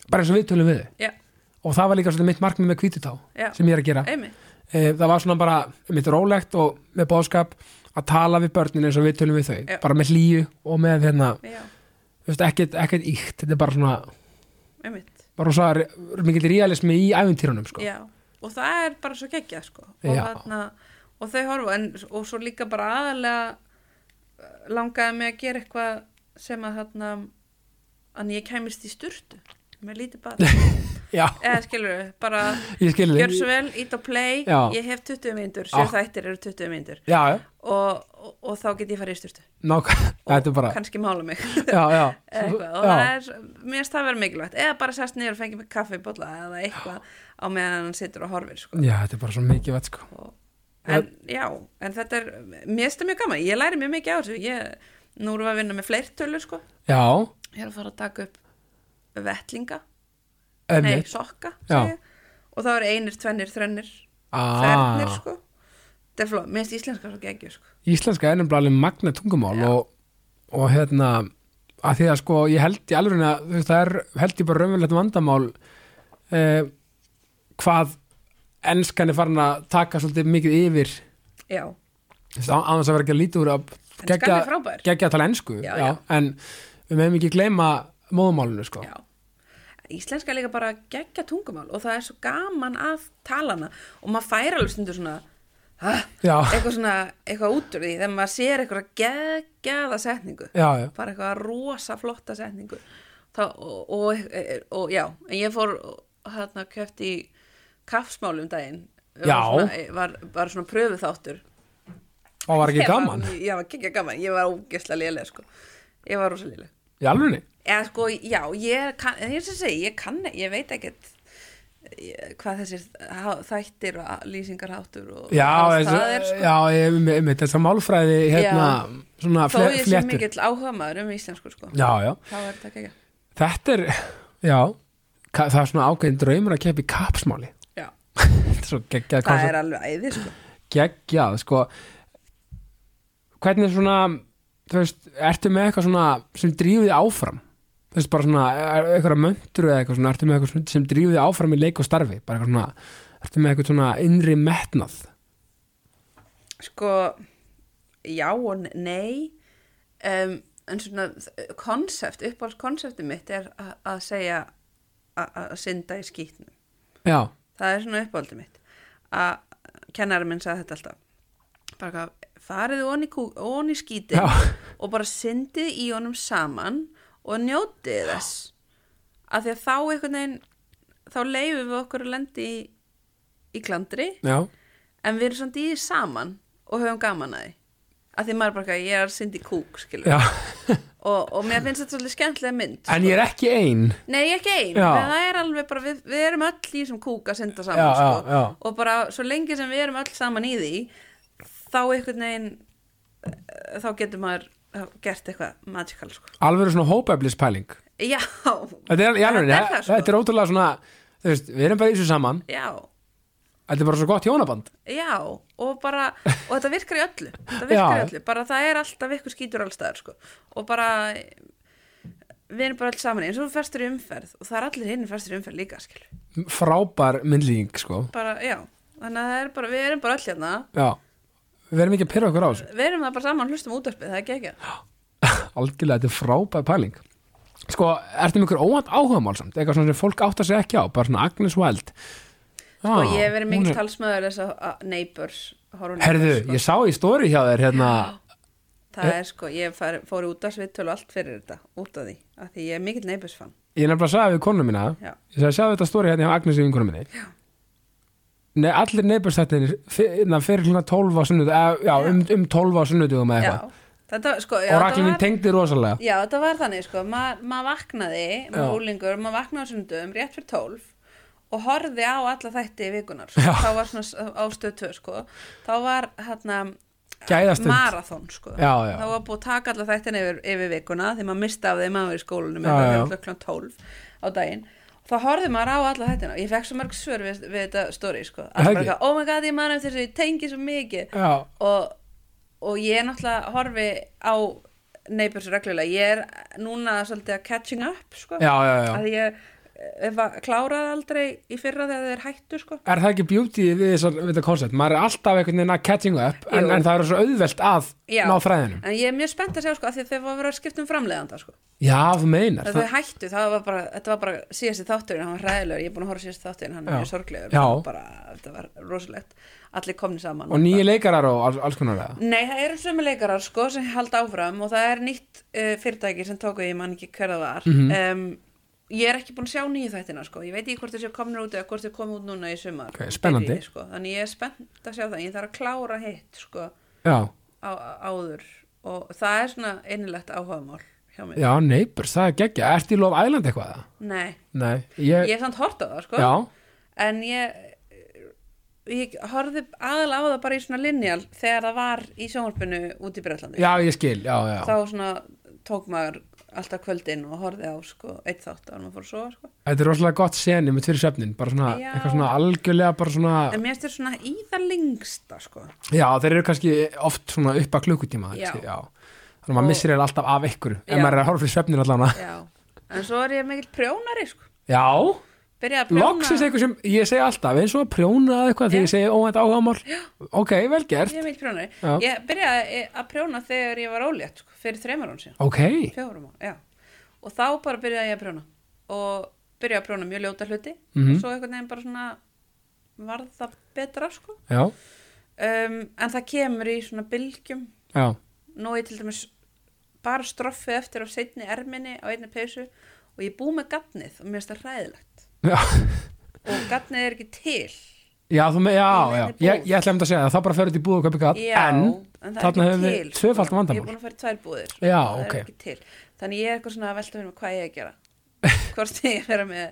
Speaker 1: bara eins og við tölum við þau.
Speaker 2: já, og,
Speaker 1: og það var líka svolítið mitt markmið með kvítutá
Speaker 2: Já.
Speaker 1: sem ég er að gera, e, það var svona bara mitt rólegt og með bóðskap að tala við börnin eins og við tölum við þau
Speaker 2: Já.
Speaker 1: bara með hlýju og með hérna
Speaker 2: já,
Speaker 1: þú veist, ekkert, ekkert íkt, þetta er bara svona
Speaker 2: einmitt
Speaker 1: bara svo mikill realismi í æfintýrunum sko.
Speaker 2: Já, og það er bara svo geggjað sko. og,
Speaker 1: Já.
Speaker 2: þarna, og þau horfa en, og svo líka bara aðalega eh, langaði mig að gera eitthvað sem að þarna að ég kæmist í sturtu með lítið bara,
Speaker 1: Já,
Speaker 2: eða skilur bara
Speaker 1: ég skil
Speaker 2: gjör
Speaker 1: þig.
Speaker 2: svo vel, ít og play
Speaker 1: Já. Ah.
Speaker 2: ég hef 20 myndur,
Speaker 1: Já.
Speaker 2: sér þættir eru 20 myndur
Speaker 1: Já, já,
Speaker 2: og, og, og þá get ég farið í sturtu
Speaker 1: nákvæm, þetta er bara,
Speaker 2: kannski mála mig
Speaker 1: já, já,
Speaker 2: Eða eitthvað, og það
Speaker 1: já,
Speaker 2: er, mér finnst það vera mikilvægt eða bara sest niður og fengi mig kaffibólla eða eitthvað á meðan hann situr og horfir sko.
Speaker 1: já, þetta er bara svo mikið vett, sko.
Speaker 2: og, en já, en þetta er mér finnst það mjög gaman, ég læri mjög mikið á þessu ég, nú erum við að vinna með fleirtölu sko.
Speaker 1: Já,
Speaker 2: ég er að fara að taka upp vettlinga, nei,
Speaker 1: emmitt,
Speaker 2: sokka
Speaker 1: Já.
Speaker 2: segi ég. og þá eru einir, tvennir, þrennir
Speaker 1: Ah.
Speaker 2: fernir, sko þetta er fló, mér finnst íslenska svo geggjur sko.
Speaker 1: íslenska er nefnilega alveg magna tungumál og, og hérna, að því að sko, ég held í alveg að, þú veist, það er, held ég bara raunverulegt vandamál eh, hvað enskan er farin að taka svolítið mikið yfir,
Speaker 2: já,
Speaker 1: þú veist, á- án þess að vera ekki að lítið úr að
Speaker 2: Enskan er
Speaker 1: gegja-
Speaker 2: frábær.
Speaker 1: gegja að tala ensku,
Speaker 2: Já, já.
Speaker 1: en við meðum ekki gleyma móðumálinu, sko.
Speaker 2: já Íslenska er líka bara geggja tungumál og það er svo gaman að tala hana og maður færa alveg stundur svona "Ah",
Speaker 1: Já.
Speaker 2: eitthvað svona, eitthvað út úr því þegar maður sér eitthvað geggjaða setningu
Speaker 1: Já, já,
Speaker 2: bara eitthvað rosa flotta setningu Þá, og, og, og já, en ég fór hérna kjöft í kaffsmálum daginn
Speaker 1: Já.
Speaker 2: var svona, var, var svona pröfu þáttur
Speaker 1: það var ekki gaman,
Speaker 2: ég var ekki gaman, ég var ógeðslega léleg sko. ég var rosa léleg
Speaker 1: í alveg
Speaker 2: eða sko, já, ég kann, en ég, sem segi, ég kann, e, ég veit ekkert eh, hvað þessir há- þættir og lýsingarháttur og
Speaker 1: Já,
Speaker 2: hvað
Speaker 1: þessu,
Speaker 2: það er sko.
Speaker 1: já, ég veit, þess að málfræði hérna, svona
Speaker 2: þó
Speaker 1: fle,
Speaker 2: ég sé
Speaker 1: fléttur
Speaker 2: mikill áhugamaður um íslensku sko.
Speaker 1: Já, já,
Speaker 2: þá er þetta ekki
Speaker 1: þetta er já, ka- það er svona ákveðin draumur að keppa í kapsmáli
Speaker 2: já,
Speaker 1: Þetta er svo geggjað
Speaker 2: það
Speaker 1: konsept.
Speaker 2: er alveg æði sko.
Speaker 1: geggjað, sko hvernig svona þú veist, ertu með eitthvað svona sem drífið áfram þú veist, bara svona, er- eitthvað möntur eða eitthvað svona, ertu með eitthvað svona sem drífið áfram í leik og starfi, bara eitthvað svona ertu með eitthvað svona innri metnað
Speaker 2: sko já og nei um, en svona þ- konsept, uppáhalds konsepti mitt er a- að segja a- a- að synda í skýtnum
Speaker 1: Já,
Speaker 2: það er svona uppáhaldið mitt að kennari minn sagði þetta alltaf bara hvað, farið onni, onni skítið
Speaker 1: Já.
Speaker 2: og bara syndið í honum saman og njótið þess af því að þá einhvern veginn þá leifum við okkur að lendi í, í klandri
Speaker 1: já,
Speaker 2: en við erum samt í því saman og höfum gaman að því af því maður bara eitthvað, ég er að syndi kúk skilur
Speaker 1: já
Speaker 2: og, og mér finnst þetta svolítið skemmtilega mynd
Speaker 1: En ég er ekki ein
Speaker 2: Nei, ég er ekki ein,
Speaker 1: Já.
Speaker 2: en það er alveg bara við, við erum öll í þessum kúk að synda saman
Speaker 1: Já,
Speaker 2: sko.
Speaker 1: já, já.
Speaker 2: og bara svo lengi sem við erum öll saman í því þá einhvern veginn eh, þá getur maður eh, gert eitthvað magical sko.
Speaker 1: alveg svona hópeflispæling
Speaker 2: já,
Speaker 1: Þetta er, alveg,
Speaker 2: Þetta er
Speaker 1: þetta,
Speaker 2: það, sko.
Speaker 1: þetta er ótrúlega svona þú veist, Við erum bara í þessu saman
Speaker 2: já
Speaker 1: Þetta er bara svo gott hjónaband
Speaker 2: Já, og bara, og þetta virkar í öllu þetta virkar
Speaker 1: Já.
Speaker 2: í öllu, bara það er alltaf ykkur skítur allstaðar, sko, og bara við erum bara alls saman eins og þú festur í umferð, og það er allir hinn festur í umferð líka, skil,
Speaker 1: Frábær myndlíking sko
Speaker 2: bara, já þannig að það er bara, við erum bara öll hérna
Speaker 1: Já, við erum ekki að pyrra okkur á þessu
Speaker 2: við erum það bara saman, hlustum útarpið, það er ekki ekki
Speaker 1: Algjörlega, þetta er frábær pæling Sko, ertu mjög óvænt áhugamál samt Eitthvað svona sem fólk átt að segja ekki á Bara svona Agnes Wild Ah,
Speaker 2: sko, ég hef verið um mikil talsmaður þess að- að neighbors, horfum
Speaker 1: Herðu, ég Eh? sá í stóri hjá þér hérna
Speaker 2: það er sko, ég far, fór í útarsvittölu og allt fyrir þetta, út af því af því ég er mikill neighbors fan,
Speaker 1: Ég er nefnilega að sagði við konu mína
Speaker 2: Já.
Speaker 1: Ég sagði, sjáðu þetta stóri hérna hjá Agnes í vinkonu minni Já. Nei, allir neighbourstættinir fyrir hluna 12 á sunnudu Já, um, um 12 á sunnudugum eða eitthvað
Speaker 2: já, þetta, sko já,
Speaker 1: Og
Speaker 2: þetta
Speaker 1: raklinn
Speaker 2: var-
Speaker 1: mín tengdi rosalega
Speaker 2: Já, þetta var þannig, sko, Ma, maður vaknaði,
Speaker 1: Já.
Speaker 2: maður úlingur, maður vaknaði á sundum rétt fyrir tólf og horfði á alla þætti í vikunar, sko, þá var svona s- á stöð tvö, sko, þá var hérna
Speaker 1: Gæðastund
Speaker 2: marathon, sko,
Speaker 1: Já, já.
Speaker 2: þá var búið að taka alla þættin yfir, yfir vikuna þegar maður misti af þeim maður var í skólanum
Speaker 1: Já,
Speaker 2: eða
Speaker 1: já.
Speaker 2: þegar klukkan tólf á daginn þá horfði maður á alla þættina og ég fekk svo mörg svör við, við þetta story, sko,
Speaker 1: Það
Speaker 2: að bara
Speaker 1: ekki?
Speaker 2: eitthvað, oh my god, ég man eftir þessu, ég tengi svo mikið
Speaker 1: Já,
Speaker 2: og, og ég náttúrulega horfi á Neighbors reglulega, ég er núna svolítið að catching up sko,
Speaker 1: já, já, já.
Speaker 2: að ég ef að kláraði aldrei í fyrra þegar þeir hættu sko.
Speaker 1: Er það ekki beauty við, þessar, við þetta koncept? Maður er alltaf einhvern veginn að catching up en,
Speaker 2: Jú.
Speaker 1: en það er svo auðvelt að
Speaker 2: Já.
Speaker 1: ná fræðinum
Speaker 2: en ég er mjög spennt að segja sko, að því að þeir var að vera að skipta um framleiðanda sko.
Speaker 1: Já, þú meinar
Speaker 2: þegar þau hættu, það var bara, þetta var bara síðasti þátturinn, hann var hræðilegur, ég er búin að horfa á síðasti þátturinn hann
Speaker 1: Já.
Speaker 2: er mjög sorglegur,
Speaker 1: Já.
Speaker 2: og bara, þetta var rosalegt allir komni saman
Speaker 1: Og nýju leikarar og alls, alls konar eða
Speaker 2: Nei, það eru sömu leikarar sko sem halda áfram og það er nýtt uh, fyrirtæki sem tóku ég man ekki hver það var
Speaker 1: Mhm.
Speaker 2: um, ég er ekki búin að sjá nýju þættina sko ég veit ekki hvort þessi komnir út eða hvort þau komu út núna í sumar
Speaker 1: Ok, spennandi.
Speaker 2: Byrjuði, sko. þannig ég er spennt að sjá það ég þarf að klára hitt sko
Speaker 1: Já,
Speaker 2: á, áður og það er svona einilegt áhugamál hjá mér
Speaker 1: já, neighbors, það er geggja Ertu í Love Island eitthvað eða?
Speaker 2: Nei,
Speaker 1: Nei, ég,
Speaker 2: ég er samt hort á það sko
Speaker 1: Eh, já,
Speaker 2: en ég ég horfði aðal á það bara í svona linjal þegar það var í sjónvarpinu út í Bretlandi
Speaker 1: já, ég skil, já, já
Speaker 2: þá svona tók maður alltaf kvöldin og horfið á sko, eitt þátt að maður fór að sofa sko.
Speaker 1: Þetta er rosalega gott seni með tverju svefnin bara svona,
Speaker 2: Já.
Speaker 1: eitthvað svona algjörlega bara svona,
Speaker 2: en mér styrir svona í það lengsta sko.
Speaker 1: já, þeir eru kannski oft svona upp að klukkutíma
Speaker 2: Já.
Speaker 1: kannski, já. þannig að maður
Speaker 2: Og-
Speaker 1: missir eða alltaf af ykkur
Speaker 2: Já.
Speaker 1: en maður er að horfa fyrir svefnin allan
Speaker 2: Já. en svo er ég mikill prjónari sko.
Speaker 1: Já,
Speaker 2: byrjaði að prjóna
Speaker 1: loksins eitthvað sem ég segi alltaf eins og að prjóna eða eitthvað
Speaker 2: Já.
Speaker 1: þegar ég segi óvænt áhugamál ok, vel gert
Speaker 2: ég er mikill prjónari
Speaker 1: Já.
Speaker 2: ég byrjaði að prjóna þegar ég var ólétt sko, fyrir þreymur án síðan
Speaker 1: ok,
Speaker 2: fjórum án, já og þá bara byrjaði ég að prjóna og byrjaði að prjóna mjög ljóta hluti
Speaker 1: Mhm.
Speaker 2: og svo einhvern veginn bara svona varð það betra sko
Speaker 1: já,
Speaker 2: um, en það kemur í svona bylgjum
Speaker 1: já
Speaker 2: nú er ég til dæmis bara stroffið eftir á seinni erminni á einni peysu og ég er búið með gatnið og mér finnst það hræðilegt
Speaker 1: já,
Speaker 2: og gatnið er ekki til
Speaker 1: já, þú með,
Speaker 2: Í
Speaker 1: já, já
Speaker 2: minni búð.
Speaker 1: ég, ég ætla um að segja það, það bara ferur til búið og kaupi gatt
Speaker 2: já,
Speaker 1: en,
Speaker 2: það er
Speaker 1: þarna
Speaker 2: ekki
Speaker 1: höfum
Speaker 2: til,
Speaker 1: við
Speaker 2: sko.
Speaker 1: tvöfald
Speaker 2: ég er
Speaker 1: vandamál
Speaker 2: búin að fara í tvær búðir sko,
Speaker 1: Já,
Speaker 2: það
Speaker 1: ok.
Speaker 2: er ekki til þannig ég er eitthvað svona að velta fyrir mig hvað ég eigi að gera hvort ég er að vera með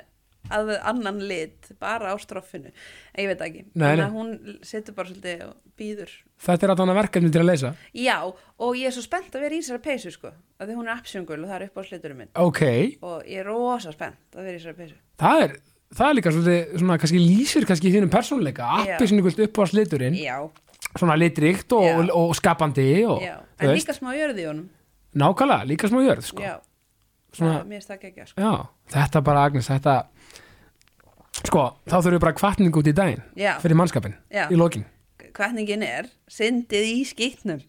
Speaker 2: alveg annan lit bara á stroffinu en ég veit það ekki
Speaker 1: Nei,
Speaker 2: Þannig
Speaker 1: nei.
Speaker 2: að hún setur bara svolítið og býður
Speaker 1: þetta er alltaf verkefni til að leysa
Speaker 2: já og ég er svo spennt að vera í þessari peysu sko, að því hún er apsjöngul og það er upp á sliturum minn
Speaker 1: ok,
Speaker 2: og ég er rosa spennt að vera í þessari peysu
Speaker 1: það er það er líka svolítið, svona kannski lýsir kannski þínum persónuleika,
Speaker 2: Já.
Speaker 1: appi sinni kvöld upp á sliturinn,
Speaker 2: Já,
Speaker 1: svona litrikt og,
Speaker 2: Já.
Speaker 1: og, og skapandi og,
Speaker 2: já,
Speaker 1: þú
Speaker 2: en
Speaker 1: veist,
Speaker 2: líka smá jörði í honum
Speaker 1: nákvæmlega, líka smá jörð sko.
Speaker 2: Já,
Speaker 1: Svona-
Speaker 2: það, mér finnst það ekki sko.
Speaker 1: Já, þetta bara Agnes, þetta sko, þá þurfum við bara kvartning út í daginn
Speaker 2: Já.
Speaker 1: fyrir mannskapin,
Speaker 2: Já.
Speaker 1: í lokin
Speaker 2: Hvernig er, syndið í skýtnum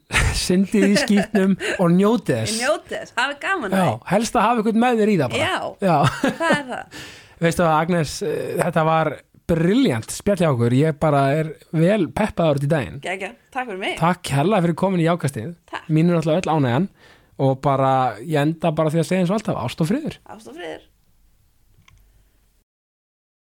Speaker 1: syndið í skýtnum og njótið
Speaker 2: Ég
Speaker 1: þess
Speaker 2: njóti þess, hafi gaman
Speaker 1: Já,
Speaker 2: að
Speaker 1: helst að hafa ykkur með þér í það
Speaker 2: Já.
Speaker 1: bara Já.
Speaker 2: það er það
Speaker 1: Veistu að Agnes, eh, þetta var briljant spjall hjá okkur, ég bara er vel peppaður út í daginn
Speaker 2: Gægja, takk fyrir mig
Speaker 1: Takk hérlega fyrir komin í jákastið
Speaker 2: Takk.
Speaker 1: Mín er alltaf öll ánægjan og bara, ég enda bara því að segja eins og alltaf, ást og friður
Speaker 2: Ást og friður